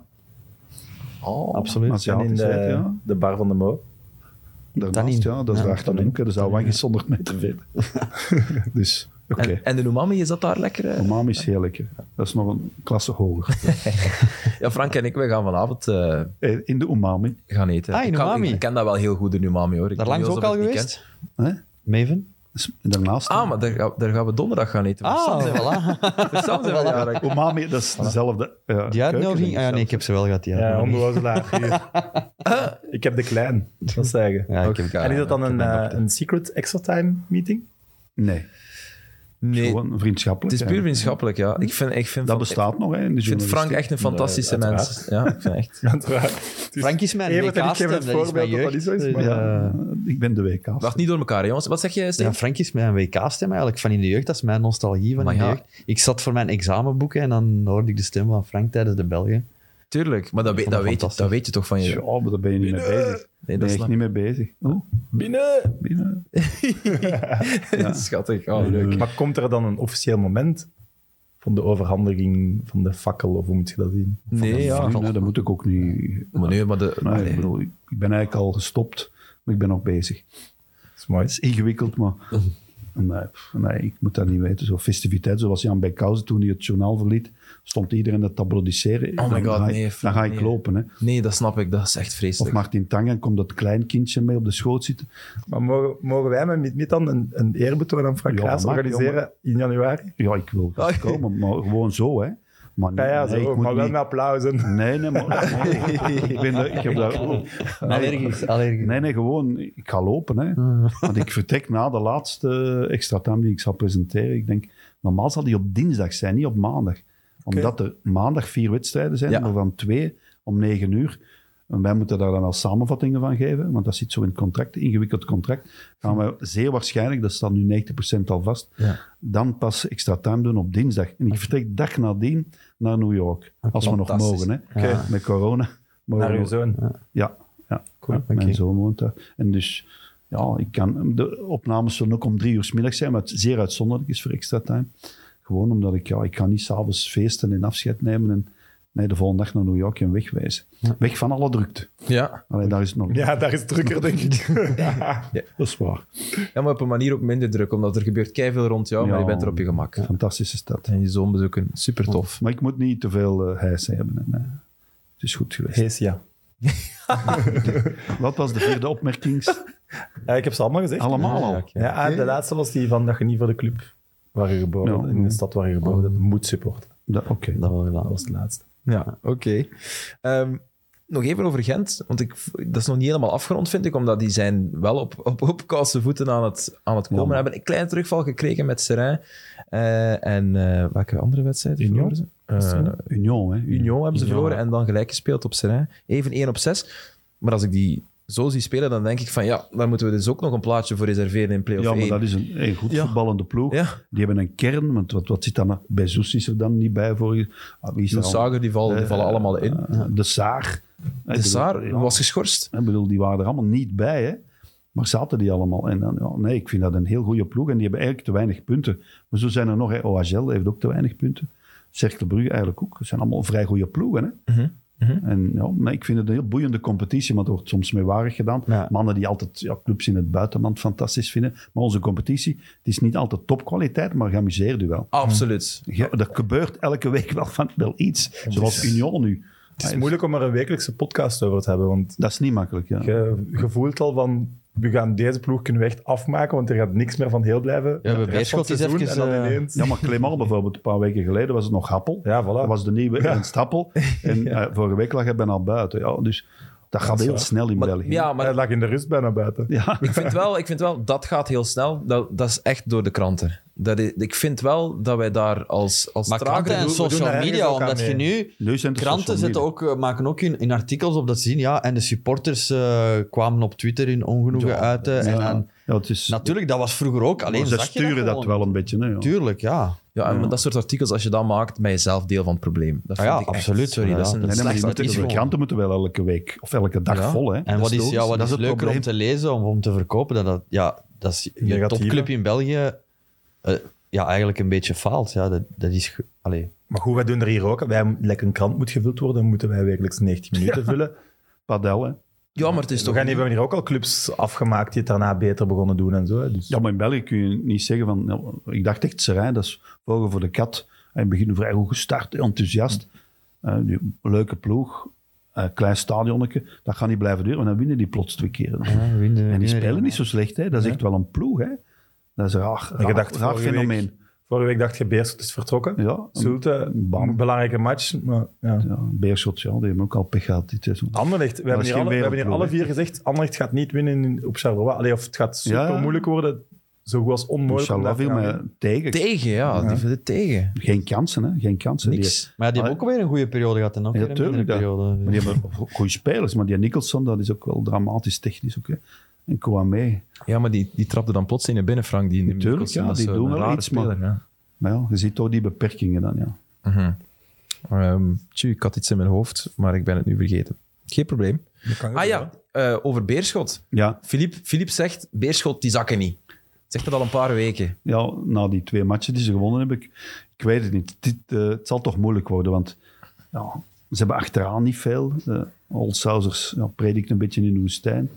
Speaker 3: Absoluut.
Speaker 5: En in
Speaker 4: Aziatisch,
Speaker 5: de,
Speaker 4: ja.
Speaker 5: de bar van de Mo.
Speaker 4: Daarnaast,
Speaker 3: Tannin.
Speaker 4: ja, dat is
Speaker 3: Ja.
Speaker 4: daar achterin ook. hè. De Zouwang is 100 meter verder. dus, oké.
Speaker 1: En, en de Noemami, is dat daar lekker? eh?
Speaker 4: Omam is heerlijk. hè. Dat is nog een klasse hoger.
Speaker 1: Ja, Frank en ik, wij gaan vanavond eh,
Speaker 4: Eh, In de umami.
Speaker 1: gaan eten.
Speaker 3: Ah, in
Speaker 1: ik, kan-
Speaker 3: Umami.
Speaker 1: ik ken dat wel heel goed, de Umami, hoor. Ik
Speaker 3: Daar
Speaker 1: doe
Speaker 3: langs
Speaker 1: niet
Speaker 3: ook al
Speaker 1: alsof ik het niet
Speaker 3: geweest?
Speaker 4: Hè?
Speaker 3: Maven?
Speaker 4: Dat is- En daarnaast.
Speaker 1: ken. Ah, maar daar, ga- daar gaan we donderdag gaan eten.
Speaker 3: Ah, voilà. Ah,
Speaker 1: Voor Sam zijn we jarig.
Speaker 4: Umami, dat is dezelfde. ja,
Speaker 3: Die uitnodiging?
Speaker 4: keuken,
Speaker 3: Ah, nee, ik heb ze wel gehad. Die
Speaker 5: Ja,
Speaker 3: uitnodiging.
Speaker 5: onbewozelaar. ik heb de klein, dat zeggen.
Speaker 3: Ja, ik heb
Speaker 5: en is dat dan een, eh, een secret extra time meeting?
Speaker 4: Nee,
Speaker 1: Nee,
Speaker 4: gewoon
Speaker 1: het
Speaker 4: vriendschappelijk.
Speaker 1: is puur
Speaker 4: eigenlijk.
Speaker 1: vriendschappelijk, ja. Ik vind, ik vind,
Speaker 4: Dat
Speaker 1: van-
Speaker 4: bestaat nog. Hè, in de
Speaker 1: Ik vind Frank
Speaker 4: journalistiek.
Speaker 1: echt een fantastische
Speaker 5: Nee,
Speaker 1: mens. Ja, ik vind echt.
Speaker 5: Want waar- dus
Speaker 3: Frank is mijn
Speaker 5: Evert en ik
Speaker 3: WK-stem,
Speaker 5: geven
Speaker 3: dat
Speaker 5: het
Speaker 3: is mijn
Speaker 5: voorbeeld dat dat niet
Speaker 3: jeugd.
Speaker 5: zo is. Maar,
Speaker 4: Ja, ik ben de WK.
Speaker 1: Wacht niet door elkaar, hè, jongens. Wat zeg jij,
Speaker 3: Ja,
Speaker 1: Stijn?
Speaker 3: Frank is mijn WK-stem eigenlijk van in de jeugd. Dat is mijn nostalgie van
Speaker 1: Maar
Speaker 3: in de
Speaker 1: ja.
Speaker 3: jeugd. Ik zat voor mijn examenboeken en dan hoorde ik de stem van Frank tijdens de Belgen.
Speaker 1: Tuurlijk, maar dat, weet-
Speaker 3: vond
Speaker 1: dat,
Speaker 3: dat
Speaker 1: weet, je- dat
Speaker 3: fantastisch.
Speaker 1: weet je toch van
Speaker 4: Ja,
Speaker 1: je...
Speaker 4: maar daar ben je niet mee bezig.
Speaker 1: Nee,
Speaker 4: ben
Speaker 1: dat is
Speaker 4: je echt
Speaker 1: lang.
Speaker 4: niet mee bezig. Oh,
Speaker 1: Binnen!
Speaker 4: binnen.
Speaker 1: Schattig, oh, leuk.
Speaker 5: maar komt er dan een officieel moment van de overhandiging van de fakkel, of hoe moet je dat zien?
Speaker 1: Nee, ja.
Speaker 4: Fuck, nee, dat moet ik ook niet.
Speaker 1: Maar nee, maar de...
Speaker 4: Nee,
Speaker 1: allee.
Speaker 4: ik, bedoel, ik ik ben eigenlijk al gestopt, maar ik ben nog bezig.
Speaker 5: Dat is mooi.
Speaker 4: Het is ingewikkeld, maar nee, pff, nee, ik moet dat niet weten. Zo'n festiviteit, zoals Jan Benkhuizen toen hij het journaal verliet, stond iedereen dat te applaudisseren.
Speaker 1: Oh my
Speaker 4: Dan
Speaker 1: God,
Speaker 4: ga ik-
Speaker 1: nee,
Speaker 4: Dan ga ik
Speaker 1: nee.
Speaker 4: lopen. Hè.
Speaker 1: Nee, dat snap ik. Dat is echt
Speaker 4: Of
Speaker 1: vreselijk.
Speaker 4: Martin Tangen komt dat kleinkindje mee op de schoot zitten.
Speaker 5: Maar mogen, mogen wij met Meet Meet dan een, een eerbetoon aan Frank
Speaker 4: Ja,
Speaker 5: Raas
Speaker 4: mag,
Speaker 5: organiseren in januari?
Speaker 4: Ja, ik wil
Speaker 1: Oh,
Speaker 4: graag komen, maar gewoon zo, hè. Maar
Speaker 5: Ja,
Speaker 4: nee,
Speaker 5: ja, zo,
Speaker 4: nee, ik moet
Speaker 5: maar wel
Speaker 4: niet-
Speaker 5: met applaus. En...
Speaker 4: Nee, nee, maar... ik, ben daar- ik heb daar...
Speaker 3: Allergisch, allergisch.
Speaker 4: Nee, nee, gewoon, ik ga lopen. Hè. Want ik vertrek na de laatste extra time die ik zal presenteren. Ik denk, normaal zal die op dinsdag zijn, niet op maandag. Omdat er maandag vier wedstrijden zijn,
Speaker 1: Ja.
Speaker 4: maar van twee om negen uur. En wij moeten daar dan wel samenvattingen van geven, want dat zit zo in het contract, ingewikkeld contract. Gaan we zeer waarschijnlijk, dat staat nu 90% al vast, dan pas extra time doen op dinsdag. En ik vertrek dag nadien naar New York, als we nog
Speaker 1: Ah, Fantastisch.
Speaker 4: mogen. Hè. Met corona. mogen
Speaker 5: Naar
Speaker 4: we-
Speaker 5: uw zoon.
Speaker 4: ja, ja.
Speaker 5: Cool,
Speaker 4: Ja,
Speaker 5: oké.
Speaker 4: mijn zoon woont daar. En dus, ja, ik kan, de opnames zullen ook om drie uur 's middags zijn, wat zeer uitzonderlijk is voor extra time. Gewoon omdat ik, ja, ik kan niet s'avonds feesten en afscheid nemen en nee, de volgende dag naar New York en wegwijzen. Weg van alle drukte.
Speaker 1: Ja.
Speaker 4: Alleen daar is het nog.
Speaker 5: Ja, daar is het drukker, denk ik.
Speaker 4: Dat is waar.
Speaker 1: ja, maar op een manier ook minder druk, omdat er gebeurt keiveel rond jou, maar
Speaker 4: Ja.
Speaker 1: je bent er op je gemak.
Speaker 4: Fantastische stad.
Speaker 1: En je zoon bezoeken, super tof.
Speaker 4: Maar ik moet niet te veel eh hijsen hebben. En, eh, het is goed geweest.
Speaker 5: Hees, ja.
Speaker 4: Wat was de vierde opmerking?
Speaker 5: ja. Ik heb ze allemaal gezegd.
Speaker 4: Allemaal al.
Speaker 5: Ja, ah, de laatste was die van dat je niet voor de club waar je geboren
Speaker 4: Ja.
Speaker 5: in de stad waar je geboren bent, moet supporten.
Speaker 4: Dat- Oké.
Speaker 3: Dat wel
Speaker 5: Dat
Speaker 3: gedaan.
Speaker 5: was de laatste.
Speaker 1: Ja, oké. Ehm, nog even over Gent, want ik, dat is nog niet helemaal afgerond, vind ik, omdat die zijn wel op, op, op koude voeten aan het, aan het komen.
Speaker 4: Ja.
Speaker 1: Hebben een kleine terugval gekregen met Serain. Eh, en eh welke andere wedstrijd
Speaker 5: Union?
Speaker 1: verloren ze?
Speaker 5: het Union?
Speaker 1: Eh,
Speaker 4: Union, hè.
Speaker 1: Union hebben ze
Speaker 5: Union,
Speaker 1: verloren
Speaker 5: ja.
Speaker 1: en dan gelijk gespeeld op Serain. Even 1 op 6. Maar als ik die zo zie spelen, dan denk ik van ja, daar moeten we dus ook nog een plaatje voor reserveren in play-off
Speaker 4: Ja, maar
Speaker 1: 1.
Speaker 4: dat is een, een goed
Speaker 1: Ja.
Speaker 4: voetballende ploeg.
Speaker 1: Ja,
Speaker 4: Die hebben een kern, want wat, wat zit dan bij Zoes is er dan niet bij voor je? Ah, wie is
Speaker 1: de
Speaker 4: er al?
Speaker 1: Sager, die vallen, die
Speaker 4: Eh,
Speaker 1: vallen allemaal in.
Speaker 4: eh, de Saar.
Speaker 1: de Saar
Speaker 4: ja,
Speaker 1: was geschorst.
Speaker 4: ik bedoel, die waren er allemaal niet bij, hè? maar zaten die allemaal? En dan, ja, nee, ik vind dat een heel goede ploeg en die hebben eigenlijk te weinig punten. Maar zo zijn er nog, hè, OHL heeft ook te weinig punten. Cercle Brugge eigenlijk ook. Het zijn allemaal vrij goede ploegen. Hè?
Speaker 1: Mhm, mhm.
Speaker 4: En ja, nee, ik vind het een heel boeiende competitie, maar het wordt soms meewarig gedaan.
Speaker 5: Ja.
Speaker 4: Mannen die altijd ja, clubs in het buitenland fantastisch vinden. Maar onze competitie, het is niet altijd topkwaliteit, maar geamuseerd u wel.
Speaker 1: Absoluut.
Speaker 4: Ja, er gebeurt elke week wel, van, wel iets. Zoals Union nu.
Speaker 5: Het is moeilijk om er een wekelijkse podcast over te hebben, want
Speaker 4: Dat is niet makkelijk, ja.
Speaker 5: je, je voelt al van, we gaan deze ploeg kunnen we echt afmaken, want er gaat niks meer van heel blijven.
Speaker 3: Ja, bij
Speaker 5: De rest van het
Speaker 3: Beerschot is
Speaker 5: seizoen
Speaker 3: even,
Speaker 5: en dan
Speaker 3: eh,
Speaker 5: ineens-
Speaker 4: Ja, maar Clément bijvoorbeeld, een paar weken geleden was het nog Happel.
Speaker 5: Ja, voilà.
Speaker 4: Dat was de nieuwe Ernst Happel. En eh, vorige week lag hij bijna buiten. Ja, dus dat gaat
Speaker 5: is
Speaker 4: heel
Speaker 5: waar.
Speaker 4: snel in
Speaker 1: Maar-
Speaker 4: België.
Speaker 1: ja,
Speaker 5: Hij
Speaker 1: maar
Speaker 5: lag in de rust bijna buiten.
Speaker 4: Ja.
Speaker 1: ik vind, wel, ik vind wel, dat gaat heel snel. Dat, dat is echt door de kranten. Dat is- ik vind wel dat wij daar als, als
Speaker 3: Maar kranten en
Speaker 1: doen-
Speaker 5: doen daar
Speaker 3: social
Speaker 5: ergens
Speaker 3: media,
Speaker 5: ook aan
Speaker 3: omdat je nu...
Speaker 4: Nu zijn het
Speaker 3: Kranten
Speaker 4: social
Speaker 3: zetten
Speaker 4: media.
Speaker 3: ook, eh, maken ook in, in artikels op dat zien, ja. En de supporters eh, kwamen op Twitter hun ongenoegen uiten. En,
Speaker 4: Ja,
Speaker 3: en-
Speaker 4: ja, het is,
Speaker 3: natuurlijk, dat was vroeger ook. Alleen
Speaker 4: ze
Speaker 3: zag je
Speaker 4: sturen dat,
Speaker 3: gewoon.
Speaker 4: wel een beetje. Hè, ja.
Speaker 3: Tuurlijk, ja.
Speaker 1: Ja, en dat soort artikels, als je dat maakt, ben je zelf deel van het probleem. Dat
Speaker 3: Ah
Speaker 1: vind
Speaker 3: ja,
Speaker 1: ik echt-
Speaker 3: absoluut,
Speaker 1: Sorry, dat is een
Speaker 4: Nee, nee,
Speaker 3: inderdaad.
Speaker 4: maar die
Speaker 1: slecht
Speaker 4: moeten-
Speaker 3: is
Speaker 4: de
Speaker 1: artikel.
Speaker 3: gewoon-
Speaker 4: kranten moeten wel elke week of elke dag
Speaker 1: Ja.
Speaker 4: vol. Hè.
Speaker 3: En wat
Speaker 1: is
Speaker 3: is, ja,
Speaker 1: logisch.
Speaker 4: Dat
Speaker 3: wat is,
Speaker 4: is het
Speaker 3: leuker om
Speaker 4: probleem.
Speaker 3: te lezen, om, om te verkopen, dat dat, ja, dat is je
Speaker 5: Negatieve.
Speaker 3: topclub in België eh, ja, eigenlijk een beetje faalt. Ja, dat, dat is... ge- Allee.
Speaker 5: Maar goed, wij doen er hier ook. Wij, lekker een krant moet gevuld worden, moeten wij wekelijks 90 minuten vullen.
Speaker 4: Padel, hè.
Speaker 1: Ja, maar het is
Speaker 5: We
Speaker 1: toch...
Speaker 5: gaan, we hebben hier ook al clubs afgemaakt die het daarna beter begonnen doen en zo. hè. Dus
Speaker 4: Ja, maar in België kun je niet zeggen van... nou, ik dacht echt, Serijn, dat is vogel voor de kat. Hij begint vrij goed gestart, enthousiast. Eh, die leuke ploeg, eh, klein stadionnetje. Dat gaat niet blijven duren, want dan winnen die plots twee keer. en die spelen niet zo slecht, hè. Dat is echt wel een ploeg, hè. Dat is een raar,
Speaker 5: je
Speaker 4: raar,
Speaker 5: dacht
Speaker 4: raar
Speaker 5: vorige
Speaker 4: fenomeen.
Speaker 5: vorige week dacht je, Beerschot is vertrokken.
Speaker 4: Ja,
Speaker 5: Zulte,
Speaker 4: Bam.
Speaker 5: een belangrijke match. Maar, ja.
Speaker 4: ja, Beerschot, ja, die hebben ook al pech gehad dit seizoen.
Speaker 5: Anderlecht, we
Speaker 4: is
Speaker 5: hebben, hier
Speaker 4: geen
Speaker 5: alle, we hebben hier alle
Speaker 4: wereldploeg,
Speaker 5: vier gezegd, Anderlecht gaat niet winnen in- op Charleroi. Allee, of het gaat super
Speaker 4: Ja.
Speaker 5: moeilijk worden, zo goed als onmogelijk. om
Speaker 4: Inshallah
Speaker 5: daar te
Speaker 4: viel
Speaker 5: gaan
Speaker 4: mij
Speaker 5: winnen.
Speaker 4: tegen.
Speaker 1: Tegen, ja. Die vinden het tegen.
Speaker 4: Geen kansen, hè. Geen kansen. Die-
Speaker 1: Niks.
Speaker 3: Maar ja, die hebben ook weer een goede periode gehad en ook
Speaker 4: Ja,
Speaker 3: weer een
Speaker 4: tuurlijk,
Speaker 3: mindere
Speaker 4: dat-
Speaker 3: periode.
Speaker 4: Maar die hebben goede spelers. Maar die Nicholson, dat is ook wel dramatisch technisch. Ook, hè. En Kouame.
Speaker 1: Ja, maar die, die trapte dan plots in de binnen, Frank. Die,
Speaker 4: Natuurlijk, ja,
Speaker 1: dat is eh,
Speaker 4: die
Speaker 1: een
Speaker 4: doen wel
Speaker 1: rare
Speaker 4: iets, maar-
Speaker 1: speler, ja.
Speaker 4: Maar ja, je ziet toch die beperkingen dan, ja.
Speaker 1: Mhm. Ehm, tjoe, ik had iets in mijn hoofd, maar ik ben het nu vergeten. Geen probleem. Ah ja, eh, over Beerschot.
Speaker 4: Ja,
Speaker 1: Filip, Filip zegt, Beerschot, die zakken niet. Zegt dat al een paar weken.
Speaker 4: ja na die twee matchen die ze gewonnen hebben, ik, ik weet het niet. Dit, eh, het zal toch moeilijk worden, want ja, ze hebben achteraan niet veel. Uh, Olsausers ja, predikt een beetje in de woestijn.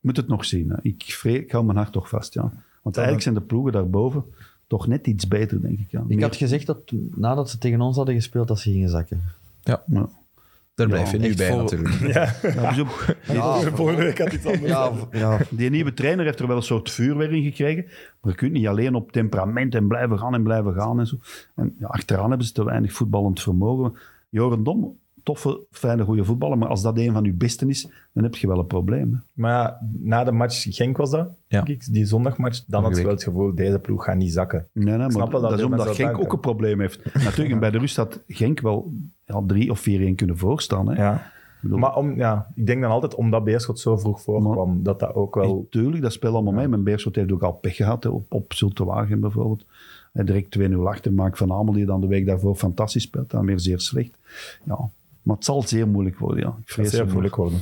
Speaker 4: Moet het nog zien. Hè. Ik, vrees, ik hou mijn hart toch vast, ja. Want eigenlijk zijn de ploegen daarboven toch net iets beter, denk ik. Ja.
Speaker 3: Ik
Speaker 4: Meer-
Speaker 3: had gezegd dat nadat ze tegen ons hadden gespeeld, dat ze gingen zakken.
Speaker 4: ja.
Speaker 1: Daar
Speaker 4: Ja,
Speaker 1: blijf je nu
Speaker 3: echt
Speaker 1: bij,
Speaker 3: vol-
Speaker 1: natuurlijk.
Speaker 4: Ja, dus op-
Speaker 3: Ja,
Speaker 5: Volgende week had iets anders.
Speaker 3: Ah. ja, v- ja.
Speaker 4: Die nieuwe trainer heeft er wel een soort vuurwerk in gekregen. Maar je kunt niet alleen op temperament en blijven gaan en blijven gaan en zo. En ja, achteraan hebben ze te weinig voetballend vermogen. Joren Dom, toffe, fijne, goede voetballer. Maar als dat een van uw besten is, dan heb je wel een probleem. hè.
Speaker 5: Maar ja, na de match, Genk was dat,
Speaker 1: Ja.
Speaker 5: denk ik, die zondagmatch, dan had
Speaker 1: Vorige
Speaker 5: je wel het gevoel, deze ploeg gaat niet zakken.
Speaker 4: Nee, nee,
Speaker 5: snap
Speaker 4: maar
Speaker 5: wel dat
Speaker 4: dat is
Speaker 5: veel
Speaker 4: omdat
Speaker 5: mensen dat
Speaker 4: Genk ook
Speaker 5: denken.
Speaker 4: een probleem heeft. Natuurlijk, en bij de rust had Genk wel ja, drie of vier één kunnen voorstaan. Hè.
Speaker 5: Ja.
Speaker 4: bedoel,
Speaker 5: Maar om, ja, ik denk dan altijd omdat Beerschot zo vroeg voorkwam, dat dat ook wel...
Speaker 4: Tuurlijk, dat speelt allemaal mee. Mijn Beerschot heeft ook al pech gehad, hè, op, op Zulte Wagen bijvoorbeeld. En direct 2-0 achter Mark van Amel, die dan de week daarvoor fantastisch speelt, dan weer zeer slecht. Ja, maar het zal zeer moeilijk worden, ja. Ik
Speaker 5: Dat
Speaker 4: vrees
Speaker 5: is heel
Speaker 4: ervoor.
Speaker 5: moeilijk worden.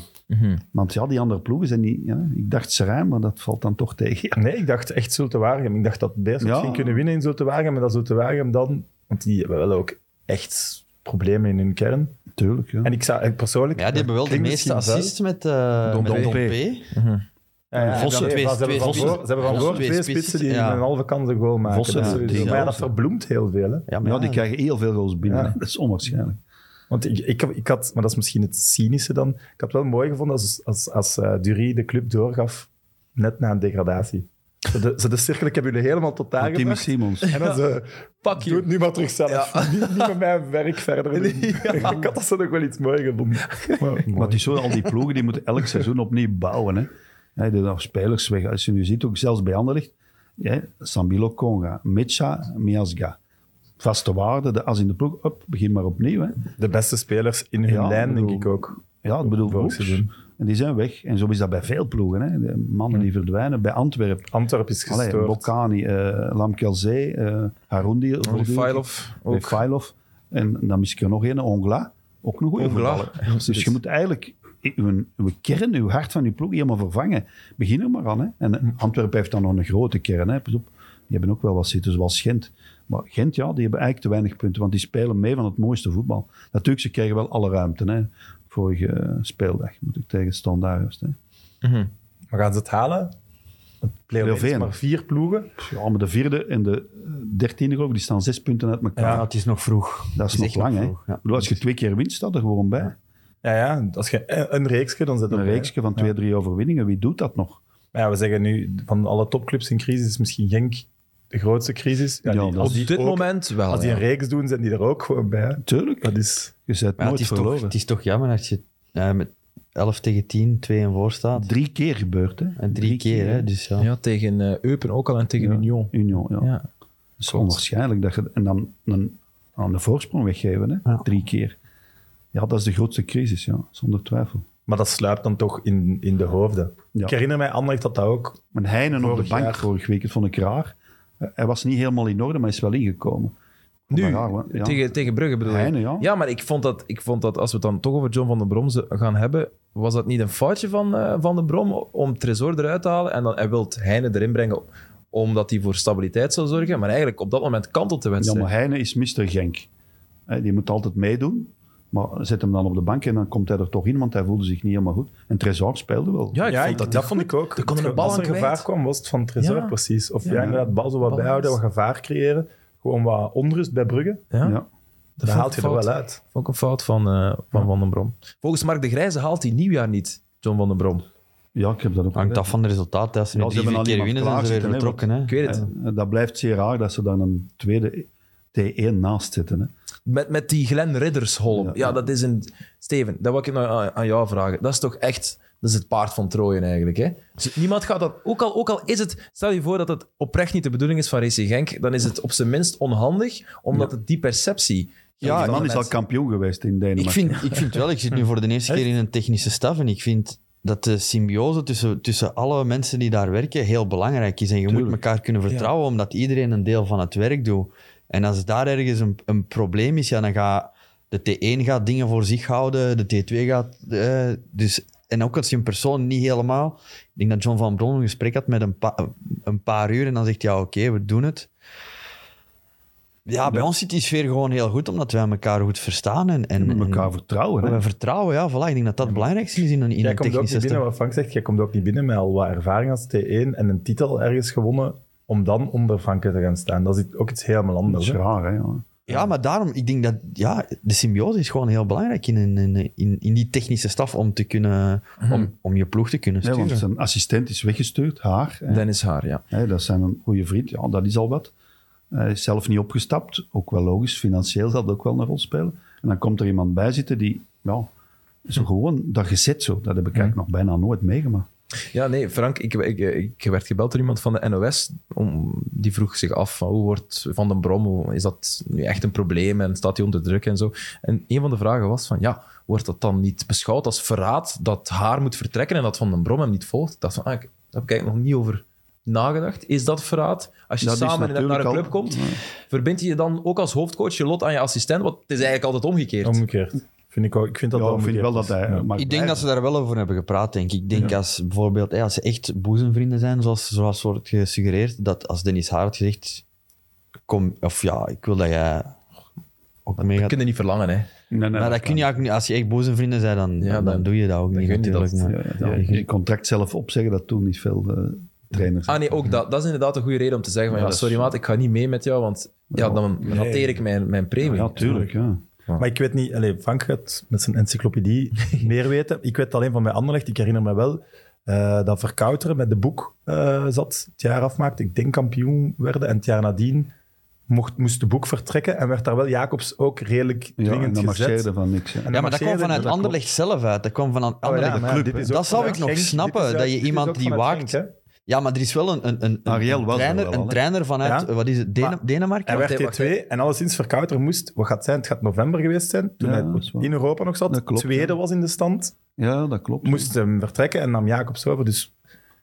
Speaker 4: Want ja, die andere ploegen zijn niet... Ja, ik dacht Serijn, maar dat valt dan toch tegen. Ja.
Speaker 5: Nee, ik dacht echt Zulte Waregem. Ik dacht dat Beerschot
Speaker 4: Ja.
Speaker 5: ging kunnen winnen in Zulte Waregem, maar dat Zulte Waregem dan... Want die hebben wel ook echt problemen in hun kern.
Speaker 4: Tuurlijk, ja.
Speaker 5: En ik zou ik persoonlijk...
Speaker 3: Ja, die hebben wel de
Speaker 5: klinkt
Speaker 3: meeste
Speaker 5: misschien vuil.
Speaker 3: assists met, eh
Speaker 4: Dom-
Speaker 3: met
Speaker 4: Dom
Speaker 3: Dom
Speaker 4: P.
Speaker 3: P.
Speaker 5: Ja, ja, en
Speaker 3: Vossen,
Speaker 5: dan-
Speaker 3: twee-
Speaker 5: ze hebben
Speaker 3: twee
Speaker 5: van
Speaker 3: spitsen.
Speaker 5: Goor- ze hebben van
Speaker 3: Vossen,
Speaker 5: Goor
Speaker 3: twee
Speaker 5: twee
Speaker 3: spitsen,
Speaker 5: spitsen die
Speaker 3: ja.
Speaker 5: een halve kans een goal maken.
Speaker 4: Vossen,
Speaker 5: Dat is
Speaker 4: ja,
Speaker 5: sowieso.
Speaker 4: die
Speaker 5: maar ja, dat
Speaker 4: zelf, ja.
Speaker 5: verbloemt heel veel, hè.
Speaker 3: Ja, maar
Speaker 4: ja,
Speaker 3: ja,
Speaker 4: die krijgen heel veel goals binnen.
Speaker 5: Ja.
Speaker 4: hè. Dat is onwaarschijnlijk.
Speaker 5: Want ik, ik, ik had, maar dat is misschien het cynische dan. Ik had wel mooi gevonden als, als, als eh, Dury de club doorgaf net na een degradatie. Ze de, ze de cirkel, ik heb jullie helemaal tot daar
Speaker 4: Met Timmy
Speaker 5: gebracht.
Speaker 4: Simons.
Speaker 5: En dan ze,
Speaker 1: Pak
Speaker 5: doe het
Speaker 1: je.
Speaker 5: nu maar terug zelf. Niet, niet met mijn werk verder doen. Ik had dat ze nog wel iets mooi gevonden. Maar,
Speaker 4: Maar het is zo, al die ploegen die moeten elk seizoen opnieuw bouwen. Hè. Ja, die nog spelers weg. Als je nu ziet, ook zelfs bij Anderlecht. Ja, Sambilo Conga, Mecha, Miasga. Vaste waarde, de as in de ploeg. Up, begin maar opnieuw. Hè.
Speaker 5: de beste spelers in hun
Speaker 4: Ja,
Speaker 5: lijn, denk
Speaker 4: bedoel-
Speaker 5: ik ook.
Speaker 4: Ja, ik bedoel,
Speaker 5: Vorig
Speaker 4: oeps.
Speaker 5: seizoen.
Speaker 4: En die zijn weg. En zo is dat bij veel ploegen. Hè. De mannen die verdwijnen. Bij Antwerpen.
Speaker 5: Antwerp is gestoord.
Speaker 4: Allee, Bokani, eh Lamkelzee, eh Harundi. voortdurend.
Speaker 1: File-off
Speaker 4: Bij
Speaker 1: ook.
Speaker 4: Failov. En dan mis ik er nog één, Ongla. Ook een goede
Speaker 1: Ongla.
Speaker 4: voetballer. Dus je moet eigenlijk uw, uw kern, uw hart van die ploeg helemaal vervangen. Begin er maar aan. Hè. En eh, Antwerpen heeft dan nog een grote kern. Hè. Pas op, die hebben ook wel wat zitten, zoals Gent. Maar Gent, ja, die hebben eigenlijk te weinig punten, want die spelen mee van het mooiste voetbal. Natuurlijk, ze krijgen wel alle ruimte. Hè. Vorige eh, speeldag moet ik tegen Standaard. Hè.
Speaker 5: Maar gaan ze het halen? Play-off
Speaker 4: Play-off
Speaker 5: één is
Speaker 4: één.
Speaker 5: maar vier ploegen.
Speaker 4: Ja, maar de vierde en de eh, dertiende, geloof ik, die staan zes punten uit elkaar.
Speaker 3: Ja, het is nog vroeg.
Speaker 4: dat is
Speaker 3: het
Speaker 4: nog
Speaker 3: is echt
Speaker 4: lang,
Speaker 3: nog
Speaker 4: hè.
Speaker 3: vroeg, ja.
Speaker 4: Ik bedoel, Als je twee keer wint, staat er gewoon bij.
Speaker 5: Ja, ja, als je een een reeksje, dan zit
Speaker 4: Een
Speaker 5: erbij.
Speaker 4: reeksje van
Speaker 5: Ja.
Speaker 4: twee, drie overwinningen. Wie doet dat nog?
Speaker 5: Maar ja, we zeggen nu, van alle topclubs in crisis is misschien Genk de grootste crisis. Ja,
Speaker 4: Ja,
Speaker 5: die-
Speaker 4: dat
Speaker 5: als
Speaker 4: is- Ah,
Speaker 5: die
Speaker 1: Op dit
Speaker 5: ook-
Speaker 1: moment wel.
Speaker 5: Als die een
Speaker 1: ja.
Speaker 5: reeks doen, zijn die er ook gewoon bij.
Speaker 4: Tuurlijk.
Speaker 5: Dat is...
Speaker 4: Je bent
Speaker 3: Maar ja,
Speaker 4: nooit
Speaker 3: het, is toch,
Speaker 4: verloren.
Speaker 3: het is toch jammer dat je eh, met 11 tegen 10, 2 en voor staat.
Speaker 4: Drie keer gebeurd, hè?
Speaker 3: En drie, keer, hè. Dus ja.
Speaker 1: Ja, tegen eh, Eupen ook al en tegen
Speaker 4: Ja.
Speaker 1: Union.
Speaker 4: Union, ja.
Speaker 1: Ja.
Speaker 4: Dat is onwaarschijnlijk. Dat je, en dan, dan aan de voorsprong weggeven, hè?
Speaker 3: Ja.
Speaker 4: Drie keer. Ja, dat is de grootste crisis, ja. Zonder twijfel.
Speaker 5: Maar dat sluipt dan toch in, in de hoofden.
Speaker 4: Ja.
Speaker 5: Ik herinner mij, Anderlecht had dat ook.
Speaker 4: Mijn Heinen op
Speaker 5: Vorig
Speaker 4: de bank
Speaker 5: jaar.
Speaker 4: vorige week, dat vond ik raar. Eh, Hij was niet helemaal in orde, maar is wel ingekomen. Vond
Speaker 1: Nu,
Speaker 4: dat raar, hè? ja.
Speaker 1: tegen, tegen Brugge bedoel
Speaker 4: Heine,
Speaker 1: ik.
Speaker 4: ja.
Speaker 1: maar ik vond, dat, ik vond dat als we het dan toch over John van den Brom ze- gaan hebben, was dat niet een foutje van eh, Van den Brom om Tresor eruit te halen en dan hij wil Heine erin brengen omdat hij voor stabiliteit zou zorgen. Maar eigenlijk op dat moment kantelt de
Speaker 4: Ja,
Speaker 1: wedstrijd.
Speaker 4: maar Heine is Mr. Genk. Hè, Die moet altijd meedoen. Maar zet hem dan op de bank en dan komt hij er toch in, want hij voelde zich niet helemaal goed. En Trezor speelde wel.
Speaker 1: Ja, ik vond dat die
Speaker 5: vond ik ook.
Speaker 1: Er kon een bal
Speaker 5: Als er
Speaker 1: aan kwijt.
Speaker 5: gevaar kwam, was het van Trezor
Speaker 1: Ja.
Speaker 5: precies. Of ja,
Speaker 1: Ja.
Speaker 5: inderdaad, bal zo wat
Speaker 1: Bal
Speaker 5: bijhouden, wat
Speaker 1: vast.
Speaker 5: gevaar creëren. Gewoon wat onrust bij Brugge.
Speaker 1: Ja,
Speaker 4: Ja.
Speaker 5: Dat
Speaker 1: vond
Speaker 5: haalt
Speaker 1: ik
Speaker 5: je er
Speaker 1: fout.
Speaker 5: wel uit.
Speaker 1: Vond ik een fout van, eh, van Van den Brom. Volgens Mark de Grijze haalt hij nieuwjaar niet, John Van den Brom.
Speaker 4: Ja, ik heb dat ook
Speaker 3: Hangt af van de resultaten. Als ze
Speaker 4: Ja,
Speaker 3: nu
Speaker 4: ze
Speaker 3: drie,
Speaker 4: hebben
Speaker 3: vier
Speaker 4: al
Speaker 3: keer
Speaker 4: iemand
Speaker 3: winnen, zijn ze weer
Speaker 4: klaarzitten, hè,
Speaker 3: vertrokken, hè.
Speaker 1: Ik weet het.
Speaker 4: Eh, Dat blijft zeer raar dat ze dan een tweede T1 naast zitten. Hè.
Speaker 1: Met, met die Glenn Riddersholm. Ja,
Speaker 4: Ja, ja.
Speaker 1: dat is een... Steven, dat wil ik nou aan, aan jou vragen. Dat is toch echt... Dat is het paard van Trojen eigenlijk. Hè? Dus niemand gaat dat... Ook al, ook al is het... Stel je voor dat het oprecht niet de bedoeling is van RC Genk, dan is het op zijn minst onhandig, omdat het die perceptie...
Speaker 3: Ja,
Speaker 4: die
Speaker 1: van
Speaker 4: man
Speaker 1: de
Speaker 4: is al
Speaker 1: mensen-
Speaker 4: kampioen geweest in
Speaker 3: Ik
Speaker 4: Denemarken.
Speaker 3: vind, ik vind wel, ik zit nu voor de eerste keer in een technische staf en ik vind dat de symbiose tussen, tussen alle mensen die daar werken heel belangrijk is. En je moet elkaar kunnen vertrouwen, omdat iedereen een deel van het werk doet. En als daar ergens een, een probleem is, ja, dan gaat de T1 gaat dingen voor zich houden, de T2 gaat... eh, dus, en ook als je een persoon niet helemaal... Ik denk dat John van Bron een gesprek had met een, pa- een paar uur en dan zegt hij, ja, oké, we doen het. Ja, bij ons zit die sfeer gewoon heel goed, omdat wij elkaar goed verstaan. En, en,
Speaker 4: En
Speaker 3: en-
Speaker 4: elkaar vertrouwen. Hè.
Speaker 3: we vertrouwen, ja, voilà. Ik denk dat dat het belangrijkste is in een, in
Speaker 5: Jij
Speaker 3: een
Speaker 5: komt ook
Speaker 3: technische
Speaker 5: niet binnen,
Speaker 3: stap.
Speaker 5: wat Frank zegt, jij komt ook niet binnen met al wat ervaring als T1 en een titel ergens gewonnen, om dan onder Franke te gaan staan. Dat is ook iets helemaal
Speaker 4: Dat
Speaker 5: anders.
Speaker 4: is
Speaker 5: hè.
Speaker 4: raar, hè. ja.
Speaker 3: Ja, maar daarom, ik denk dat ja, de symbiose is gewoon heel belangrijk in, een- in, in, in die technische staf om, te kunnen, om, om je ploeg te kunnen
Speaker 4: Nee,
Speaker 3: sturen.
Speaker 4: want zijn assistent is weggestuurd, haar. hè.
Speaker 1: Dennis Haar, ja.
Speaker 4: Hè, dat zijn een goede vriend, ja, dat is al wat. Hij is zelf niet opgestapt, ook wel logisch. Financieel zal dat ook wel een rol spelen. En dan komt er iemand bij zitten die, Hm. ja, zo gewoon dat gezet zo. Dat heb ik eigenlijk nog bijna nooit meegemaakt.
Speaker 1: Ja, nee, Frank, ik, ik, ik werd gebeld door iemand van de NOS. Om, die vroeg zich af van, hoe wordt Van den Brom, hoe, is dat nu echt een probleem en staat hij onder druk en zo. En een van de vragen was van, ja, wordt dat dan niet beschouwd als verraad dat haar moet vertrekken en dat Van den Brom hem niet volgt? Ik dacht van, ah, ik, daar heb ik eigenlijk nog niet over nagedacht. Is dat verraad? Als je
Speaker 4: Dat is
Speaker 1: samen in- naar een
Speaker 4: natuurlijk
Speaker 1: club
Speaker 4: al-
Speaker 1: komt, verbind je je dan ook als hoofdcoach je lot aan je assistent? Want het is eigenlijk altijd omgekeerd.
Speaker 5: Omgekeerd. Vind ik, ook, ik vind dat
Speaker 4: Ja,
Speaker 5: wel
Speaker 4: ik vind
Speaker 5: omgekeerd
Speaker 4: wel dat
Speaker 5: is.
Speaker 4: hij... eh, mag
Speaker 5: Ja.
Speaker 3: Ik denk
Speaker 4: blijven.
Speaker 3: dat ze daar wel over hebben gepraat, denk ik. Ik denk als bijvoorbeeld, hè, als ze echt boezemvrienden zijn, zoals, zoals wordt gesuggereerd, dat als Dennis Hart zegt, kom, of ja, ik wil dat jij ook mee
Speaker 1: Dat
Speaker 3: gaat.
Speaker 1: kunnen niet verlangen, hè.
Speaker 4: Nee, nee,
Speaker 3: Maar
Speaker 4: kan
Speaker 3: dat kun je eigenlijk niet, als je echt boezemvrienden zijn, dan,
Speaker 1: Ja,
Speaker 3: dan,
Speaker 1: dan-
Speaker 3: doe je dat ook
Speaker 1: dan
Speaker 3: niet
Speaker 1: gun je dat.
Speaker 3: natuurlijk. maar-
Speaker 4: niet. Ja, ja, je contract zelf opzeggen, dat doen niet veel eh, trainers.
Speaker 1: Ah nee, ook dat. Dat is inderdaad een goede reden om te zeggen van,
Speaker 4: Ja,
Speaker 1: ja,
Speaker 4: dat is-
Speaker 1: sorry maat, ik ga niet mee met jou, want ja, dan rateer ik mijn, mijn premie.
Speaker 4: Ja, tuurlijk. Ja.
Speaker 5: Maar ik weet niet, allez, Frank gaat met zijn encyclopedie meer weten. Ik weet alleen van bij Anderlecht, ik herinner me wel eh, dat Verkouteren met de boek eh, zat, het jaar afmaakte. Ik denk kampioen werden en het jaar nadien mocht, moest de boek vertrekken en werd daar wel Jacobs ook redelijk
Speaker 4: Ja, en
Speaker 5: dwingend
Speaker 4: dan mag
Speaker 5: gezet.
Speaker 4: je van niks. hè.
Speaker 5: En
Speaker 3: Ja,
Speaker 5: dan
Speaker 3: maar dat
Speaker 5: marcheerde-
Speaker 3: kwam vanuit
Speaker 5: dat klopt.
Speaker 3: Anderlecht zelf uit. Dat kwam vanuit
Speaker 5: Oh,
Speaker 3: Anderlecht.
Speaker 5: ja, maar
Speaker 4: club,
Speaker 5: dit is
Speaker 4: hè.
Speaker 5: ook
Speaker 3: Dat zou
Speaker 5: vanuit
Speaker 3: ik nog
Speaker 5: Genk. Dit is
Speaker 3: snappen,
Speaker 5: uit-
Speaker 3: dat je
Speaker 5: dit is
Speaker 3: iemand
Speaker 5: ook
Speaker 3: die
Speaker 5: vanuit
Speaker 3: waakt.
Speaker 5: Genk, hè. Ah,
Speaker 3: Ja, maar er is wel een, een, een,
Speaker 4: Ariel
Speaker 3: een,
Speaker 4: was er
Speaker 3: trainer,
Speaker 4: wel al,
Speaker 3: een
Speaker 4: hè?
Speaker 3: trainer vanuit,
Speaker 5: Ja.
Speaker 3: wat is het, Dene-
Speaker 5: Maar-
Speaker 3: Denemarken?
Speaker 5: Hij
Speaker 1: Wacht,
Speaker 5: werd
Speaker 1: wacht,
Speaker 5: T2 en alleszins Verkouter moest, wat gaat het zijn, het gaat november geweest zijn, toen
Speaker 4: Ja,
Speaker 5: hij
Speaker 4: dat is waar.
Speaker 5: in Europa nog zat,
Speaker 4: Dat klopt,
Speaker 5: tweede
Speaker 4: ja.
Speaker 5: was in de stand,
Speaker 4: Ja, dat klopt.
Speaker 5: moest hem vertrekken en nam Jacobs over. Dus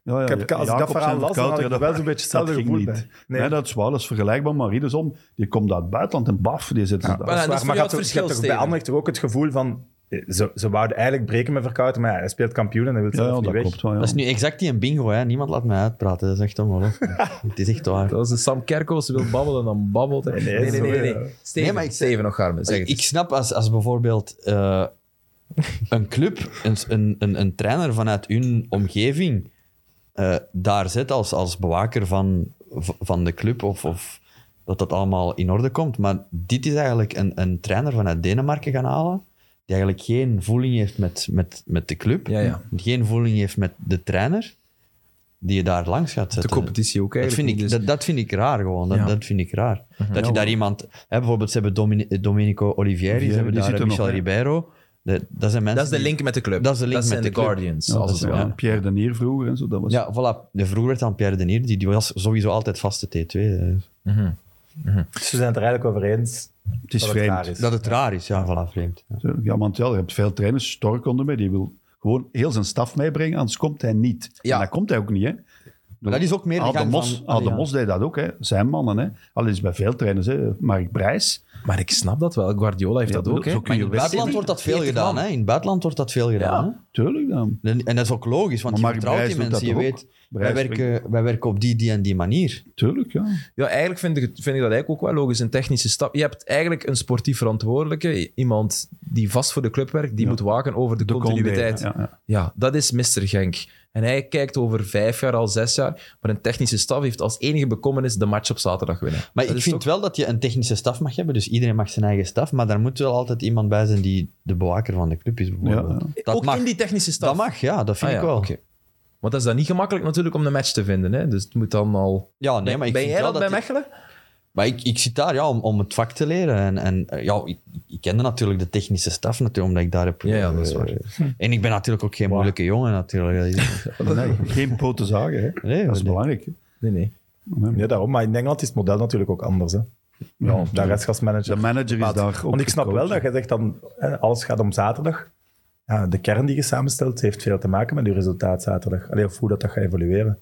Speaker 4: ja, ja,
Speaker 5: ik heb, als ik dat
Speaker 4: Jacobsen
Speaker 5: verhaal
Speaker 4: en
Speaker 5: las, dan had ik
Speaker 4: Kouteren,
Speaker 5: er wel zo'n beetje hetzelfde
Speaker 4: dat ging
Speaker 5: gevoel
Speaker 4: niet.
Speaker 5: bij.
Speaker 4: Nee. dat is waar. Dat is vergelijkbaar. Maar Riederson, die komt uit het buitenland en baf, die zit
Speaker 5: Ja,
Speaker 4: daar.
Speaker 3: dus
Speaker 5: dat is
Speaker 1: en dat is
Speaker 5: waar. Maar
Speaker 1: voor jou
Speaker 5: ik had
Speaker 1: het
Speaker 5: ook- ik had toch
Speaker 1: verschil,
Speaker 5: bij
Speaker 1: Steven?
Speaker 5: Anderlecht toch ook het gevoel van... eh, Ze, ze wouden eigenlijk breken met Verkouten, maar ja, hij speelt kampioen en hij wil
Speaker 4: Ja,
Speaker 5: zelf
Speaker 4: ja,
Speaker 5: niet
Speaker 4: dat
Speaker 5: weg.
Speaker 4: klopt wel. Ja.
Speaker 3: Dat is nu exact die een bingo, hè. Niemand laat mij uitpraten, dat is echt ongelooflijk. het is echt waar.
Speaker 1: Dat is de Sam Kerkhoff, ze wil babbelen, dan babbelt hij.
Speaker 5: nee,
Speaker 1: Nee, nee, nee. nee,
Speaker 5: sorry, ja.
Speaker 1: Steven,
Speaker 3: Nee, maar ik-
Speaker 1: Steven nog Garmin, zeg het
Speaker 3: Ik
Speaker 1: eens.
Speaker 3: snap als, als bijvoorbeeld eh, een club, een, een, een, een trainer vanuit hun omgeving, eh, daar zet als, als bewaker van, van de club of, of dat dat allemaal in orde komt. Maar dit is eigenlijk een, een trainer vanuit Denemarken gaan halen, die eigenlijk geen voeling heeft met, met, met de club,
Speaker 1: Ja, ja.
Speaker 3: geen voeling heeft met de trainer, die je daar langs gaat
Speaker 1: De
Speaker 3: zetten.
Speaker 1: competitie ook
Speaker 3: Dat
Speaker 1: eigenlijk. dus
Speaker 3: vind, ik,
Speaker 1: niet,
Speaker 3: dat, dat vind ik raar gewoon. Dat,
Speaker 1: Ja.
Speaker 3: dat vind ik raar. Dat je daar iemand... Hè, bijvoorbeeld, ze hebben Domini- eh, Domenico Olivieri,
Speaker 4: Olivieri,
Speaker 3: ze hebben
Speaker 4: die
Speaker 3: daar
Speaker 4: zit er
Speaker 3: Michel
Speaker 4: nog, hè.
Speaker 3: Ribeiro. De- dat zijn
Speaker 1: dus-
Speaker 3: mensen
Speaker 1: dat is de
Speaker 3: die-
Speaker 1: link met de club.
Speaker 3: Dat is de link met
Speaker 1: zijn
Speaker 3: de club.
Speaker 1: Guardians,
Speaker 4: Ja,
Speaker 1: als
Speaker 4: dat
Speaker 1: het
Speaker 4: is
Speaker 1: ware.
Speaker 4: wel. Pierre de Nier vroeger en zo. Dat was,
Speaker 3: Ja, voilà. De, vroeger werd dan Pierre Denier, die, die was sowieso altijd vaste T2. eh.
Speaker 5: Dus ze zijn het er eigenlijk over eens
Speaker 4: het is
Speaker 5: dat het raar
Speaker 4: vreemd.
Speaker 5: is.
Speaker 3: Dat het raar is, ja, voilà, vreemd. Ja.
Speaker 4: Ja, want ja, je hebt veel trainers, Stork onder mij, die wil gewoon heel zijn staf meebrengen, anders komt hij niet.
Speaker 1: Ja.
Speaker 4: En dat komt hij ook niet, hè.
Speaker 3: Maar dat is ook meer de
Speaker 4: Adem
Speaker 3: gang
Speaker 4: Mos,
Speaker 3: van...
Speaker 4: Adem
Speaker 3: Allee, ja.
Speaker 4: Mos deed dat ook, hè. zijn mannen. Hè. Al is bij veel trainers, hè. Mark Brijs.
Speaker 1: Maar ik snap dat wel. Guardiola heeft
Speaker 4: Ja,
Speaker 1: dat ook.
Speaker 4: bedoel,
Speaker 1: hè.
Speaker 4: zo kun
Speaker 1: Maar
Speaker 4: je
Speaker 1: in
Speaker 3: In het buitenland wordt dat veel
Speaker 1: 40
Speaker 3: gedaan,
Speaker 1: man.
Speaker 3: hè. In het buitenland wordt dat veel gedaan, hè.
Speaker 4: Tuurlijk dan.
Speaker 3: En, en dat is ook logisch, want
Speaker 4: Maar
Speaker 3: je
Speaker 4: Mark
Speaker 3: vertrouwt die
Speaker 4: Brijs doet
Speaker 3: mensen. Je
Speaker 4: dat toch
Speaker 3: weet,
Speaker 4: ook?
Speaker 3: wij
Speaker 4: Brijs
Speaker 3: werken, wij werken op die, die en die manier.
Speaker 4: Tuurlijk, ja.
Speaker 1: Ja, eigenlijk vind ik, het- vind ik dat eigenlijk ook wel logisch. Een technische stap. Je hebt eigenlijk een sportief verantwoordelijke. i- Iemand die vast voor de club werkt, die moet waken over de, continuïteit.
Speaker 4: Condé, ja, ja.
Speaker 1: Ja, dat is Mr. Genk. En hij kijkt over vijf jaar, al zes jaar. Maar een technische staf heeft als enige bekommernis de match op zaterdag winnen.
Speaker 3: Maar
Speaker 1: Dat
Speaker 3: ik
Speaker 1: is
Speaker 3: vind wel dat je een technische staf mag hebben, dus iedereen mag zijn eigen staf, maar daar moet wel altijd iemand bij zijn die de bewaker van de club is, bijvoorbeeld.
Speaker 4: Ja,
Speaker 3: Dat
Speaker 1: ook
Speaker 3: mag.
Speaker 1: in die technische staf.
Speaker 3: Dat mag, ja, dat vind
Speaker 1: Ah,
Speaker 3: ik
Speaker 1: ja,
Speaker 3: wel.
Speaker 1: oké. Want dat is dan niet gemakkelijk natuurlijk om een match te vinden. Hè? Dus het moet dan al...
Speaker 3: Ja, nee, maar ik
Speaker 1: ben
Speaker 3: vind
Speaker 1: jij
Speaker 3: wel
Speaker 1: dat bij
Speaker 3: die-
Speaker 1: Mechelen?
Speaker 3: Maar ik, ik zit daar ja, om, om het vak te leren. En, en eh, ja, ik, ik kende natuurlijk de technische staf, natuurlijk, omdat ik daar heb...
Speaker 1: Ja, ja, dat is waar.
Speaker 3: eh, En ik ben natuurlijk ook geen moeilijke jongen, natuurlijk.
Speaker 4: Nee, geen poten zagen, hè.
Speaker 3: Nee,
Speaker 4: dat
Speaker 3: maar
Speaker 4: is
Speaker 3: nee.
Speaker 4: belangrijk. hè.
Speaker 1: Nee, nee.
Speaker 5: Ja, daarom. Maar in Engeland is het model natuurlijk ook anders, hè. Ja, daar is
Speaker 4: De
Speaker 5: gastmanager.
Speaker 4: manager is daar ook
Speaker 5: Want ik snap wel
Speaker 4: gecoacht.
Speaker 5: dat je zegt dan, hè, alles gaat om zaterdag. Ja, de kern die je samenstelt heeft veel te maken met je resultaat zaterdag. Alleen of hoe dat, dat gaat evolueren.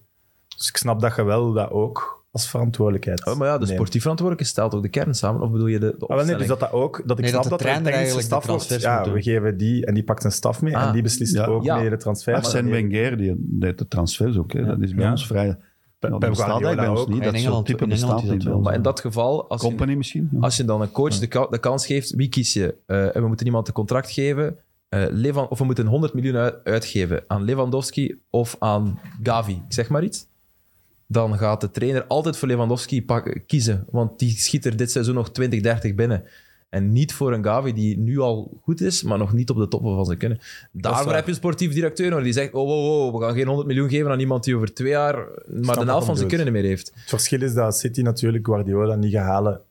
Speaker 5: Dus ik snap dat je wel dat ook als verantwoordelijkheid
Speaker 1: Oh, maar ja, de
Speaker 5: neemt.
Speaker 1: sportief verantwoordelijke stelt ook de kern samen. Of bedoel je de, de
Speaker 5: Ah, wel, nee,
Speaker 1: opstelling?
Speaker 5: dus dat dat ook, dat ik
Speaker 3: Nee,
Speaker 5: snap
Speaker 3: dat
Speaker 5: dat,
Speaker 3: de
Speaker 5: er een
Speaker 3: trainer
Speaker 5: technische
Speaker 3: eigenlijk
Speaker 5: staf
Speaker 3: de
Speaker 5: wordt.
Speaker 3: transfers moet
Speaker 5: Ja, we geven die en die pakt zijn staf mee
Speaker 1: Ah,
Speaker 5: en die beslist
Speaker 4: ja.
Speaker 5: ook
Speaker 1: Ja.
Speaker 5: mee de transfer. Maar
Speaker 4: Arsène
Speaker 5: nee,
Speaker 4: Wenger, die deed de transfers ook. Hè. Dat is bij
Speaker 5: Ja.
Speaker 4: ons vrij... Ja, dat
Speaker 5: bij
Speaker 4: bestaat
Speaker 5: Guardiola
Speaker 4: eigenlijk bij ons
Speaker 5: ook.
Speaker 4: niet.
Speaker 3: In
Speaker 4: Dat soort
Speaker 3: Engeland-
Speaker 4: type
Speaker 3: in Engeland
Speaker 4: bestaat
Speaker 3: is dat
Speaker 4: niet bij
Speaker 3: wel
Speaker 4: ons.
Speaker 1: Maar in dat geval, als je,
Speaker 4: Company misschien? ja.
Speaker 1: als je dan een coach de, ka- de kans geeft, wie kies je? Eh, en we moeten iemand een contract geven. eh, Levan, of we moeten 100 miljoen uit- uitgeven aan Lewandowski of aan Gavi, ik zeg maar iets. Dan gaat de trainer altijd voor Lewandowski pak- kiezen. Want die schiet er dit seizoen nog 20, 30 binnen. En niet voor een Gavi die nu al goed is, maar nog niet op de toppen van zijn kunnen. Daarvoor
Speaker 5: waar.
Speaker 1: heb je een sportief directeur nodig die zegt: oh, wow, wow, we gaan geen 100 miljoen geven aan iemand die over twee jaar maar de
Speaker 5: wat
Speaker 1: helft
Speaker 5: hem
Speaker 1: van zijn
Speaker 5: bedoelt.
Speaker 1: kunnen niet meer heeft.
Speaker 5: Het verschil is dat City natuurlijk Guardiola niet gaat halen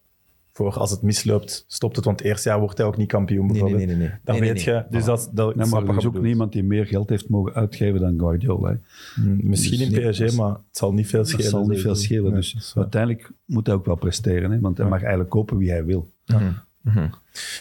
Speaker 5: voor als het misloopt, stopt het. Want het eerste jaar wordt hij ook niet kampioen,
Speaker 1: Nee, nee,
Speaker 5: bijvoorbeeld.
Speaker 1: nee. nee, nee.
Speaker 5: Dan
Speaker 1: Nee, nee,
Speaker 5: weet
Speaker 1: nee.
Speaker 5: je... Dus dat, dat,
Speaker 4: Nee,
Speaker 5: snap
Speaker 4: maar
Speaker 5: wat
Speaker 4: er is
Speaker 5: je
Speaker 4: ook
Speaker 5: bedoelt.
Speaker 4: niemand die meer geld heeft mogen uitgeven dan Guardiola. Hè.
Speaker 5: Hm, Misschien
Speaker 1: Dus
Speaker 5: in PSG, maar het zal niet veel
Speaker 4: Dat
Speaker 5: schelen.
Speaker 4: zal niet veel
Speaker 5: sowieso.
Speaker 4: schelen.
Speaker 5: Nee,
Speaker 4: Dus
Speaker 5: dat is waar.
Speaker 4: uiteindelijk moet hij ook wel presteren. Hè, want hij mag eigenlijk kopen wie hij wil.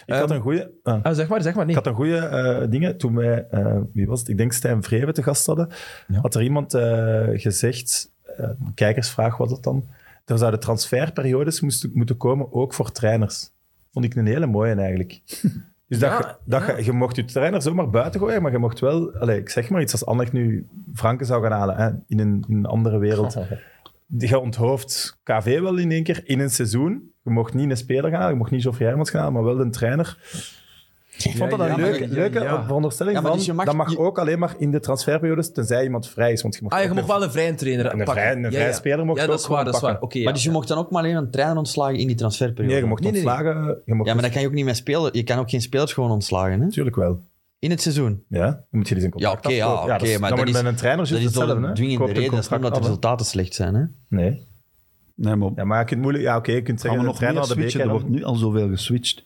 Speaker 5: Ik had een goede.
Speaker 1: Ah, zeg maar, zeg maar. Nee.
Speaker 5: Ik had een goede eh dingen. Toen wij, eh, wie was het? Ik denk Stijn Vreven te gast hadden.
Speaker 1: Ja.
Speaker 5: Had er iemand eh, gezegd, eh, een kijkersvraag was dat dan. Er zouden transferperiodes moesten, moeten komen, ook voor trainers. Vond ik een hele mooie eigenlijk. Dus dat,
Speaker 1: Ja,
Speaker 5: je- dat
Speaker 1: ja.
Speaker 5: je, je mocht je trainer zomaar buiten gooien, maar je mocht wel, allez, ik zeg maar iets als Anderlecht nu Franken zou gaan halen hè, in, een, in een andere wereld.
Speaker 1: Oh,
Speaker 5: Die- Je onthoofd KV wel in één keer in een seizoen. Je mocht niet een speler gaan halen, je mocht niet Geoffrey Hermans gaan halen, maar wel een trainer. Ik vond dat een
Speaker 1: Ja, ja,
Speaker 5: leuke,
Speaker 1: maar-
Speaker 5: leuke
Speaker 1: ja.
Speaker 5: veronderstelling
Speaker 3: Ja, maar
Speaker 5: van,
Speaker 3: dus je mag-
Speaker 5: dat mag
Speaker 3: je-
Speaker 5: ook alleen maar in de transferperiodes, tenzij iemand vrij is. Want je mag
Speaker 1: Ah, je
Speaker 5: ook
Speaker 1: mag
Speaker 5: weer-
Speaker 1: wel een vrije trainer
Speaker 5: Een
Speaker 1: pakken.
Speaker 5: vrij- een vrije speler mocht
Speaker 1: Ja,
Speaker 5: je
Speaker 1: dat
Speaker 5: ook
Speaker 1: is waar, dat
Speaker 5: gewoon
Speaker 1: is waar. Oké,
Speaker 5: pakken.
Speaker 1: ja.
Speaker 3: Maar dus je mocht dan ook maar alleen een trainer ontslagen in die transferperiode?
Speaker 5: Nee, je mocht
Speaker 1: Nee, nee, nee.
Speaker 5: ontslagen. Je mocht
Speaker 3: Ja, maar dan kan je ook niet met spelers... Je kan ook geen spelers gewoon ontslagen, hè?
Speaker 5: Natuurlijk wel.
Speaker 3: In het seizoen.
Speaker 5: Ja, dan moet je dus een contract
Speaker 3: Ja, oké, ja,
Speaker 5: afkopen.
Speaker 3: oké,
Speaker 5: dat is-
Speaker 3: maar
Speaker 5: dan
Speaker 3: dat
Speaker 5: wordt
Speaker 3: is-
Speaker 5: met een trainer
Speaker 3: Dat
Speaker 5: juist
Speaker 3: is toch
Speaker 5: hetzelfde.
Speaker 3: een
Speaker 5: hè.
Speaker 3: dwingende
Speaker 5: Koopt een
Speaker 3: reden. Dat is niet omdat de
Speaker 5: contract
Speaker 3: resultaten slecht zijn, hè?
Speaker 5: af, hè. Nee.
Speaker 4: Nee, maar
Speaker 5: Ja, maar je kunt moeilijk... Ja, oké, je kunt
Speaker 4: gaan
Speaker 5: zeggen...
Speaker 4: we
Speaker 5: de
Speaker 4: nog
Speaker 5: trainer
Speaker 4: meer
Speaker 5: had de
Speaker 4: switchen? Er
Speaker 5: beker
Speaker 4: wordt
Speaker 5: dan-
Speaker 4: nu al zoveel geswitcht.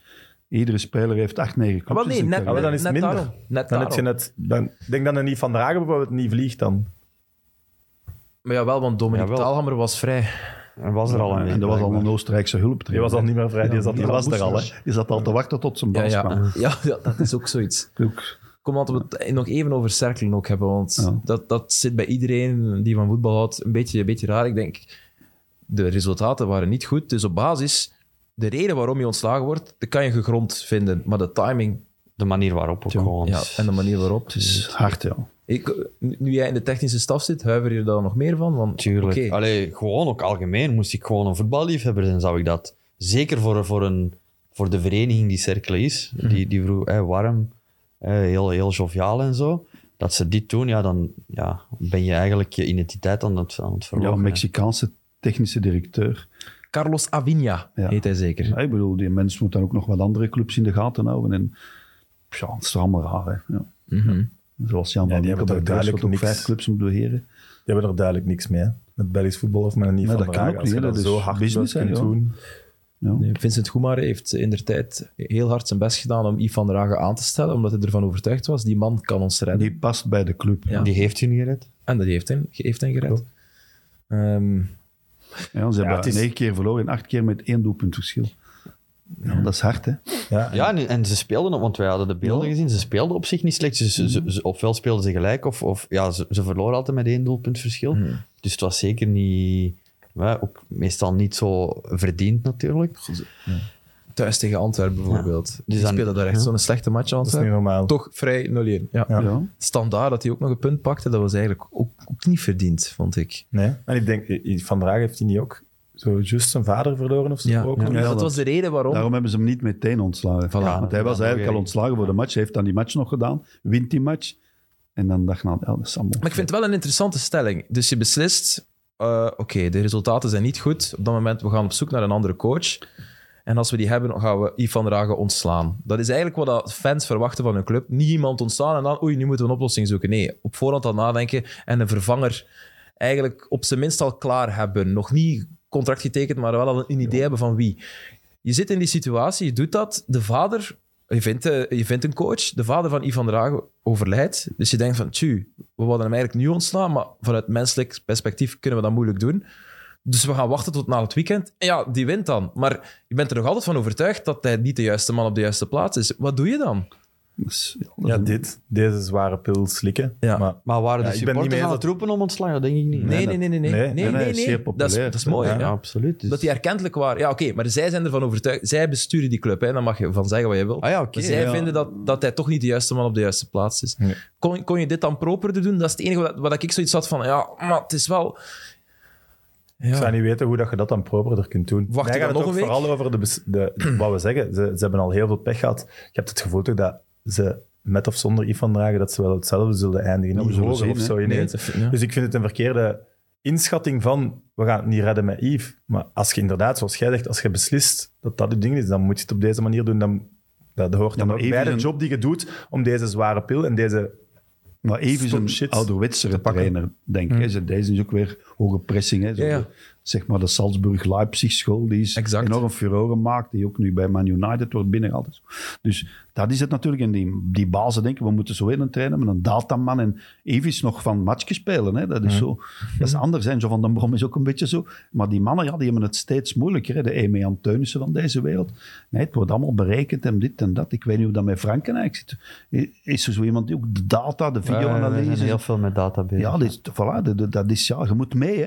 Speaker 4: Iedere speler heeft acht, negen
Speaker 1: Ah,
Speaker 4: clubs
Speaker 1: wel,
Speaker 4: in
Speaker 1: nee,
Speaker 4: zijn
Speaker 1: net,
Speaker 4: carrière.
Speaker 5: maar dan is het
Speaker 1: net
Speaker 5: minder.
Speaker 1: daarom. Net
Speaker 5: Dan heb je
Speaker 1: daarom.
Speaker 5: net... Dan, ik denk dat een niet van Dragen bijvoorbeeld niet vliegt dan.
Speaker 1: Maar jawel, want Dominic
Speaker 3: Jawel.
Speaker 1: Taalhammer was vrij.
Speaker 3: En was er al een
Speaker 4: en dat was al een Oostenrijkse
Speaker 5: Die
Speaker 4: hulptrainer.
Speaker 5: was al niet meer vrij. Die zat, die was er al, hè.
Speaker 4: Je zat al te wachten tot zijn
Speaker 1: Ja,
Speaker 4: baas kwam.
Speaker 1: ja. Ja, ja, dat is ook zoiets.
Speaker 4: Ook-
Speaker 1: Kom, laten we het nog even over cirkelen ook hebben, want
Speaker 4: Ja.
Speaker 1: dat, dat zit bij iedereen die van voetbal houdt een beetje, een beetje raar. Ik denk, de resultaten waren niet goed, dus op basis, de reden waarom je ontslagen wordt, dat kan je gegrond vinden, maar de timing
Speaker 3: De manier waarop ook gewoon.
Speaker 1: ja, en de manier waarop.
Speaker 4: Het is hard, ja.
Speaker 1: Ik, nu jij in de technische staf zit, huiver je daar nog meer van? Want,
Speaker 3: Tuurlijk.
Speaker 1: oké,
Speaker 3: Allee, gewoon ook algemeen. Moest ik gewoon een voetballiefhebber zijn, zou ik dat. Zeker voor, voor, een, voor de vereniging die Cercle is. Die, die vroeg, eh, warm, eh, heel, heel joviaal en zo. Dat ze dit doen, ja, dan ja, ben je eigenlijk je identiteit aan het, aan het
Speaker 4: Ja,
Speaker 3: verhogen. hè.
Speaker 4: Mexicaanse technische directeur.
Speaker 1: Carlos Aviña
Speaker 4: Ja.
Speaker 1: heet hij zeker.
Speaker 4: Ja, ik bedoel, die mens moet dan ook nog wat andere clubs in de gaten houden. En, ja, het is toch allemaal raar, hè. Ja.
Speaker 1: Mhm.
Speaker 4: Zoals Jan
Speaker 5: Ja,
Speaker 4: van
Speaker 5: die
Speaker 4: Winkel bij
Speaker 5: hebben toch
Speaker 4: Brussel,
Speaker 5: duidelijk
Speaker 4: ook
Speaker 5: niks.
Speaker 4: vijf clubs moet beheren.
Speaker 5: Die hebben er duidelijk niks mee, hè. Met Belgisch voetbal of met een niet
Speaker 4: Nee,
Speaker 5: van
Speaker 4: dat kan
Speaker 5: Braga.
Speaker 4: ook
Speaker 5: Als je
Speaker 4: niet,
Speaker 5: dat
Speaker 4: hè. Dat
Speaker 5: zo
Speaker 4: is
Speaker 5: hard
Speaker 4: business,
Speaker 5: wilt kunnen
Speaker 4: hè, ja.
Speaker 5: doen...
Speaker 4: Ja.
Speaker 1: Nee, Vincent Goemare heeft in der tijd heel hard zijn best gedaan om Yves van der Hagen aan te stellen, omdat hij ervan overtuigd was, die man kan ons redden.
Speaker 4: Die past bij de club.
Speaker 1: Ja.
Speaker 3: Die heeft u niet gered.
Speaker 1: En dat heeft hem, heeft hem gered. Ehm,
Speaker 4: Ja, ze
Speaker 5: Ja, het
Speaker 4: hebben
Speaker 5: is-
Speaker 4: negen keer verloren en acht keer met één doelpunt verschil. Ja, dat is hard, hè.
Speaker 5: Ja,
Speaker 3: Ja, en, en ze speelden op, want wij hadden de beelden gezien. Ze speelden op zich niet slecht. Ze, ze, ze- ze- ofwel speelden ze gelijk, of, of ja, ze, ze verloren altijd met één doelpunt verschil. Dus het was zeker niet, maar ook meestal niet zo verdiend natuurlijk.
Speaker 1: thuis tegen Antwerpen bijvoorbeeld. Die
Speaker 3: dan-
Speaker 1: spelen daar echt zo'n slechte match
Speaker 5: dat is niet
Speaker 1: Antwerpen.
Speaker 5: normaal.
Speaker 1: Toch vrij 0-1. Ja.
Speaker 5: Ja.
Speaker 4: Ja.
Speaker 1: Standaard dat hij ook nog een punt pakte, dat was eigenlijk ook, ook niet verdiend, vond ik.
Speaker 5: Nee. En ik denk, I- I- Van Draag heeft hij niet ook zo juist zijn vader verloren of zo?
Speaker 1: Ja,
Speaker 5: ook
Speaker 1: ja,
Speaker 5: nog?
Speaker 1: dat,
Speaker 4: dat-
Speaker 1: was de reden waarom.
Speaker 4: Daarom hebben ze hem niet meteen ontslagen.
Speaker 1: Ja,
Speaker 4: Want hij was
Speaker 3: dan
Speaker 4: eigenlijk
Speaker 3: nog
Speaker 4: al ontslagen voor de match. Hij heeft dan die match nog gedaan, wint die match. En dan dacht ik, nou, ja, dat is allemaal.
Speaker 1: Maar ik vind het wel een interessante stelling. Dus je beslist, eh, oké, de resultaten zijn niet goed. Op dat moment, we gaan op zoek naar een andere coach. En als we die hebben, gaan we Yves van Dragen ontslaan. Dat is eigenlijk wat dat fans verwachten van hun club. Niet iemand ontslaan en dan, oei, nu moeten we een oplossing zoeken. Nee, op voorhand al nadenken en een vervanger eigenlijk op zijn minst al klaar hebben. Nog niet contract getekend, maar wel al een idee hebben van wie. Je zit in die situatie, je doet dat. De vader, je vindt, eh, je vindt een coach, de vader van Ivan Drago overlijdt. Dus je denkt van, tju, we wilden hem eigenlijk nu ontslaan, maar vanuit menselijk perspectief kunnen we dat moeilijk doen. Dus we gaan wachten tot na het weekend. En ja, die wint dan. Maar je bent er nog altijd van overtuigd dat hij niet de juiste man op de juiste plaats is. Wat doe je dan?
Speaker 4: Dat is- ja, dat
Speaker 5: Ja,
Speaker 4: is een-
Speaker 5: dit. Deze zware pil slikken.
Speaker 1: Ja.
Speaker 5: Maar
Speaker 3: Maar waren de
Speaker 5: Ja, ik ben niet
Speaker 3: supporters
Speaker 5: mee
Speaker 3: aan
Speaker 5: dat-
Speaker 3: het roepen om ontslag? Dat denk ik niet.
Speaker 1: Nee, nee, nee, nee. nee,
Speaker 5: nee,
Speaker 1: nee,
Speaker 5: nee,
Speaker 1: nee,
Speaker 4: hij is
Speaker 1: nee.
Speaker 4: zeer
Speaker 1: Dat, is,
Speaker 4: populair.
Speaker 1: dat is mooi.
Speaker 3: Ja,
Speaker 1: ja.
Speaker 3: absoluut. Dus-
Speaker 1: Dat die erkentelijk waren. Ja, oké, maar zij zijn ervan overtuigd. Zij besturen die club, hè. dan mag je van zeggen wat je wil.
Speaker 3: Ah ja, oké.
Speaker 1: Maar zij
Speaker 3: ja.
Speaker 1: vinden dat, dat hij toch niet de juiste man op de juiste plaats is.
Speaker 5: Nee.
Speaker 1: Kon, kon je dit dan properder doen? Dat is het enige wat, wat ik zoiets had van, ja, maar het is wel...
Speaker 5: ik zou
Speaker 1: Ja,
Speaker 5: niet weten hoe dat je dat dan properder kunt doen.
Speaker 1: Wacht
Speaker 5: Wij
Speaker 1: je
Speaker 5: gaan
Speaker 1: dan nog
Speaker 5: het ook
Speaker 1: een week?
Speaker 5: vooral over de, bes- de, wat we zeggen. Ze, ze hebben al heel veel pech gehad. Je hebt het gevoel toch dat ze met of zonder Yves van Dragen dat ze wel hetzelfde zullen eindigen.
Speaker 4: we
Speaker 5: Niet
Speaker 4: zullen
Speaker 5: hoger
Speaker 4: zien,
Speaker 5: of
Speaker 4: hè.
Speaker 5: zo
Speaker 1: nee,
Speaker 5: ineens.
Speaker 1: het- ja.
Speaker 5: Dus ik vind het een verkeerde inschatting van we gaan het niet redden met Yves. Maar als je inderdaad, zoals jij zegt, als je beslist dat dat het ding is, dan moet je het op deze manier doen. Dan, dat hoort dan
Speaker 4: maar
Speaker 5: ook
Speaker 4: Yves
Speaker 5: bij
Speaker 4: is
Speaker 5: de
Speaker 4: een-
Speaker 5: job die je doet om deze zware pil en deze...
Speaker 4: Maar even
Speaker 5: Stop
Speaker 4: een
Speaker 5: shit
Speaker 4: ouderwetsere
Speaker 5: pakken.
Speaker 4: trainer, denk ik. hè. Ze- Deze is ook weer hoge pressing. Hè. Zo
Speaker 1: Mm. Ja, ja.
Speaker 4: de- zeg maar de Salzburg-Leipzig-school, die is
Speaker 1: Exact.
Speaker 4: enorm furoren maakt, die ook nu bij Man United wordt binnengehaald. en zo. Dus dat is het natuurlijk. En die, die bazen denken, we moeten zo in een trainer met een dataman en Evis nog van matchjes spelen. Hè?
Speaker 1: Mm.
Speaker 4: Dat is zo. Dat is anders. En zo van den Brom is ook een beetje zo. Maar die mannen, ja, die hebben het steeds moeilijker. Hè? De Emian Teunissen van deze wereld. Nee, het wordt allemaal berekend en dit en dat. Ik weet niet hoe dat met Frankrijk zit. I- Is er zo iemand die ook de data, de
Speaker 3: Eh, we zijn
Speaker 4: videoanalyse...
Speaker 3: heel veel met data bezig.
Speaker 4: Ja, dat is, voilà, dat- dat- dat is, ja, je moet mee, hè.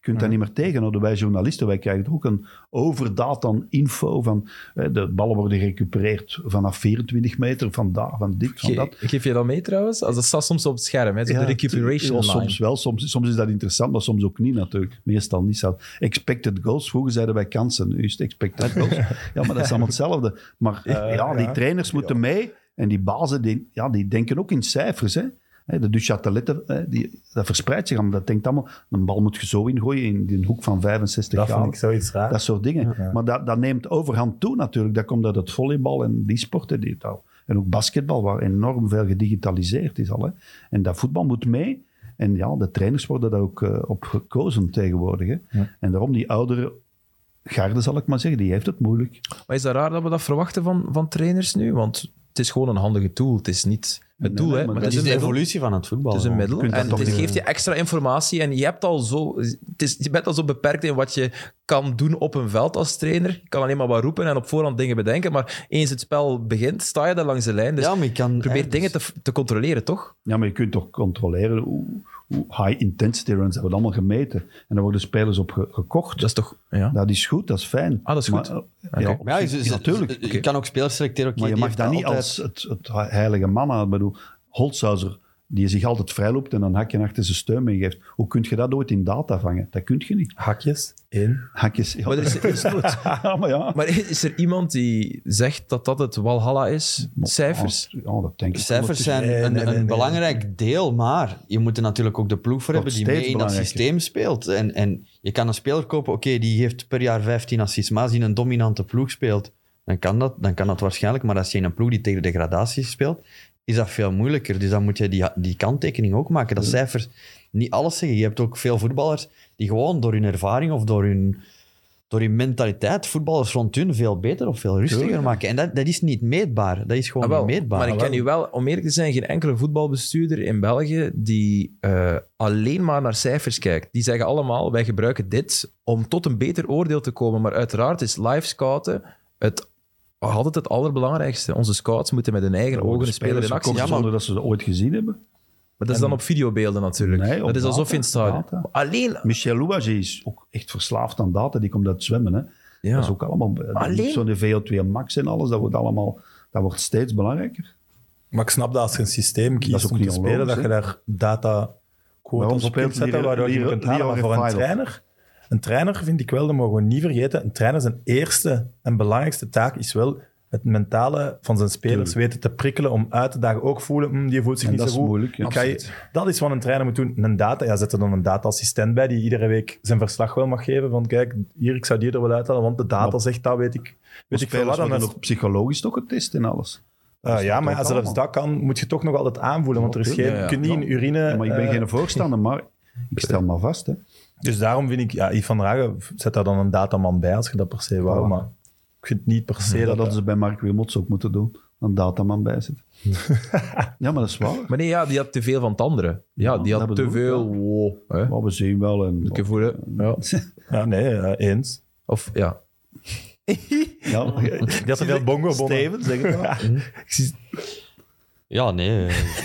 Speaker 4: Je
Speaker 3: Mm.
Speaker 4: kunt daar niet meer tegenhouden. Wij journalisten, wij krijgen ook een overdaad aan info van... Hè, de ballen worden gerecupereerd vanaf 24 meter, van daar, van dit, van dat.
Speaker 1: Ge- geef je dat mee trouwens? Als dat staat soms op het scherm, hè? Zo
Speaker 4: Ja,
Speaker 1: de recuperation
Speaker 4: ja,
Speaker 1: line.
Speaker 4: Soms wel, soms, soms is dat interessant, maar soms ook niet natuurlijk. Meestal niet. zo. Expected goals, vroeger zeiden wij kansen, nu is het expected goals. Ja, maar dat is allemaal hetzelfde. Maar eh, ja, die trainers moeten mee en die bazen, die, ja, die denken ook in cijfers. Hè? Hè, De Duchatelette, hè, die, dat verspreidt zich allemaal. Dat denkt allemaal, een bal moet je zo ingooien in die hoek van 65
Speaker 5: Dat
Speaker 4: graden.
Speaker 5: vond ik zoiets raar.
Speaker 4: Dat soort dingen. Maar dat, dat neemt overhand toe natuurlijk. Dat komt uit het volleybal en die sporten. Die, dat, en ook basketbal, waar enorm veel gedigitaliseerd is al. Hè. En dat voetbal moet mee. En ja, de trainers worden daar ook eh, op gekozen tegenwoordig. Hè. En daarom die oudere garde, zal ik maar zeggen, die heeft het moeilijk.
Speaker 1: Maar is dat raar dat we dat verwachten van, van trainers nu? Want het is gewoon een handige tool. Het is niet het doel,
Speaker 4: nee,
Speaker 1: hè?
Speaker 4: maar
Speaker 1: Maar het
Speaker 4: dat
Speaker 3: Het
Speaker 1: is
Speaker 3: is
Speaker 1: een
Speaker 3: de
Speaker 1: middel.
Speaker 3: evolutie van het voetbal.
Speaker 1: Het is een
Speaker 3: Ja.
Speaker 1: middel
Speaker 4: kunt dat
Speaker 1: en
Speaker 4: toch
Speaker 1: het
Speaker 4: niet-
Speaker 1: geeft je extra informatie en je hebt al zo... Het is, je bent al zo beperkt in wat je kan doen op een veld als trainer. Je kan alleen maar wat roepen en op voorhand dingen bedenken, maar eens het spel begint, sta je daar langs de lijn. Dus
Speaker 3: ja, maar je kan...
Speaker 1: probeer
Speaker 3: eh,
Speaker 1: dingen te, te controleren, toch?
Speaker 4: Ja, maar je kunt toch controleren hoe, hoe high intensity runs, dat wordt allemaal gemeten. En daar worden spelers op ge- gekocht.
Speaker 1: Dat is toch... Ja.
Speaker 4: Dat is goed, dat is fijn.
Speaker 1: Ah, dat is goed.
Speaker 4: Maar, eh,
Speaker 1: Oké.
Speaker 4: ja,
Speaker 1: Maar
Speaker 4: op
Speaker 3: Maar ja,
Speaker 4: zich-
Speaker 3: je- je-
Speaker 4: ja, natuurlijk.
Speaker 3: je- Je kan ook spelers selecteren. oké,
Speaker 4: Maar je
Speaker 3: die
Speaker 4: mag
Speaker 3: heeft
Speaker 4: dat niet
Speaker 3: altijd-
Speaker 4: als het, het heilige man Ik bedoel, Holshouser, die zich altijd vrijloopt en een hakje achter zijn steun meegeeft. Hoe kun je dat ooit in data vangen? Dat kun je niet.
Speaker 5: Hakjes, één.
Speaker 4: Hakjes... Ja,
Speaker 1: Maar er is, er is nooit...
Speaker 4: ja, maar ja.
Speaker 1: Maar is er iemand die zegt dat dat het Walhalla is? Cijfers.
Speaker 4: Ja, dat denk ik.
Speaker 3: Cijfers zijn
Speaker 5: Nee,
Speaker 3: een,
Speaker 5: nee, nee,
Speaker 3: een
Speaker 5: nee.
Speaker 3: belangrijk deel, maar je moet er natuurlijk ook de ploeg voor
Speaker 4: Wordt
Speaker 3: hebben die mee
Speaker 4: steeds
Speaker 3: in dat
Speaker 4: belangrijker.
Speaker 3: systeem speelt. En, en je kan een speler kopen, oké, die heeft per jaar 15 assists, maar als hij in een dominante ploeg speelt, dan kan dat, dan kan dat waarschijnlijk. Maar als je in een ploeg die tegen degradatie speelt, is dat veel moeilijker. Dus dan moet je die, die kanttekening ook maken. Dat cijfers niet alles zeggen. Je hebt ook veel voetballers die gewoon door hun ervaring of door hun, door hun mentaliteit voetballers rond hun veel beter of veel rustiger maken. En dat, dat is niet meetbaar. Dat is gewoon
Speaker 1: Ah, wel,
Speaker 3: niet meetbaar.
Speaker 1: Maar ik ken nu wel, om eerlijk te zijn, geen enkele voetbalbestuurder in België die eh, alleen maar naar cijfers kijkt. Die zeggen allemaal, wij gebruiken dit om tot een beter oordeel te komen. Maar uiteraard is live scouten het, altijd het allerbelangrijkste. Onze scouts moeten met hun eigen ogen een speler in actie
Speaker 4: Ja,
Speaker 1: zien.
Speaker 4: zonder dat ze ze ooit gezien hebben.
Speaker 1: Maar dat is dan op videobeelden natuurlijk.
Speaker 4: Nee, op
Speaker 1: dat is alsof je in het
Speaker 4: data,
Speaker 1: stadion...
Speaker 4: data.
Speaker 1: Alleen...
Speaker 4: Michel Louage is ook echt verslaafd aan data. Die komt uit zwemmen. Hè.
Speaker 1: Ja.
Speaker 4: Dat is ook allemaal... dat
Speaker 1: Alleen-
Speaker 4: is Zo'n VO2 max en alles, dat wordt allemaal... Dat wordt steeds belangrijker.
Speaker 5: Maar ik snap dat als je een systeem
Speaker 4: Dat is
Speaker 5: kiest
Speaker 4: ook
Speaker 5: om
Speaker 4: niet
Speaker 5: te spelen,
Speaker 4: onlogisch,
Speaker 5: dat je
Speaker 4: hè?
Speaker 5: daar data
Speaker 4: Waarom
Speaker 5: quotas op
Speaker 4: speelt
Speaker 5: kunt zetten,
Speaker 4: Lira-
Speaker 5: waardoor je
Speaker 4: Lira-
Speaker 5: kunt halen. Maar
Speaker 4: Lira
Speaker 5: voor een
Speaker 4: Final?
Speaker 5: trainer, een trainer vind ik wel, dat mogen we niet vergeten, een trainer zijn eerste en belangrijkste taak is wel het mentale van zijn spelers weten te prikkelen om uit te dagen. Ook voelen, hm, die voelt zich
Speaker 4: En
Speaker 5: niet
Speaker 4: dat
Speaker 5: zo
Speaker 4: is
Speaker 5: goed.
Speaker 4: moeilijk, ja.
Speaker 5: Ik ga je- dat is wat een trainer moet doen. Een data, ja, zet er dan een data-assistent bij die iedere week zijn verslag wel mag geven. Van kijk, hier, ik zou die er wel uithalen, want de data
Speaker 4: Maar-
Speaker 5: zegt dat, weet ik,
Speaker 4: Dus
Speaker 5: weet ik veel
Speaker 4: spelers
Speaker 5: wat. Dan
Speaker 4: worden
Speaker 5: is-
Speaker 4: nog psychologisch toch getest en alles.
Speaker 5: eh,
Speaker 4: Dat
Speaker 5: ja,
Speaker 4: staat
Speaker 5: maar
Speaker 4: ook
Speaker 5: als zelfs
Speaker 4: allemaal.
Speaker 5: dat kan, moet je toch nog altijd aanvoelen. Want er is geen,
Speaker 1: tuurlijk, ja, ja.
Speaker 5: je kunt niet in urine...
Speaker 4: Ja, maar ik ben
Speaker 5: eh,
Speaker 4: geen voorstander, maar ik stel maar vast. Hè.
Speaker 5: Dus daarom vind ik, ja, Yves van Ragen, zet daar dan een dataman bij als je dat per se wou.
Speaker 4: Voilà.
Speaker 5: Maar ik vind niet per se
Speaker 4: Dat
Speaker 5: dat
Speaker 4: hadden ze bij Mark Wilmots ook moeten doen. Een dataman bij zitten. ja, maar dat is waar.
Speaker 1: Maar nee, ja, die had te veel van het andere. Ja,
Speaker 4: Ja,
Speaker 1: die
Speaker 4: dat
Speaker 1: had te
Speaker 4: bedoel ik
Speaker 1: veel...
Speaker 4: wel.
Speaker 1: Wow, hè.
Speaker 4: Maar we zien wel. En,
Speaker 1: Ik voel het. Ja.
Speaker 5: Ja, nee, eh, eens.
Speaker 1: Of, ja.
Speaker 4: ja,
Speaker 5: Die had te veel bongo-bonnen.
Speaker 4: Steven, zeg het maar.
Speaker 3: Ja, nee. eh,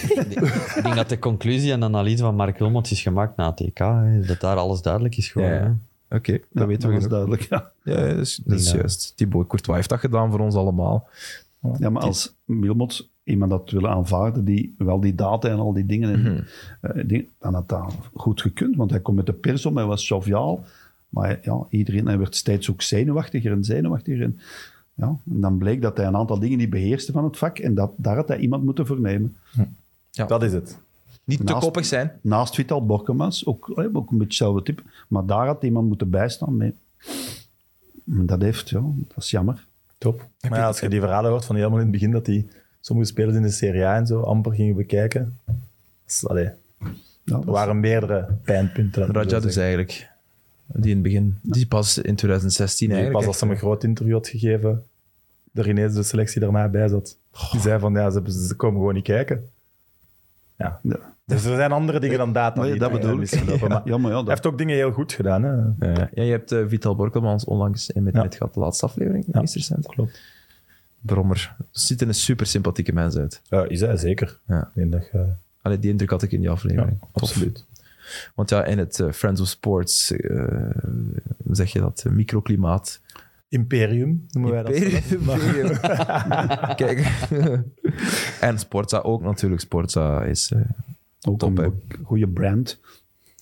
Speaker 3: ik denk dat de conclusie en analyse van Mark Wilmots is gemaakt na het EK. hè. Dat daar alles duidelijk is geworden.
Speaker 1: Ja, ja.
Speaker 3: hè.
Speaker 1: Oké, dat
Speaker 4: Ja,
Speaker 1: weten we
Speaker 4: dat
Speaker 1: genoeg.
Speaker 4: is duidelijk. Ja.
Speaker 1: Ja, ja, dat is, dat is
Speaker 3: Ja.
Speaker 1: juist. Thibaut Courtois heeft dat gedaan voor ons allemaal.
Speaker 4: Ja, maar als Wilmots iemand had willen aanvaarden, die wel die data en al die dingen, en,
Speaker 1: Mhm.
Speaker 4: eh, die- dan had dat goed gekund. Want hij kon met de pers om, hij was joviaal. Maar ja, iedereen, hij werd steeds ook zenuwachtiger en zenuwachtiger. En, ja, en dan bleek dat hij een aantal dingen die beheerste van het vak. En dat, daar had hij iemand moeten voor nemen.
Speaker 5: Dat is het.
Speaker 1: Niet te
Speaker 4: Naast-
Speaker 1: koppig zijn.
Speaker 4: Naast Vital Borkemans, ook, eh, ook een beetje hetzelfde type. Maar daar had iemand moeten bijstaan. Mee. Maar Dat heeft, ja, dat is jammer.
Speaker 5: Top. Maar ja, als je die verhalen hoort van helemaal in het begin dat die sommige spelers in de Serie A en zo amper gingen bekijken. dat is- allee,
Speaker 4: Ja, dat
Speaker 5: er
Speaker 4: is-
Speaker 5: waren meerdere pijnpunten. laat ik
Speaker 1: Raja
Speaker 5: zo
Speaker 1: dus
Speaker 5: zeggen.
Speaker 1: eigenlijk. Die in het begin, die pas in 2016
Speaker 5: Die
Speaker 1: eigenlijk.
Speaker 5: pas als ze hem een groot interview had gegeven, er ineens de selectie daarna bij zat. Die zei van, ja, ze, ze komen gewoon niet kijken. Ja.
Speaker 4: Ja.
Speaker 5: Dus er zijn andere dingen dan data.
Speaker 4: Maar ja,
Speaker 5: die
Speaker 4: dat
Speaker 5: daar
Speaker 4: bedoel ik.
Speaker 5: misgelopen, maar
Speaker 4: Ja, maar ja,
Speaker 5: Hij
Speaker 4: dat,
Speaker 5: heeft ook dingen heel goed gedaan. Hè.
Speaker 1: hè. Ja, ja, je hebt eh, Vital Borkelmans onlangs in met,
Speaker 5: Ja.
Speaker 1: met gehad, de laatste aflevering,
Speaker 5: Ja,
Speaker 1: meest recent.
Speaker 5: klopt.
Speaker 1: Brommer. Er ziet er een super sympathieke mens uit.
Speaker 5: Ja, is hij zeker.
Speaker 1: Ja.
Speaker 5: Ik denk dat, je-
Speaker 1: Allee, die indruk had ik in die
Speaker 5: ja,
Speaker 1: aflevering. Tof.
Speaker 5: absoluut.
Speaker 1: Want ja, in het eh, Friends of Sports, eh, hoe zeg je dat, microklimaat.
Speaker 5: Imperium noemen wij dat.
Speaker 1: Imperium. Kijk. en Sportza ook natuurlijk. Sportza is eh,
Speaker 4: ook
Speaker 1: top, hè.
Speaker 4: een goede brand,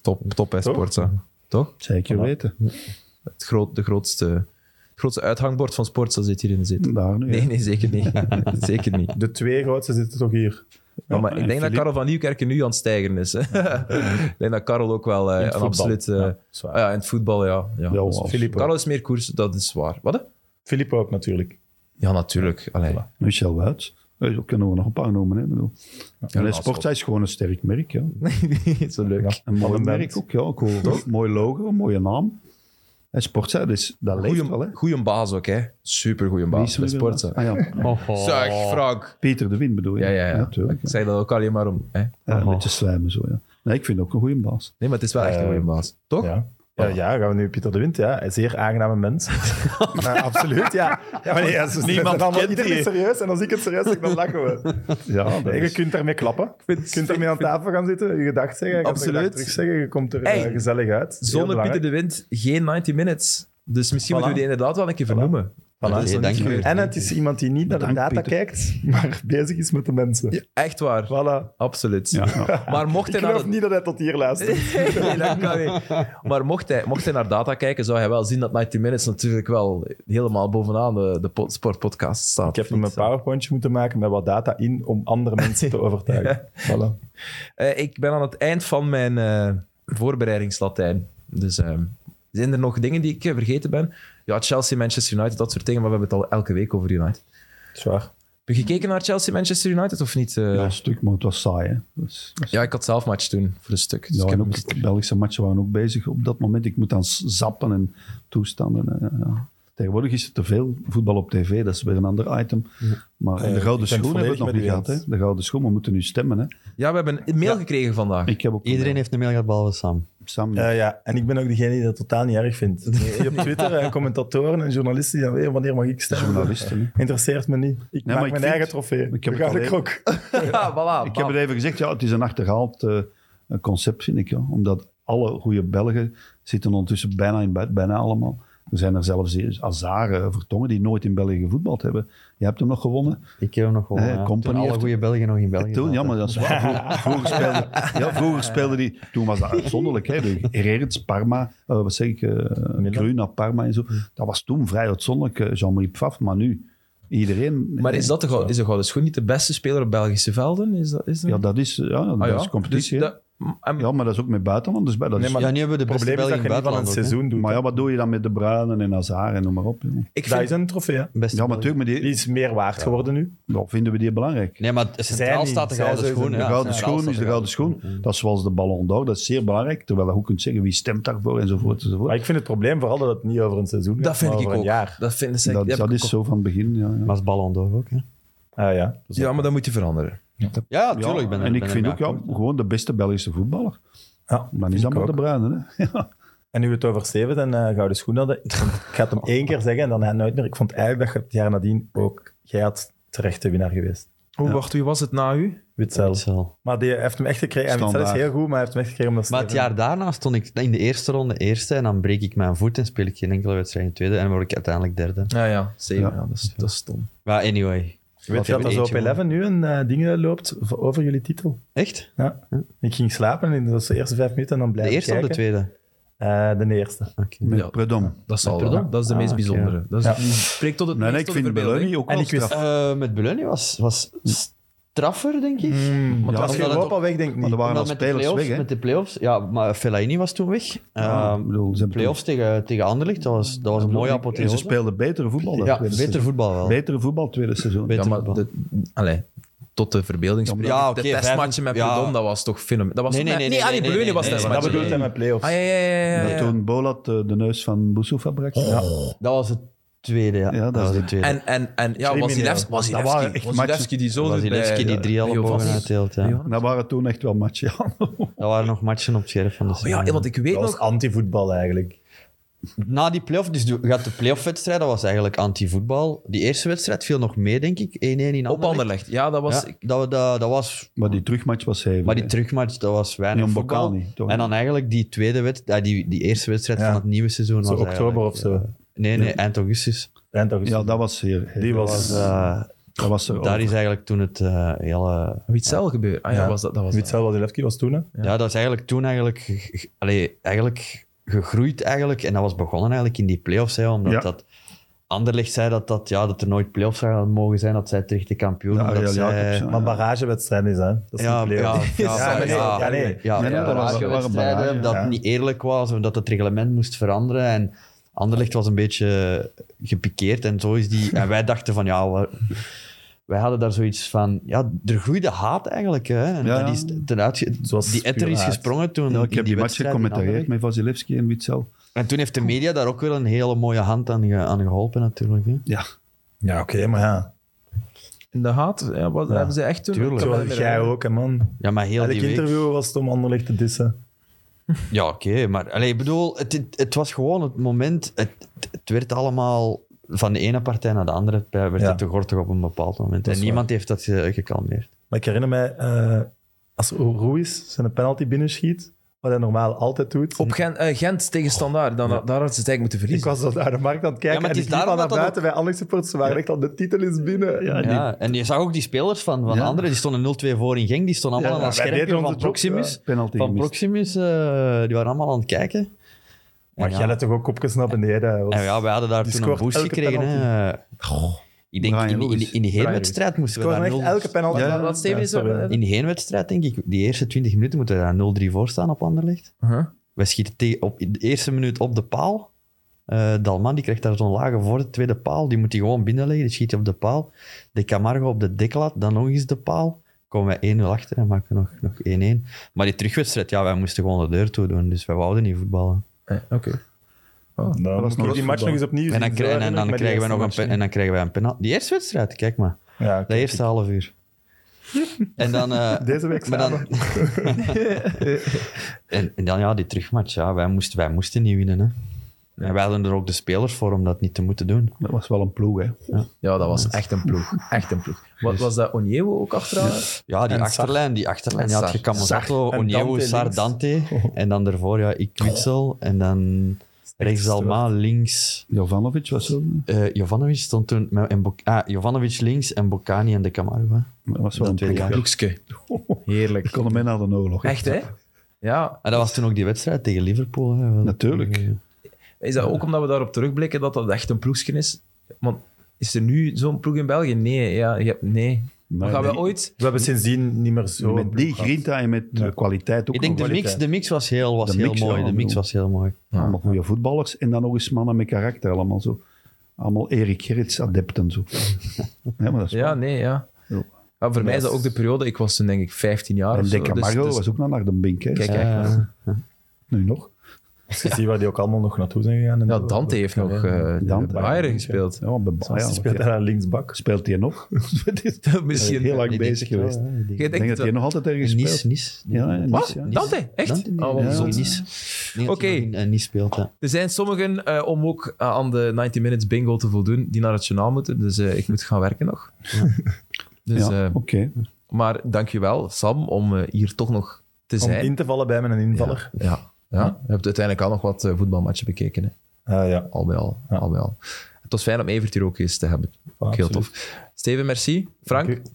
Speaker 1: top, top hè,
Speaker 5: Toch?
Speaker 1: Sportza. Toch?
Speaker 4: zeker
Speaker 5: Voilà.
Speaker 4: weten.
Speaker 1: Het, groot, de grootste, het grootste uithangbord van Sportza zit hier in de zit.
Speaker 4: Daar nu. hè.
Speaker 1: Nee, nee, zeker niet. zeker niet.
Speaker 5: De twee grootste zitten toch hier.
Speaker 1: Ja, maar ik
Speaker 4: en
Speaker 1: denk dat
Speaker 4: Philippe-
Speaker 1: Karel van Nieuwkerken nu aan het stijgen is. Hè. ik denk dat Karel ook wel eh,
Speaker 5: In
Speaker 1: een
Speaker 5: het voetbal.
Speaker 1: absoluut... eh,
Speaker 5: Ja, is waar.
Speaker 1: ah ja, in het voetbal, ja. ja.
Speaker 4: Ja,
Speaker 1: Dat is-
Speaker 4: als-
Speaker 5: Philippe.
Speaker 1: Karel is meer koers, dat is waar. Wat? hè?
Speaker 5: Filip ook natuurlijk.
Speaker 1: Ja, natuurlijk. Allee.
Speaker 5: Voilà.
Speaker 4: Michel Wuits. Eh, Zo kunnen we nog een paar noemen. Hè? Ik bedoel. en
Speaker 1: nou,
Speaker 4: Sportza is gewoon een sterk merk. Ja.
Speaker 1: Zo leuk.
Speaker 5: Ja.
Speaker 4: Een mooi
Speaker 5: Van een
Speaker 4: merk
Speaker 5: band.
Speaker 4: ook. Ja. ook wel- mooi logo, een mooie naam. En Sportza, dus, dat leeft wel. Hè?
Speaker 1: Goeie, goeie baas ook, hè? Super goeie
Speaker 4: Wie
Speaker 1: baas
Speaker 4: is er
Speaker 1: bij
Speaker 4: weer
Speaker 1: sporten.
Speaker 4: Ah, ja.
Speaker 1: Zeg, Frank.
Speaker 4: Peter de Win bedoel je?
Speaker 1: Ja, ja, ja.
Speaker 4: tuurlijk,
Speaker 1: ik zei dat ook alleen maar om. Hè?
Speaker 4: Ja, Eh, een beetje slijmen zo, ja. Nee, ik vind ook een goede baas.
Speaker 1: Nee, maar het is wel echt een
Speaker 5: Eh,
Speaker 1: goeie baas. Toch?
Speaker 5: Ja. Ja,
Speaker 1: Oh.
Speaker 5: ja, gaan we nu Pieter de Wind, ja. Een zeer aangename mens. Maar absoluut, ja. ja, maar nee, ja, ze-
Speaker 3: Niemand
Speaker 5: ze- dan-
Speaker 3: kent
Speaker 5: iedereen
Speaker 3: die.
Speaker 5: is serieus en als ik het serieus zeg, dan lachen we.
Speaker 4: Ja, dat
Speaker 5: je
Speaker 4: is-
Speaker 5: kunt daarmee klappen. Je kunt daarmee aan tafel gaan zitten, je gedacht zeggen, je
Speaker 1: Absoluut.
Speaker 5: gaat terug zeggen, je komt er
Speaker 1: Hey,
Speaker 5: eh, gezellig uit. Heel
Speaker 1: Zonder
Speaker 5: belangrijk.
Speaker 1: Pieter de Wind geen 90 minutes. Dus misschien
Speaker 5: Voilà.
Speaker 1: moeten we die inderdaad wel een keer vernoemen.
Speaker 5: Voilà.
Speaker 1: Dat is
Speaker 3: Hey,
Speaker 1: nog
Speaker 3: dank
Speaker 1: niet
Speaker 3: u.
Speaker 1: gebeurd.
Speaker 5: En het is iemand die niet naar de
Speaker 4: Bedankt,
Speaker 5: data kijkt, maar bezig is met de mensen.
Speaker 1: Echt waar.
Speaker 5: Voilà.
Speaker 1: Absoluut.
Speaker 4: Ja, ja.
Speaker 1: Maar mocht
Speaker 5: Ik
Speaker 1: hij naar
Speaker 5: geloof
Speaker 1: de-
Speaker 5: niet dat hij tot hier luistert.
Speaker 1: Nee, dat kan niet. Maar mocht hij, mocht hij naar data kijken, zou hij wel zien dat 90 Minutes natuurlijk wel helemaal bovenaan de, de po- sportpodcast staat.
Speaker 5: Ik heb hem een
Speaker 1: Niet zo.
Speaker 5: powerpointje moeten maken met wat data in om andere mensen te overtuigen. Voilà.
Speaker 1: Eh, ik ben aan het eind van mijn eh, voorbereidingslatijn. Dus eh, zijn er nog dingen die ik eh, vergeten ben? Ja, Chelsea, Manchester United, dat soort dingen. Maar we hebben het al elke week over United.
Speaker 5: Zwaar.
Speaker 1: Heb je gekeken naar Chelsea, Manchester United of niet? eh?
Speaker 4: Ja,
Speaker 1: ja.
Speaker 4: een stuk, maar het was saai. Hè. Dus, dus-
Speaker 1: ik had zelf match toen voor een stuk. Dus
Speaker 4: ja,
Speaker 1: ik
Speaker 4: en
Speaker 1: heb
Speaker 4: ook
Speaker 1: hem-
Speaker 4: de Belgische matchen waren ook bezig op dat moment. Ik moet dan s- zappen en toestanden. eh, ja. Tegenwoordig is er te veel voetbal op tv, dat is weer een ander item. Maar
Speaker 5: Eh,
Speaker 4: de gouden
Speaker 5: ik ben
Speaker 4: schoen hebben we het nog
Speaker 5: volledig
Speaker 4: niet
Speaker 5: met u
Speaker 4: gehad. Hè.
Speaker 5: eens.
Speaker 4: De gouden schoen, we moeten nu stemmen. Hè.
Speaker 1: Ja, we hebben een mail gekregen vandaag.
Speaker 4: Ik heb ook
Speaker 3: Iedereen heeft een mail gehad, behalve Sam.
Speaker 4: Sam,
Speaker 5: Eh, ja, en ik ben ook degene die dat totaal niet erg vindt. Je hebt op Twitter eh, commentatoren en journalisten die dan weer wanneer mag ik stemmen.
Speaker 4: journalisten. hè.
Speaker 5: Interesseert me niet. Ik maak
Speaker 4: maar ik
Speaker 5: mijn
Speaker 4: vind-
Speaker 5: eigen trofee.
Speaker 4: ik heb
Speaker 5: Ik heb
Speaker 4: het
Speaker 5: ga
Speaker 4: al
Speaker 5: ik
Speaker 4: even-
Speaker 5: ook.
Speaker 1: Ja, voilà.
Speaker 4: Ik heb het even gezegd, ja, het is een achterhaald eh, concept, vind ik. Ja. Omdat alle goede Belgen zitten ondertussen bijna in bed, bijna allemaal. Er zijn er zelfs Azaren, Vertongen, die nooit in België gevoetbald hebben. Je hebt hem nog gewonnen.
Speaker 3: Ik heb hem nog gewoon.
Speaker 4: Eh,
Speaker 3: ja.
Speaker 4: Company
Speaker 3: Toen alle
Speaker 4: heeft-
Speaker 3: goede Belgen nog in België.
Speaker 4: Toen, ja,
Speaker 3: zaten.
Speaker 4: maar dat is waar. Vroeger, vroeger speelde, ja, vroeger speelde die... Toen was dat uitzonderlijk. Hè. De Gerrits, Parma, eh, wat zeg ik, eh Gruun naar Parma en zo. Dat was toen vrij uitzonderlijk, eh, Jean-Marie Pfaff. Maar nu, iedereen...
Speaker 1: Maar is, dat de, gou- is de Gouden Schoen niet de beste speler op Belgische velden? Is dat, is dat...
Speaker 4: Ja, dat is, ja, dat
Speaker 1: Ah, ja.
Speaker 4: is competitie.
Speaker 1: Dus
Speaker 4: hè.
Speaker 1: dat- en-
Speaker 4: ja, maar dat is ook met buitenlanders bij. Dat is
Speaker 5: Nee, maar
Speaker 3: Ja, nu hebben we de
Speaker 5: Het
Speaker 3: beste
Speaker 5: probleem is
Speaker 3: Belgen
Speaker 5: dat
Speaker 3: in
Speaker 5: je
Speaker 3: het
Speaker 5: niet van het
Speaker 3: buitenland. ook, hè.
Speaker 5: seizoen doet.
Speaker 4: Maar ja, wat doe je dan met de Bruinen en Hazard en noem maar op? joh?
Speaker 1: ik
Speaker 5: dat
Speaker 1: vind,
Speaker 5: is een trofee. hè.
Speaker 3: Beste
Speaker 4: Ja, maar natuurlijk,
Speaker 3: Belgen.
Speaker 4: maar
Speaker 5: Die
Speaker 4: die,
Speaker 5: is meer waard geworden nu.
Speaker 4: ja, vinden we die belangrijk?
Speaker 3: Nee, maar centraal
Speaker 5: niet.
Speaker 3: staat de
Speaker 5: Zij
Speaker 3: gouden
Speaker 5: zijn-
Speaker 3: schoen.
Speaker 5: de
Speaker 4: De
Speaker 3: ja.
Speaker 4: gouden
Speaker 3: Centraal
Speaker 4: schoen
Speaker 3: staat
Speaker 4: is de gouden schoen. Dat is zoals de Ballon d'Or, dat is zeer belangrijk. Terwijl je ook kunt zeggen wie stemt daarvoor enzovoort.
Speaker 5: Maar
Speaker 4: enzovoort.
Speaker 5: ik vind het probleem vooral dat het niet over een seizoen gaat,
Speaker 1: dat vind
Speaker 5: maar
Speaker 1: ik
Speaker 5: over
Speaker 1: ook.
Speaker 5: een jaar.
Speaker 1: Dat, vind, dat,
Speaker 4: Dat,
Speaker 1: heb
Speaker 4: dat
Speaker 1: ik
Speaker 4: is
Speaker 1: ook-
Speaker 4: zo van het begin. Ja, ja.
Speaker 3: Maar is Ballon d'Or ook, hè?
Speaker 5: Ah, ja. Dus
Speaker 1: Ja, maar dat moet je veranderen.
Speaker 3: Ja,
Speaker 4: Ja,
Speaker 3: tuurlijk. ik ben er-
Speaker 4: en
Speaker 3: ben
Speaker 4: ik
Speaker 3: er
Speaker 4: vind
Speaker 3: mee
Speaker 4: ook ja,
Speaker 3: akkoord.
Speaker 4: gewoon de beste Belgische voetballer.
Speaker 5: ja,
Speaker 4: Dan
Speaker 5: vind
Speaker 4: is dat
Speaker 5: ik
Speaker 4: maar
Speaker 5: ook.
Speaker 4: de Bruinen. Hè? Ja.
Speaker 5: En nu we het over Steven en eh, Gouden Schoen hadden, ik, vond- ik ga het hem één keer zeggen en daarna nooit meer. Ik vond eigenlijk dat je het jaar nadien ook, jij had terecht de winnaar geweest.
Speaker 1: Hoe, Wacht, wie was het na u?
Speaker 5: Witzel.
Speaker 3: Zo.
Speaker 5: Maar die heeft hem echt gekregen. En Witzel is
Speaker 4: Standaard.
Speaker 5: heel goed, maar hij heeft hem echt gekregen omdat
Speaker 3: Maar het
Speaker 5: Steven-
Speaker 3: jaar daarna stond ik in de eerste ronde eerste en dan breek ik mijn voet en speel ik geen enkele wedstrijd in de tweede en word ik uiteindelijk derde.
Speaker 1: Ja, ja, zeven.
Speaker 4: Ja.
Speaker 1: Ja, dat, is, dat is stom.
Speaker 3: Maar anyway.
Speaker 5: Weet je
Speaker 3: hebben
Speaker 5: dat er zo op
Speaker 3: eentje
Speaker 5: 11 nu een eh, ding loopt voor- over jullie titel?
Speaker 3: Echt?
Speaker 5: Ja. Ik ging slapen in de eerste vijf minuten en dan
Speaker 3: De
Speaker 5: blijf
Speaker 3: eerste of de tweede?
Speaker 5: tweede? de eerste.
Speaker 3: Oké.
Speaker 4: Met
Speaker 1: Ja.
Speaker 4: Predom.
Speaker 1: Dat zal
Speaker 3: Pardon?
Speaker 1: wel. Dat is de
Speaker 3: Ah,
Speaker 1: meest
Speaker 3: oké.
Speaker 1: bijzondere. Dat is,
Speaker 5: Ja.
Speaker 1: die spreekt tot het
Speaker 4: Nee, nee,
Speaker 1: meest
Speaker 4: ik
Speaker 1: tot de
Speaker 4: vind
Speaker 1: verbeelding.
Speaker 4: Beloni ook
Speaker 5: En
Speaker 4: wel
Speaker 5: ik wist-
Speaker 4: straf.
Speaker 3: Eh, met Beluni was, was straffer, denk ik.
Speaker 5: Mm, want
Speaker 4: Hmm, ja,
Speaker 5: als
Speaker 3: omdat het
Speaker 5: Europa weg, denk ik
Speaker 4: Maar er
Speaker 5: niet.
Speaker 4: waren al
Speaker 3: Omdat met, de
Speaker 4: spelers weg.
Speaker 3: playoffs,
Speaker 4: Hè? Ah.
Speaker 3: met de playoffs, ja, maar Fellaini was toen weg.
Speaker 4: Ja,
Speaker 3: Eh,
Speaker 4: ik bedoel, ze hebben
Speaker 3: playoffs tegen, tegen Anderlecht, dat was, dat was een
Speaker 4: toen-
Speaker 3: mooie
Speaker 4: En ze
Speaker 3: apotheose.
Speaker 4: speelden betere voetbal. dat
Speaker 3: Ja,
Speaker 4: tweede
Speaker 3: beter
Speaker 4: seizoen.
Speaker 3: voetbal wel.
Speaker 4: Betere voetbal tweede seizoen.
Speaker 3: Beter
Speaker 1: Ja, maar
Speaker 3: voetbal.
Speaker 1: de, allee, tot de verbeelding
Speaker 3: Ja,
Speaker 1: spreken.
Speaker 3: oké,
Speaker 1: de testmatchen met
Speaker 3: vijf- ja.
Speaker 1: Prudom, dat was toch fenomenaal. Dat was
Speaker 3: Nee, nee, nee, nee,
Speaker 1: ah,
Speaker 3: nee,
Speaker 1: Breuning
Speaker 3: nee,
Speaker 1: was
Speaker 3: nee, nee,
Speaker 5: dat
Speaker 1: testmatch.
Speaker 5: bedoelt hij met playoffs.
Speaker 1: Ah, ja, ja, ja. ja,
Speaker 4: Dat
Speaker 1: ja.
Speaker 4: toen Bolat eh, de neus van Boussoufa brak. Ja.
Speaker 3: Dat was het tweede, ja.
Speaker 4: Ja, dat
Speaker 3: dat was
Speaker 4: was
Speaker 3: het tweede.
Speaker 1: En, en, en ja,
Speaker 5: Crimineel.
Speaker 1: Wasilewski was
Speaker 4: Dat waren echt
Speaker 1: Wasilewski die zo doet bij- eh,
Speaker 3: Wasilewski die
Speaker 1: bij
Speaker 3: drie ellebogen
Speaker 1: Jovanovic.
Speaker 3: uitdeelt, ja.
Speaker 1: Jovanovic.
Speaker 4: Dat waren toen echt wel matchen. Ja.
Speaker 3: Dat waren nog matchen op het scherp van de
Speaker 1: Oh ja,
Speaker 3: seizoen.
Speaker 1: want ik weet
Speaker 5: Dat was
Speaker 1: nog...
Speaker 5: anti-voetbal eigenlijk.
Speaker 3: Na die play-off, dus de- gaat de play-off-wedstrijd, dat was eigenlijk anti-voetbal. Die eerste wedstrijd viel nog mee, denk ik. 1-1 in Anderlecht.
Speaker 1: Op Anderlecht. Ja, dat was...
Speaker 3: Ja, dat, we- dat, dat was...
Speaker 4: Maar die terugmatch was hij.
Speaker 3: Maar die terugmatch, dat was weinig
Speaker 4: Nee, om
Speaker 3: voetbal.
Speaker 4: bokaal niet, toch?
Speaker 3: En dan eigenlijk die tweede wedstrijd, ah, die, die eerste wedstrijd
Speaker 5: Ja.
Speaker 3: van het nieuwe seizoen.
Speaker 5: Zo
Speaker 3: was
Speaker 5: oktober
Speaker 3: eigenlijk,
Speaker 5: of zo.
Speaker 3: eh, nee, nee, eind augustus.
Speaker 5: Eind augustus.
Speaker 4: Ja, dat was zeer.
Speaker 5: Die
Speaker 4: dat
Speaker 5: was-
Speaker 3: Dus, eh,
Speaker 4: dat was er
Speaker 3: daar
Speaker 4: ook.
Speaker 3: is eigenlijk toen het eh, hele...
Speaker 1: Witzel gebeurd. Ah ja,
Speaker 5: Ja.
Speaker 1: Was dat, dat was dat.
Speaker 5: Witzel Wasilewski was toen, hè?
Speaker 3: Ja. dat is eigenlijk toen eigenlijk, ge- ge- allee, eigenlijk gegroeid eigenlijk. En dat was begonnen eigenlijk in die play-offs, hè, omdat
Speaker 4: Ja.
Speaker 3: dat... Anderlecht zei dat, dat, ja, dat er nooit play-offs zouden mogen zijn, dat zij terecht de kampioen.
Speaker 4: Ja,
Speaker 3: omdat
Speaker 4: Ariel
Speaker 3: zij-
Speaker 4: Jacobs, ja.
Speaker 5: Maar barragewedstrijd is, hè? Dat is
Speaker 3: Ja,
Speaker 5: niet play-off.
Speaker 3: ja, ja,
Speaker 5: nee,
Speaker 3: ja.
Speaker 5: ja, nee.
Speaker 3: Ja,
Speaker 4: Nee,
Speaker 3: ja,
Speaker 4: dat waren- waren
Speaker 3: barragewedstrijden,
Speaker 4: barrage,
Speaker 3: dat
Speaker 5: ja.
Speaker 3: het niet eerlijk was, of dat het reglement moest veranderen. En Anderlecht was een beetje gepikeerd en zo is die... En wij dachten van, ja, we- wij hadden daar zoiets van... Ja, er groeide haat eigenlijk, hè. En
Speaker 4: Ja, ja.
Speaker 3: dat is ten uitge...
Speaker 5: Zoals
Speaker 3: Die etter
Speaker 5: puur
Speaker 3: is
Speaker 5: haat.
Speaker 3: gesprongen toen
Speaker 4: Ja,
Speaker 3: in
Speaker 4: ik heb die match
Speaker 3: wedstrijd in
Speaker 4: gecommentarieerd
Speaker 3: Anderlecht.
Speaker 4: met Vasilevski en Witzel.
Speaker 3: En toen heeft de media daar ook wel een hele mooie hand aan, ge- aan geholpen natuurlijk, hè.
Speaker 4: Ja,
Speaker 5: Ja, oké, maar ja.
Speaker 1: In de haat ja, wat,
Speaker 5: Ja.
Speaker 1: hebben ze echt toen...
Speaker 3: Tuurlijk.
Speaker 1: Ik kan me
Speaker 5: Zoals
Speaker 1: niet meer
Speaker 5: jij
Speaker 1: herinneren.
Speaker 5: ook, hè, man.
Speaker 3: Ja, maar heel
Speaker 5: Elk
Speaker 3: die week...
Speaker 5: interview was het om Anderlecht te dissen.
Speaker 3: Ja, oké, maar allee, ik bedoel, het, het, het was gewoon het moment. Het, het- het werd allemaal van de ene partij naar de andere. eh, werd
Speaker 5: Ja.
Speaker 3: het te gortig op een bepaald moment.
Speaker 5: Dat
Speaker 3: En
Speaker 5: is
Speaker 3: niemand heeft dat eh, gekalmeerd.
Speaker 5: Maar ik herinner mij, eh als Ruiz zijn penalty binnenschiet, wat hij normaal altijd doet.
Speaker 1: Op Gent, eh, Gent tegen Standaard. Dan, Daar hadden ze het eigenlijk moeten
Speaker 5: ik
Speaker 1: verliezen.
Speaker 5: was dat naar de markt aan het kijken
Speaker 3: Ja, maar het
Speaker 5: en ik
Speaker 3: is
Speaker 5: liep al
Speaker 3: daarom
Speaker 5: naar
Speaker 3: dat dat
Speaker 5: buiten bij Anderlecht supporters. Ze waren echt al, de titel is binnen. Ja, die-
Speaker 3: Ja, en je zag ook die spelers van, van
Speaker 4: Ja.
Speaker 3: anderen. Die stonden 0-2 voor in Genk. Die stonden allemaal
Speaker 5: Ja,
Speaker 3: aan het
Speaker 5: wij deden
Speaker 3: schermpje
Speaker 5: onze
Speaker 3: van
Speaker 5: job,
Speaker 3: Proximus.
Speaker 5: ja.
Speaker 4: penalty
Speaker 3: Van
Speaker 4: gemist.
Speaker 3: Proximus, eh, die waren allemaal aan het kijken.
Speaker 5: Maar
Speaker 3: En
Speaker 5: jij had toch ook opgesnapt? Nee, dat was...
Speaker 3: en ja, wij hadden daar
Speaker 5: Die
Speaker 3: toen een
Speaker 5: scoort
Speaker 3: boost
Speaker 5: elke
Speaker 3: gekregen. hè. Ik denk,
Speaker 4: Brian
Speaker 3: in, in,
Speaker 4: Ruiz.
Speaker 3: in die
Speaker 5: Brian
Speaker 3: heenwedstrijd moesten
Speaker 5: Het
Speaker 3: we
Speaker 5: was
Speaker 3: daar
Speaker 5: echt
Speaker 3: 0
Speaker 5: elke penalty.
Speaker 4: Ja,
Speaker 1: dat Steven is eh,
Speaker 5: sorry.
Speaker 1: wel-
Speaker 3: In die heenwedstrijd, denk ik, die eerste 20 minuten moeten we daar 0-3 voor staan op Anderlecht.
Speaker 1: Uh-huh.
Speaker 3: Wij schieten tegen, op, in de eerste minuut op de paal. Eh Dalman die krijgt daar zo'n lage voor de tweede paal. Die moet hij gewoon binnenleggen. Die schiet op de paal. De Camargo op de deklaat. Dan nog eens de paal. Komen wij 1-0 achter en maken nog, nog 1-1. Maar die terugwedstrijd, ja, wij moesten gewoon de deur toe doen. Dus wij wouden niet voetballen.
Speaker 1: Eh, Oké.
Speaker 5: Dan
Speaker 4: was
Speaker 5: moet ik
Speaker 4: nog
Speaker 5: die match nog eens opnieuw
Speaker 3: En dan,
Speaker 5: zien.
Speaker 3: krij-
Speaker 5: Zo
Speaker 3: en,
Speaker 5: herinner ik
Speaker 3: dan
Speaker 5: me die
Speaker 3: krijgen wij nog een
Speaker 5: eerste
Speaker 3: pen- en dan krijgen wij een penalty. Die eerste wedstrijd, kijk maar.
Speaker 5: match. Ja, oké.
Speaker 3: De eerste half uur. En dan... eh,
Speaker 5: Deze week
Speaker 3: Maar
Speaker 5: samen.
Speaker 3: dan... en, en dan ja, die terugmatch. Ja, wij, moesten, wij moesten niet winnen. Hè. En wij hadden er ook de spelers voor om dat niet te moeten doen.
Speaker 4: Dat was wel een ploeg, hè.
Speaker 1: Ja, dat was echt een ploeg. Echt een ploeg. Wat, was dat Onyewo ook achteraan?
Speaker 3: Ja, die
Speaker 5: En
Speaker 3: achterlijn. Die achterlijn.
Speaker 1: En
Speaker 3: Je had
Speaker 1: Sar.
Speaker 3: je Camozzato,
Speaker 5: Sar. En
Speaker 3: Onyewu,
Speaker 5: Dante
Speaker 3: Sar,
Speaker 5: links.
Speaker 3: Dante. En dan daarvoor ja, ik Witsel. En dan rechts Alma, links...
Speaker 4: Jovanovic was zo. hè.
Speaker 3: eh Jovanovic stond toen... Met, en Bok- ah, Jovanovic links en Bocani en de Camargo. hè.
Speaker 4: Dat was wel
Speaker 3: Dat
Speaker 4: een
Speaker 3: weet ik
Speaker 4: ploeg.
Speaker 1: Ploegske. Heerlijk.
Speaker 4: Ik kon hem mee naar de oorlog.
Speaker 1: Echt, hè? Ja.
Speaker 3: En dat was toen ook die wedstrijd tegen Liverpool. hè. Wel-
Speaker 4: Natuurlijk.
Speaker 1: Is dat ook omdat we daarop terugblikken dat dat echt een ploegskin is? Want is er nu zo'n ploeg in België? Nee. Ja, je hebt, nee. Maar gaan we
Speaker 4: die-
Speaker 1: ooit...
Speaker 5: We hebben sindsdien niet meer zo...
Speaker 4: Met die grinta en met de kwaliteit ook
Speaker 3: Ik denk
Speaker 4: nog
Speaker 3: de
Speaker 4: wel.
Speaker 3: mix, de mix was heel, was
Speaker 4: De
Speaker 3: heel
Speaker 4: mix, ja,
Speaker 3: mooi. De
Speaker 4: ik
Speaker 3: mix
Speaker 4: bedoel.
Speaker 3: was heel mooi.
Speaker 4: Allemaal goede voetballers. En dan nog eens mannen met karakter allemaal zo. Allemaal Erik Gerrits adepten zo. ja, maar dat is
Speaker 1: Ja, nee, ja.
Speaker 4: Ja.
Speaker 1: Ja, voor mij is dat ook de periode... Ik was toen denk ik 15 jaar
Speaker 4: En
Speaker 1: of zo.
Speaker 4: Dick Camargo was ook naar de Bink, hè.
Speaker 1: dus Kijk,
Speaker 4: Is
Speaker 1: kijk.
Speaker 3: Ja.
Speaker 1: maar.
Speaker 4: Nu nog.
Speaker 5: Als je ziet waar die ook allemaal nog naartoe zijn gegaan. en
Speaker 1: Ja,
Speaker 5: zo.
Speaker 1: Dante heeft nog eh bij
Speaker 4: Dante.
Speaker 1: Bayern gespeeld.
Speaker 4: Ja, bij Bayern.
Speaker 5: Die speelt daar aan linksbak.
Speaker 4: Speelt hij nog? Dat is
Speaker 1: Misschien.
Speaker 4: heel lang
Speaker 3: Ik denk
Speaker 4: bezig
Speaker 3: het wel,
Speaker 4: geweest.
Speaker 3: hè. Ik denk-
Speaker 1: Jij
Speaker 4: Ik denk dat
Speaker 1: denkt
Speaker 4: hij nog altijd ergens speelt.
Speaker 3: Nice, Nice.
Speaker 4: Ja, hè, Nice,
Speaker 1: Wat?
Speaker 4: ja.
Speaker 1: Dante? Echt?
Speaker 3: Dante,
Speaker 1: Oh, wat
Speaker 3: ja,
Speaker 1: zot.
Speaker 3: Nice.
Speaker 1: Oké.
Speaker 3: En niet speelt, hè.
Speaker 1: Er zijn sommigen, eh, om ook eh, aan de 90 Minutes bingo te voldoen, die naar het journaal moeten. Dus eh, ik moet gaan werken nog. Dus,
Speaker 4: Ja,
Speaker 1: eh,
Speaker 4: oké.
Speaker 1: maar dankjewel, Sam, om eh, hier toch nog te
Speaker 5: Om
Speaker 1: zijn.
Speaker 5: in te vallen bij met een invaller.
Speaker 1: Ja, ja, ja. je hebt uiteindelijk al nog wat eh, voetbalmatchen bekeken. Hè.
Speaker 5: Ja, Eh, ja.
Speaker 1: Al bij al,
Speaker 5: Ja.
Speaker 1: al bij al. Het was fijn om Evert hier ook eens te hebben. Ook heel
Speaker 5: absoluut.
Speaker 1: tof. Steven, merci. Frank,
Speaker 5: Dank u.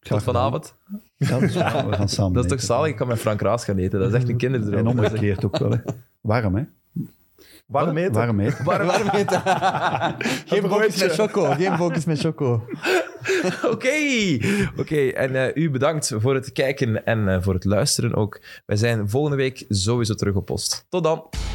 Speaker 1: tot vanavond.
Speaker 4: Ja, dat is waar. we gaan samen
Speaker 1: Dat is toch
Speaker 4: eten.
Speaker 1: zalig? Ik kan met Frank Raas gaan eten. Dat is echt een kinderdroom.
Speaker 4: En
Speaker 1: Dat is echt-
Speaker 4: omgekeerd ook wel, hè. Warm, hè.
Speaker 5: Waarom heet het?
Speaker 4: Warm eten.
Speaker 1: Waarom- waarom-
Speaker 3: Geen focus met Choco. Geen focus met Choco.
Speaker 1: Oké, oké. En eh, u bedankt voor het kijken en eh, voor het luisteren ook. Wij zijn volgende week sowieso terug op post. Tot dan.